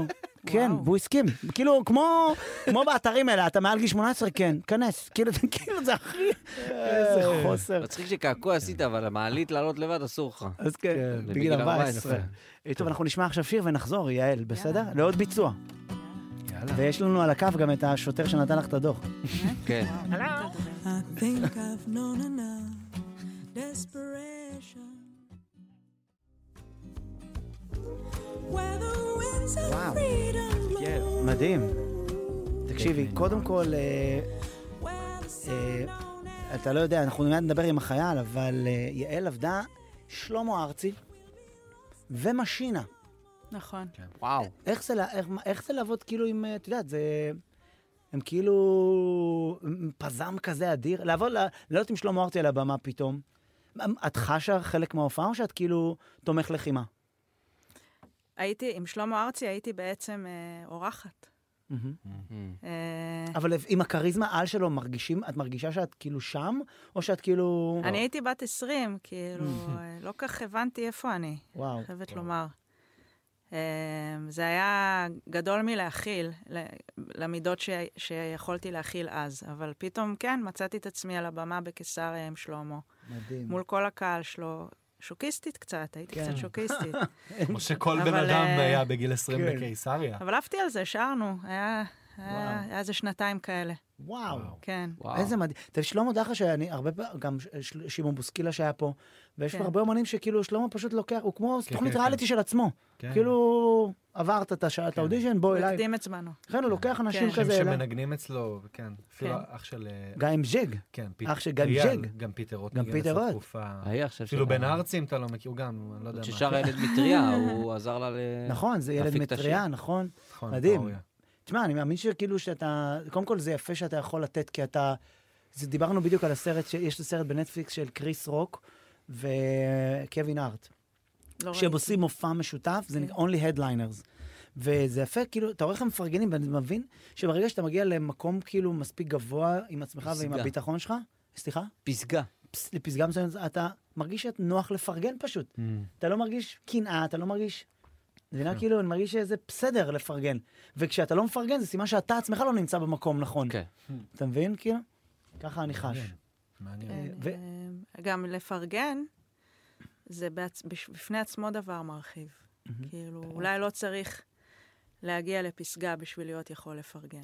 כן, והוא הסכים. כאילו, כמו כמו באתרים האלה, אתה מעל גיל 18, כן, כנס. כאילו, זה- כאילו, זה הכי... איזה חוסר.
מצחיק שקעקוע עשית, אבל המעלית לעלות לבד אסור לך.
אז כן,
כן,
בגיל
בגיל
14.
14.
אה, טוב, אנחנו נשמע עכשיו שיר ונחזור, יעל, בסדר? לעוד ביצוע.
יאללה.
ויש לנו על הקו גם את השוטר שנתן לך את הדוח.
כן.
I think I've known enough desperation. Where the winds of
וואו.
freedom
כן.
blow,
מדהים. תקשיבי, קודם כל, אה,
where the
אה, אתה לא יודע, אנחנו מיד נדבר עם החייל, אבל אה, יעל עבדה שלמה ארצי ומשינה.
נכון.
וואו.
איך זה, לה- איך, איך זה לעבוד כאילו עם, אה, את יודעת, זה... הם כאילו... הם פזם כזה אדיר. לעבוד, ל- לעלות עם שלמה ארצי על הבמה פתאום. מה- את חשה חלק מההופעה או שאת כאילו תומך לחימה?
הייתי, עם שלמה ארצי הייתי בעצם אה, אורחת.
מהמם.
אה,
אבל עם הכריזמה על שלו, מרגישים, את מרגישה שאת כאילו שם, או שאת כאילו...
אני הייתי בת 20, כאילו,
<laughs>
אה, לא כך הבנתי איפה אני,
וואו.
חייבת לומר. אה, זה היה גדול מלהכיל, ל- למידות ש- שיכולתי להכיל אז, אבל פתאום, כן, מצאתי את עצמי על הבמה בקיסריה עם שלמה.
מדהים.
מול כל הקהל שלו, שוקיסטית קצת, הייתי
כן.
קצת
<laughs>
שוקיסטית.
כמו שכל בן
אבל,
אדם
אה,
היה בגיל 20
כן.
בקיסריה.
אבל עפתי על זה, שרנו, היה היה- היה איזה שנתיים כאלה.
וואו.
כן.
Mm.
איזה מדהים. תראה, שלמה דחה שאני הרבה פעמים, גם ש- של- שמעון בוסקילה שהיה פה, ויש
כן.
פה הרבה אומנים שכאילו שלמה פשוט לוקח, הוא כמו
כן,
תוכנית
כן,
ריאליטי של עצמו.
כן.
כאילו, עברת את השעה, את האודישן, בוא
הוא
אליי.
הקדים את זמנו.
לכן הוא לוקח אנשים
כן.
כזה
אנשים
אליי.
שמנגנים אצלו, כן. אפילו
כן.
אח של... אה,
גיא עם ז'ג.
כן,
אח של גיא עם
אייל,
ז'ג.
גם פיטר רוט.
גם
ניגן
פיטר
אצלו
רוט.
תקופה.
היה עכשיו
אפילו
שלה-
בן ארצי, אם אתה לא מכיר, הוא גם, אני לא יודע מה.
ששר הילד מטריה, הוא עזר לה ל...
נכון, זה ילד
כן. להפיק את
מטריה,
השיר.
נכון?
נכון,
מדהים.
תיאוריה.
תשמע, אני מאמין שכאילו שאתה, קודם כל זה יפה שאתה יכול לתת, כי אתה, זה, דיברנו בדיוק על הסרט, ש- יש סרט בנטפליקס של קריס רוק וקווין הארט. כשהם
לא ראיתי.
עושים מופע משותף, זה נקרא Only Headliners. וזה יפה, כאילו, אתה רואה איך הם מפרגנים, ואני מבין שברגע שאתה מגיע למקום כאילו מספיק גבוה עם עצמך ועם
פסגה.
הביטחון שלך, סליחה?
פסגה.
פס- לפסגה מסוימת, אתה מרגיש שאת נוח לפרגן פשוט. אתה לא מרגיש קנאה, אתה לא מרגיש... זה
כן.
נראה כאילו, אני מרגיש שזה בסדר לפרגן. וכשאתה לא מפרגן, זה סימן שאתה עצמך לא נמצא במקום נכון.
כן.
אתה מבין? כאילו? ככה אני חש.
מעניין.
כן,
ו-
אה, גם לפרגן, זה בעצ- בש- בפני עצמו דבר מרחיב. כאילו, אולי לא צריך להגיע לפסגה בשביל להיות יכול לפרגן.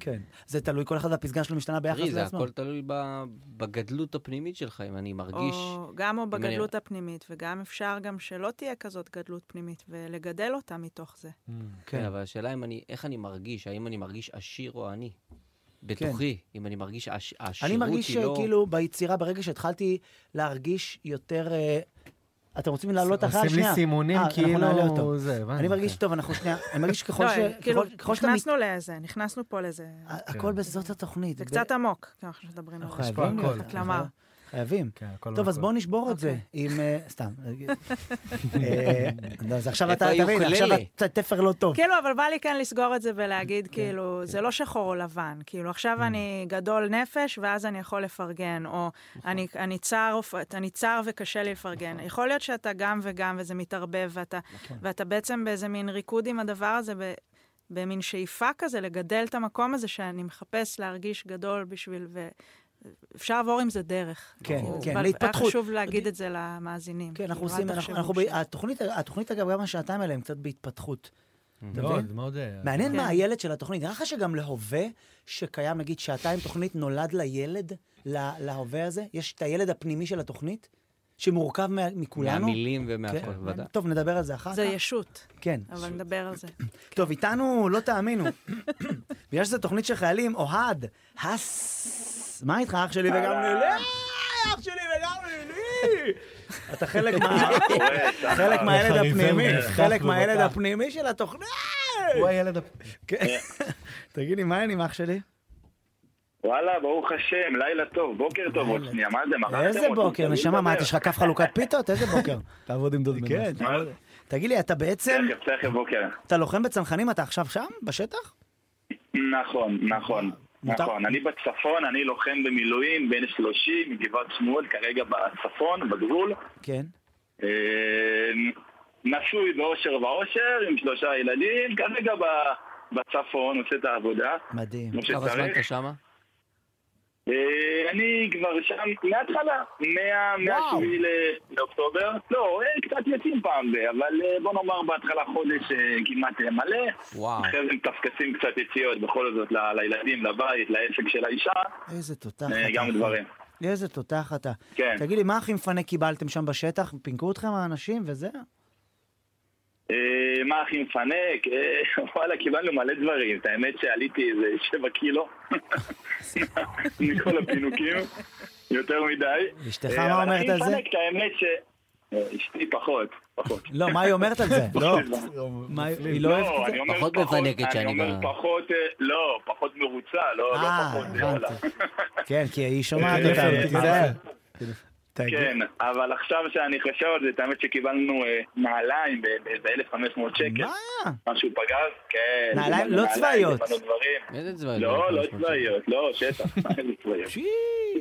כן. זה תלוי, כל אחד והפסגה שלו משתנה ביחס
תראי, זה
לעצמו.
הכל תלוי ב- בגדלות הפנימית שלך, אם אני מרגיש...
או, גם או
אם אני-
בגדלות הפנימית, וגם אפשר גם שלא תהיה כזאת גדלות פנימית, ולגדל אותה מתוך זה.
Mm.
כן, אבל השאלה אם אני, איך אני מרגיש, האם אני מרגיש עשיר או עני? בתוכי, אם אני מרגיש, העש-
כן. אני
העשירות
מרגיש
היא לא...
שכאילו ביצירה, ברגע שהתחלתי להרגיש יותר... אה, אתם רוצים לעלות אחרי השנייה?
עושים לי סימונים
אה, אנחנו נעלה אותו.
כאילו... זה, הבנתי.
אני מרגיש, טוב, אנחנו שנייה, אני
<laughs>
מרגיש ככל
לא,
ש...
כאילו,
ככל- ככל שאתה... מת- אה,
נכנסנו לזה, נכנסנו פה לזה.
הכל בזאת התוכנית.
זה
ב-
קצת עמוק, כשאנחנו מדברים על
אנחנו
זה.
חייבים
הכל.
ללכת,
כלומר, אוקיי.
חייבים.
כן, הכל
טוב, אז
מהכל.
בואו נשבור את זה עם... אה,
<laughs>
סתם. אה, לא, זה עכשיו אתה,
איפה
תבין, עכשיו
היוקללה?
אתה תפר לא טוב.
<laughs> כאילו, אבל בא לי כן לסגור את זה ולהגיד,
כן,
כאילו, זה לא שחור או לבן. כאילו, עכשיו
Mm.
אני גדול נפש, ואז אני יכול לפרגן, או
נכון.
אני- אני צר ופ- אני צר וקשה לי לפרגן. יכול להיות שאתה גם וגם, וזה מתערבב, ואתה-
נכון.
ואתה בעצם באיזה מין ריקוד עם הדבר הזה, ב- במין שאיפה כזה, לגדל את המקום הזה שאני מחפש להרגיש גדול בשביל... ו- אפשר לעבור עם זה דרך.
כן,
כאילו,
כן,
אבל
להתפתחות.
היה חשוב להגיד את זה למאזינים.
כן, אנחנו
כאילו, אל
עושים, אנחנו,
תחשבו
אנחנו, ב-
ש-
התוכנית, התוכנית אגב, גם השעתיים האלה הם קצת בהתפתחות. אתה מבין?
מאוד, מאוד... אה,
מעניין
כן.
מה הילד של התוכנית. נראה לך שגם להווה שקיים, נגיד, שעתיים תוכנית נולד לילד, ל- להווה הזה? יש את הילד הפנימי של התוכנית, שמורכב מה- מכולנו?
מהמילים
כן.
ומהכל, ודאי.
טוב, נדבר על זה אחר כך.
זה ישות,
כן.
אבל נדבר על זה.
<coughs> טוב, איתנו, לא תאמינו. <coughs> בגלל שזו תוכנית של חיילים, אוהד, הס... מה איתך, אח שלי וגם לילי? אח שלי וגם לילי! אתה חלק מה... חלק מהילד
חריזם,
הפנימי,
נחשפנו
חלק מהילד
בתא.
הפנימי של התוכנית!
הוא הילד... הפ-
כן.
אה.
תגיד לי, מה העניין עם אח שלי?
וואלה, ברוך השם, לילה טוב, בוקר טוב, עוד שנייה, מה זה, מכרתם
איזה
אותי,
בוקר,
תמיד
נשמה, מה,
לדבר.
יש לך כף חלוקת פיתות? איזה
<laughs>
בוקר. תעבוד עם דוד מנוס. כן,
מה זה?
תגיד לי, אתה בעצם,
תכף, תכף בוקר.
אתה לוחם בצנחנים, אתה עכשיו שם? בשטח?
נכון, נכון.
מותר-
נכון, אני בצפון, אני לוחם במילואים, בן 30, גבעת שמואל, כרגע בצפון, בגבול.
כן.
אה, נשוי באושר ואושר, עם שלושה ילדים, כרגע ב- בצפון, עושה את העבודה,
מדהים.
כמו
כמה זמן
שצריך.
אתה שמה?
אה, אני כבר שם מההתחלה, מה- מהשביעי ל- לאוקטובר. לא, אה, קצת יוצאים פעם ב... אבל אה, בוא נאמר בהתחלה חודש אה, כמעט אה, מלא. <laughs>
וואו.
אחרי זה מטפקסים קצת יציאות בכל זאת ל- לילדים, לבית, לעסק של האישה,
איזה תותח.
אה,
אתה. <laughs>
גם דברים.
איזה תותח אתה.
כן.
תגיד לי, מה הכי מפנה קיבלתם שם בשטח? פינקו אתכם האנשים וזה?
אה, מה הכי מפנק? אה, וואלה, קיבלנו מלא דברים. את האמת שעליתי איזה שבע
<laughs>
קילו מכל הפינוקים, יותר מדי.
אשתך
אה,
מה
אבל הכי
אומרת על זה?
מפנק, את האמת ש... אה, אשתי פחות, פחות.
לא, מה היא אומרת על
<laughs>
זה?
<laughs>
לא. מה, היא לא אוהבת
לא,
את זה?
אני אומר אני אומר פחות, אה, לא, פחות מרוצה, לא לא
אה,
פחות, אה,
הבנתי.
וואלה.
כן, כי היא שומעת
<laughs> אה,
אותנו,
אה,
תיזהר. תגיד.
כן, אבל עכשיו שאני חושב על זה, את האמת שקיבלנו אה, נעליים ב- באיזה 1,500 שקל. מה? משהו פגז, כן.
נעליים
קיבלנו
לא צבאיות.
קיבלנו דברים.
איזה
צבאיות?
לא, לא
1,500
צבאיות, לא, שטח. <laughs> מה זה צבאיות?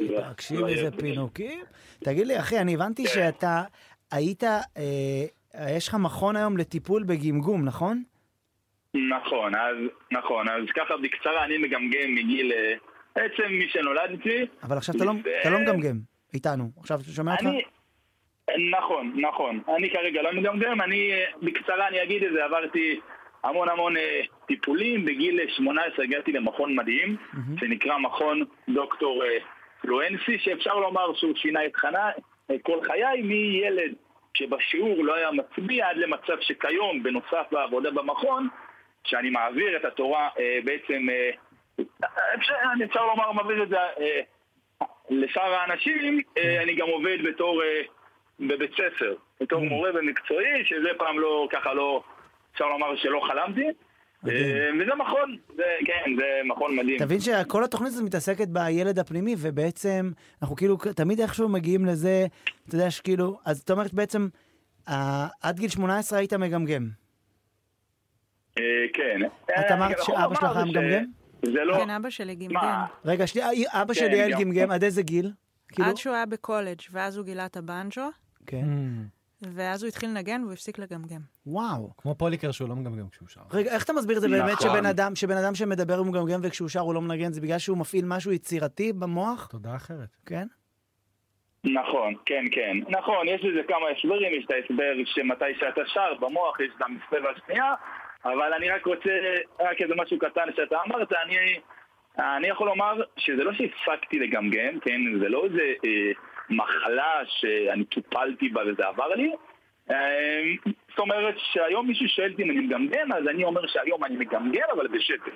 לא
תקשיב איזה פינוקים. תגיד לי, אחי, אני הבנתי
כן.
שאתה היית, אה, יש לך מכון היום לטיפול בגמגום, נכון?
נכון, אז נכון, אז ככה בקצרה אני מגמגם מגיל... אה, בעצם מי שנולדתי...
אבל עכשיו אתה לא- אתה לא מגמגם איתנו. עכשיו, אתה שומע אותך?
אני... נכון, נכון. אני כרגע לא מגמגם, אני אה, בקצרה אני אגיד את זה, עברתי המון המון אה, טיפולים. בגיל אה, 18 הגעתי למכון מדהים, שנקרא מכון דוקטור אה, פלואנסי, שאפשר לומר שהוא שינה את, חנה, את כל חיי מילד שבשיעור לא היה מצביע עד למצב שכיום, בנוסף לעבודה במכון, שאני מעביר את התורה אה, בעצם, אה, אפשר, אפשר לומר, מעביר את זה אה, לשאר האנשים, אה, אני גם עובד בתור, אה, בבית ספר, בתור מורה במקצועי, שזה פעם לא, ככה לא, אפשר לומר שלא חלמתי. אה, וזה מכון, זה, כן, זה מכון מדהים.
תבין שכל התוכנית הזאת מתעסקת בילד הפנימי, ובעצם אנחנו כאילו תמיד איכשהו מגיעים לזה, אתה יודע שכאילו, אז זאת אומרת בעצם, אה, עד גיל 18 היית מגמגם.
אה, כן.
את
אה,
אמרת
אני יכול
שאבא שלך
לומר
היה
ש-
מגמגם?
זה לא...
כן, אבא שלי גמגם.
רגע, שנייה, אה, אבא
כן,
שלי יעל
גם.
גמגם, עד איזה גיל? כאילו,
עד שהוא היה בקולג', ואז הוא גילה את הבנג'ו,
כן.
Mm.
ואז הוא התחיל לנגן והוא הפסיק לגמגם.
וואו.
כמו פוליקר שהוא לא מגמגם כשהוא שר.
רגע, איך אתה מסביר את זה באמת
נכון.
שבן אדם, שבן אדם שמדבר הוא מגמגם וכשהוא שר הוא לא מנגן, זה בגלל שהוא מפעיל משהו יצירתי במוח?
תודה אחרת.
כן?
נכון, כן, כן. נכון, יש לזה כמה הסברים, יש את ההסבר שמתי שאתה שר במוח, יש את המסבב השנייה, אבל אני רק רוצה, רק איזה משהו קטן שאתה אמרת, אני, אני יכול לומר שזה לא שהפסקתי לגמגם, כן? זה לא איזה אה, מחלה שאני טופלתי בה וזה עבר לי. אה, זאת אומרת שהיום מישהו שואל אותי אם אני מגמגם, אז אני אומר שהיום אני מגמגם, אבל
<laughs>
בשקט.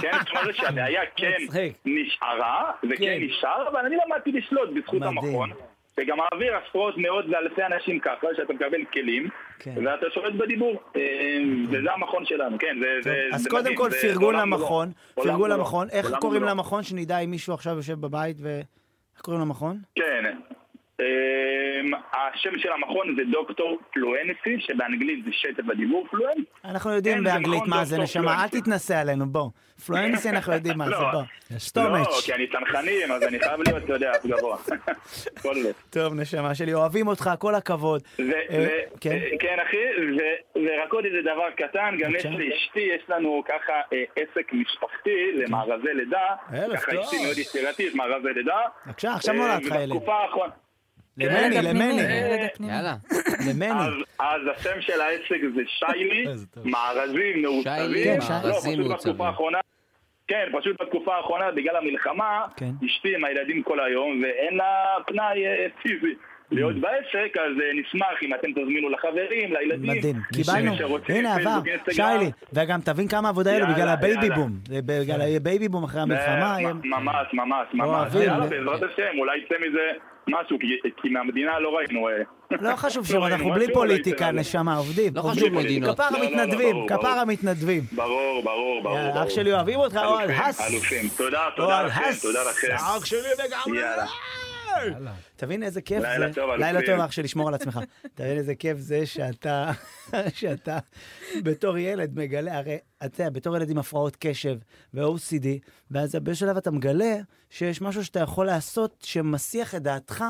כן, זאת אומרת שהבעיה כן נשארה, וכן
כן.
נשאר, אבל אני למדתי לשלוט בזכות המכון. וגם מעביר עשרות, מאות ואלפי אנשים ככה, שאתה מקבל כלים,
כן.
ואתה שולט בדיבור. אה, וזה המכון שלנו, כן, זה זה- זה מדהים.
אז קודם כל
זה
פרגון
עולם מולו.
למכון,
עולם
פרגון
מולו.
למכון, איך
עולם לא-
קוראים
מולו.
למכון? שנדע אם מישהו עכשיו יושב בבית ו... איך קוראים למכון?
כן. אמ, השם של המכון זה דוקטור פלואנסי, שבאנגלית זה שטף בדיבור פלואנס.
אנחנו יודעים
כן, זה
באנגלית
מכון
מה זה,
דוקטור
נשמה, אל תתנסה עלינו, בוא. פלואנסי אנחנו יודעים מה זה,
לא.
בוא.
לא,
סטומץ'.
כי אני צנחנים, אז אני חייב להיות, אתה יודע, גבוה. <laughs> כל זה.
טוב, נשמה שלי, אוהבים אותך, כל הכבוד.
ו-
אה,
ו-
כן.
אה, כן, אחי, ו- ורק עוד איזה דבר קטן, גם יש
בבקשה.
לאשתי, יש לנו ככה אה, עסק משפחתי
כן.
למארזי לידה.
ערב
ככה
טוב.
אשתי מאוד יצירתית, מארזי לידה.
בבקשה, עכשיו
אה,
נולד לך ילד.
ובתקופה האחרונה...
למני,
כן.
למני.
אה,
יאללה. למני.
אז- אז השם של העסק זה שיילי, מארזים מעוצבים.
כן,
לא,
מארזים
פשוט בתקופה האחרונה... כן, פשוט בתקופה האחרונה, בגלל המלחמה,
כן.
אשתי עם הילדים כל היום, ואין לה פנאי אה, פיזי. להיות בעסק, אז אה, נשמח אם אתם תזמינו לחברים, לילדים.
מדהים,
מי
קיבלנו,
שרוצה,
הנה עבר,
פייסבוק, אינסטגרם. אה,
שיילי, וגם תבין כמה עבודה יהיה לו
יאללה,
בגלל הבייבי
יאללה.
בום, זה בגלל הבייבי בום אחרי המלחמה,
אה,
הם- לא,
ממש, ממש, ממש.
אוהבים.
יאללה, בעזרת השם, אולי יצא מזה משהו, כי- כי מהמדינה לא ראינו... אה,
לא
<laughs>
חשוב
לא
שוב,
ראינו
אנחנו בלי
משהו, אולי יצא
פוליטיקה,
מזה.
נשמה, עובדים,
לא
עובדים.
חשוב מדינות.
כפר
לא, לא, לא,
המתנדבים,
ברור,
כפר
ברור.
המתנדבים.
ברור, ברור, ברור.
יאללה,
ברור.
אח שלי, אוהבים אותך, אוהד,
אלופים,
הס.
אלופים. תודה, אה, תודה
אוהד,
לכם,
הס.
תודה לכם.
אח שלי לגמרי.
יאללה.
תבין איזה כיף זה.
לילה טוב, אלופים.
לילה טוב, אח שלי, שמור על עצמך. <laughs> תבין איזה כיף זה שאתה, <laughs> שאתה בתור ילד מגלה, הרי אתה יודע, בתור ילד עם הפרעות קשב ו-OCD, ואז באיזשהו שלב אתה מגלה שיש משהו שאתה יכול לעשות שמסיח את דעתך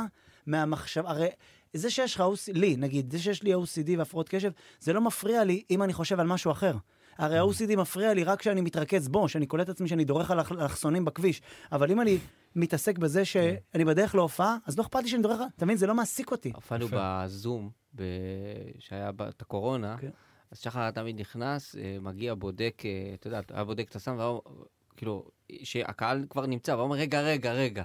מהמחשב, הרי... זה שיש לך OCD, לי, נגיד, זה שיש לי OCD והפרעות קשב, זה לא מפריע לי אם אני חושב על משהו אחר. הרי
Mm.
ה-OCD מפריע לי רק כשאני מתרכז בו, שאני קולט את עצמי שאני דורך על אלכסונים בכביש. אבל אם אני מתעסק
כן.
בזה שאני בדרך להופעה, אז לא אכפת לי שאני דורך, על- אתה מבין? זה לא מעסיק אותי.
הופענו בזום, ב... שהיה בת הקורונה,
אוקיי.
אז שחר תמיד נכנס, אה, מגיע, בודק, אה, אתה יודע, היה בודק את הסם, והיה אומר, כאילו, שהקהל כבר נמצא, והוא אומר, רגע, רגע, רגע.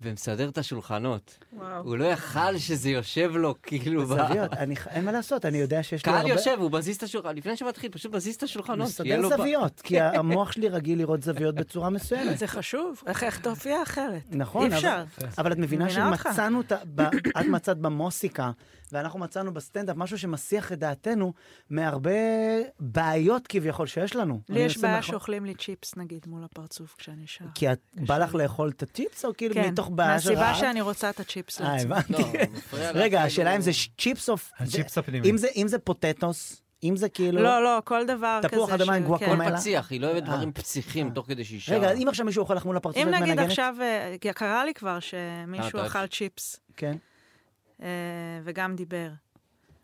ומסדר את השולחנות.
וואו.
הוא לא יכל שזה יושב לו, כאילו... ב-
זוויות, אני ח- אין מה לעשות, אני יודע שיש לו הרבה...
קהל יושב, הוא מזיז את השולחן, לפני שמתחיל, פשוט מזיז את השולחנות. שיהיה
מסדר
לו ב-
זוויות, כי ה- המוח שלי רגיל לראות זוויות בצורה מסוימת.
זה חשוב, איך- איך תופיע אחרת?
נכון,
אי אפשר.
אבל, אבל את מבינה
מבינה אותך.
שמצאנו, את, ה- ב- את מצאת במוסיקה, ואנחנו מצאנו בסטנדאפ משהו שמסיח את דעתנו מהרבה בעיות כביכול שיש לנו.
לי
אני
יש
מנסה
בעיה
מאחור-
שאוכלים לי צ'יפס, נגיד, מול הפרצוף כשאני שרה.
כי את בא לך לאכול את הטיפס, או כאילו
כן,
מתוך בעיה של
מהסיבה
רעב?
שאני רוצה את הצ'יפס
אה,
לעצמי.
לא,
הבנתי. <laughs> רגע, השאלה אם זה ש- צ'יפס או... הצ'יפס
הפנימי.
אם זה פוטטוס, אם זה כאילו...
לא, לא, כל דבר כזה.
תפוח אדמה עם
ש-
גואקמלה?
כן.
פציח, היא לא אוהבת
אה.
דברים פציחים תוך כדי שהיא שרה.
רגע, אם עכשיו מישהו אוכל לך מול הפרצוף
לא. אם
ואת
נגיד
מנגנת?
עכשיו, אה, כי קרה לי כבר
אה, אתה
שמישהו
אוהב.
אכל צ'יפס.
כן.
אה, וגם דיבר.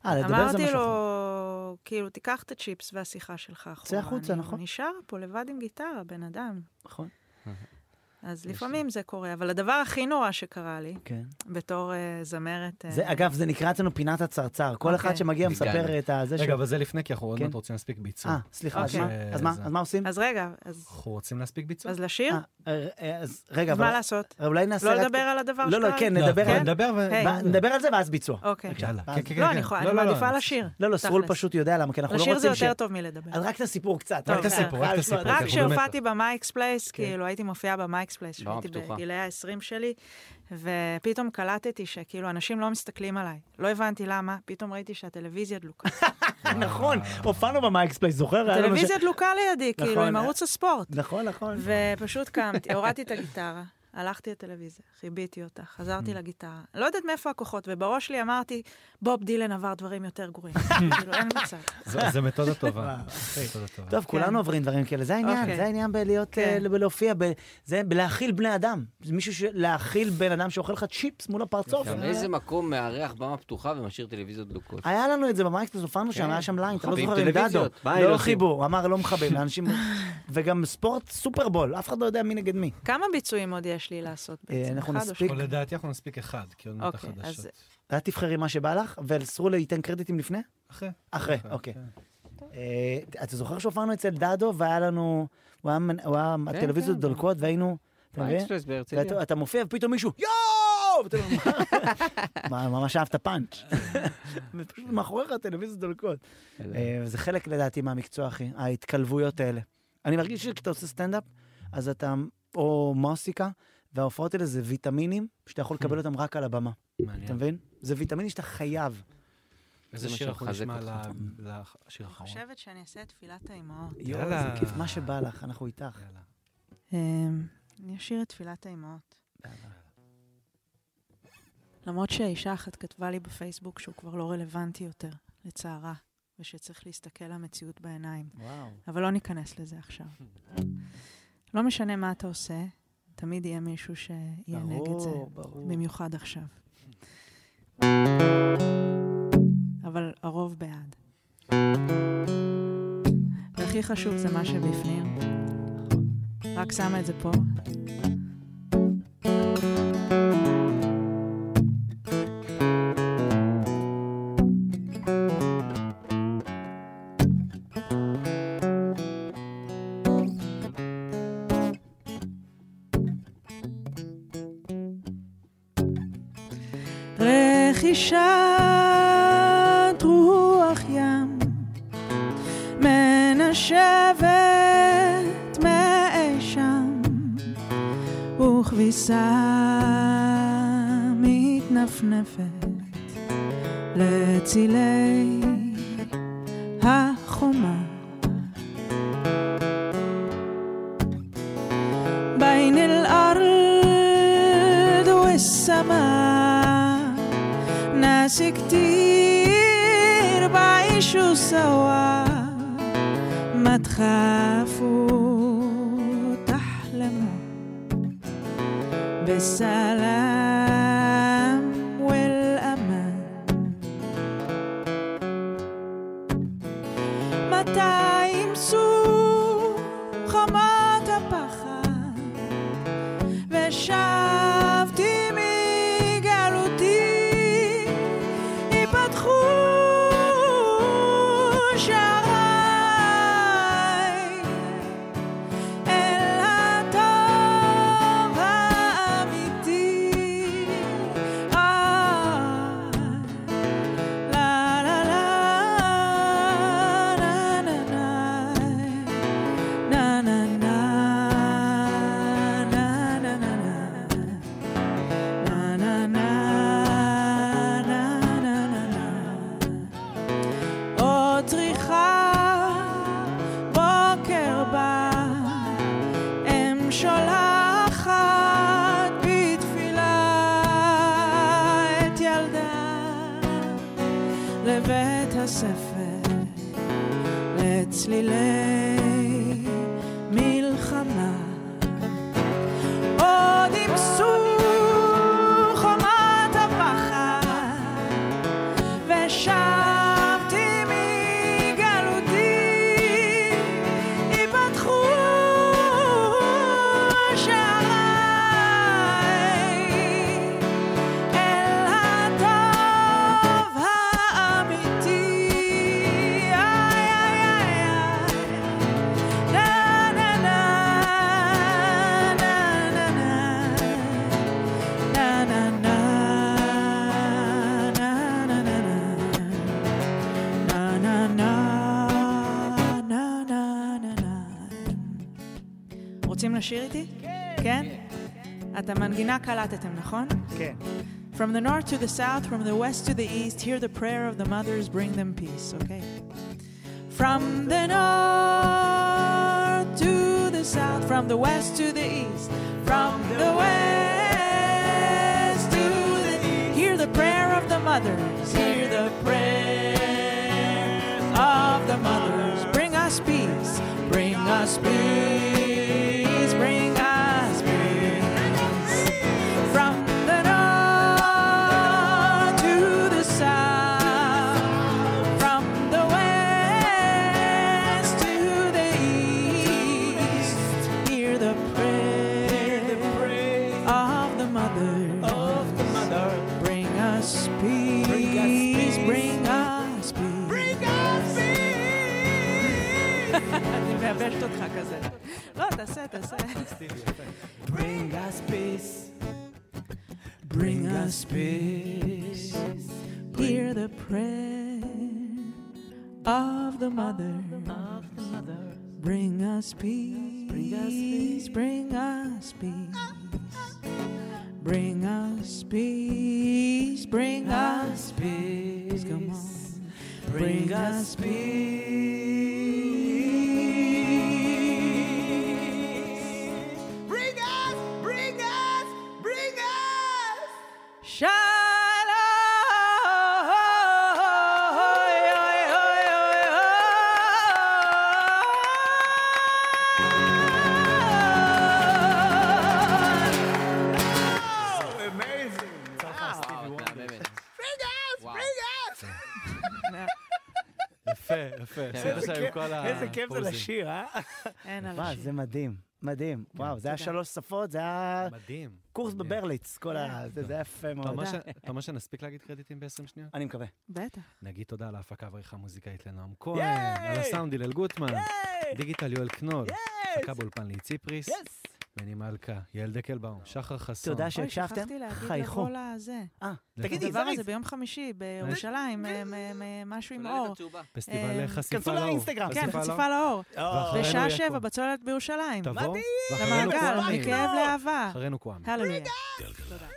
אה, לדבר זה
אמרתי
משהו
לו, כאילו, תיקח את הצ'יפס והשיחה שלך אחורה.
החוצה,
אני
נכון.
נשאר פה לבד עם גיטרה, בן אדם.
נכון.
אז לפעמים זה קורה, אבל הדבר הכי נורא שקרה לי,
כן.
בתור אה, זמרת... אה,
זה, אגב, זה נקרא אצלנו פינת הצרצר. כל אחד
אוקיי.
שמגיע מספר
הגענו.
את הזה
רגע, אבל זה לפני, כי אנחנו עוד
כן.
מעט רוצים להספיק ביצוע.
אה, סליחה, אז מה?
אה,
אז מה?
זה-
אז מה עושים?
אוקיי. אז רגע, אז...
אנחנו רוצים להספיק ביצוע.
אז לשיר?
אה, אה, אז רגע,
אז
אבל-
מה לעשות?
אולי נעשה...
לא
רק-
לדבר על הדבר
לא, לא,
שקרה?
כן,
לא,
נדבר
כן?
על... נדבר ו-
היי.
ב- נדבר על זה ואז ביצוע.
אוקיי.
יאללה.
כן, כן, לא, כן. אני יכולה- אני לא, לא, מעדיפה
<laughs>
לא. לשיר.
לא, לא, סרול
תכלס.
פשוט יודע למה, כן, אנחנו לא
לשיר
רוצים
זה יותר
ש-
טוב אוקיי. מלדבר.
אז רק את הסיפור קצת. אה,
טוב,
בסדר.
בסדר. רק כשהופעתי במייקס פלייס,
כן.
כאילו הייתי מופיעה במייקס פלייס,
במה
כשהייתי
הפתוחה.
בגילי ה-20 שלי, ופתאום קלטתי שכאילו אנשים לא מסתכלים עליי. לא הבנתי למה, פתאום ראיתי
<laughs>
שהטלוויזיה דלוקה.
נכון, הופענו במייקס פלייס, זוכר? היה לנו ש-
הטלוויזיה דלוקה לידי, כאילו,
לא, נכון,
עם
אה.
ערוץ הספורט.
נכון, נכון.
ופשוט קמתי, הורדתי את הגיטרה, הלכתי לטלוויזיה, חיביתי אותה,
Mm.
חזרתי לגיטרה. לא יודעת מאיפה הכוחות, ובראש שלי אמרתי, בוב דילן עבר דברים יותר
<laughs>
גרועים. כאילו, אין מצב.
זו מתודה טובה.
וואו,
זו מתודה טובה.
טוב, כולנו עוברים דברים כאלה, זה העניין,
כן. אוקיי. כן.
זה העניין בלהיות, אה, בלהופיע, ב- זה בלהאכיל בני אדם. זה מישהו ש... להאכיל בן אדם שאוכל לך צ'יפס מול הפרצוף.
גם איזה מקום מארח במה פתוחה ומשאיר טלוויזיות דלוקות.
היה לנו את זה במייקספלס, הופענו שם, היה שם ליין, אתה לא
כן. מכבים
זוכר עם דדו.
טלוויזיות, מה
לא
אלוהים?
חיבור, אמר לא מכבים, לאנשים... <laughs> וגם ספורט סופרבול, אף אחד לא יודע מי נגד מי.
כמה ביצועים עוד יש לי לעשות בעצם?
אה, אנחנו
אחד או
נספיק.
שניים?
לדעתי אנחנו נספיק אחד, כי עוד מעט
אוקיי,
החדשות.
אז-
את תבחרי מה שבא לך, וסרולי ייתן קרדיטים לפני?
אחרי.
אחרי, אוקיי. אה, אתה זוכר שהופענו אצל דדו והיה לנו, הוא היה מנ- הוא היה,
כן,
הטלוויזיות
כן.
דולקות והיינו, אתה מבין?
האקספרס בהרצליה.
ואתה- אתה מופיע ופתאום מישהו, יואו! ואתה אומר,
<laughs>
"מה?" ממש אהבת פאנץ'. <laughs> ופשוט מאחוריך הטלוויזיות דולקות. אה, זה חלק לדעתי מהמקצוע, אחי, ההתקלבויות האלה. אני מרגיש שכשאתה עושה סטנדאפ, אז אתה, או מוסיקה, וההופעות האלה זה ויטמינים שאתה יכול לקבל אותם רק על הבמה. אתה מבין? זה ויטמינים שאתה חייב.
איזה
זה מה
שיר אנחנו
שמחזק
נשמע
אותך.
ל- לשיר
אני
האחרון?
חושבת שאני אעשה את תפילת האימהות.
יאללה. זה כיף, מה שבא לך, אנחנו איתך.
אמ, אני אשיר את תפילת האימהות.
אה,
למרות שהאישה אחת כתבה לי בפייסבוק שהוא כבר לא רלוונטי יותר, לצערה, ושצריך להסתכל למציאות בעיניים.
וואו.
אבל לא ניכנס לזה
<laughs>
עכשיו. לא משנה מה אתה עושה, תמיד יהיה מישהו שיהיה נגד זה,
ברור, ברור.
במיוחד עכשיו. אבל הרוב בעד. והכי חשוב זה מה שבפנים. רק שמה את זה פה. רכישת רוח ים מנשבת מאשם וכביסה מתנפנפת לצילי החומה بين الأرض والسماء ناس كتير بعيشوا سوا ما تخافوا تحلموا بالسلام والأمان מתי ימסו חמת הפחד ושבתי מגלותי יפתחו שעריי אל הטוב האמיתי הספר לצלילי מלחמה. עוד ימסו חומת הפחד, ושבתי מגלותי, ייפתחו שעריי אל הטוב האמיתי. איי, איי, איי, איי. נה, נה, נה, נה, נה, נה. נה, נה, נה, נה, נה, נה, נה. נה, נה, נה, נה, נה, נה, נה. רוצים לשיר איתי? כן. את המנגינה קלטתם, נכון?
כן.
From the north to the south, from the west to the east, hear the prayer of the mothers, bring them peace, okay? From the north to the south, from the west to the east, from the west to the east, hear the prayer of the mothers, hear the prayers of the mothers, bring us peace, bring us peace, bring us peace. From the north to the south, from the west to the east, hear the prayer of the mothers. Of the mother, bring us peace. Bring us peace. Bring us <laughs> peace. אני מייבשת אותך כזה. לא, תעשה, תעשה. Bring us peace. Bring us peace. Hear the prayer of the mother. Of the mother. Bring us peace. Bring us peace. Bring us peace. Bring us peace. Bring us peace. Come on. Bring us peace. Bring us, bring us, bring us.
יפה, יפה. עשית שם עם כל ה...
איזה כיף זה
פוזים.
לשיר, אה?
אין על
וואו, זה מדהים, מדהים.
כן.
וואו, זה היה
תודה.
שלוש שפות, זה היה
מדהים.
קורס בברליץ, כל
כן.
ה... זה זה היה יפה
אתה
מאוד.
אומר ש- אתה אומר שנספיק להגיד קרדיטים ב-20 שניות?
אני מקווה.
בטח.
נגיד תודה על ההפקה והעריכה המוזיקאית לנועם כהן, על הסאונד הלל
כן.
גוטמן, דיגיטל יואל קנול, הפקה באולפן לי ציפריס, מני מלכה, יעל דקלבאום, שחר חסון.
תודה
אוי,
שהקשבתם,
שכחתי להגיד
חייכו.
לבוא לזה.
אה,
תגידי,
תגידי,
הדבר
זריז.
הזה ביום חמישי בירושלים, אה, מ- מ- משהו עם אור.
פסטיבל
אה,
חשיפה
כנסו
לאור.
לאינסטגרם.
כן,
חשיפה
חשיפה לאור.
ואחרינו
לא אה,
בשעה
יעקב.
שבע בצוללת בירושלים.
תבוא, ואחרינו
למעגל,
לא.
כוואמי.
מכאב לאהבה.
אחרינו כואמי.
הללויה.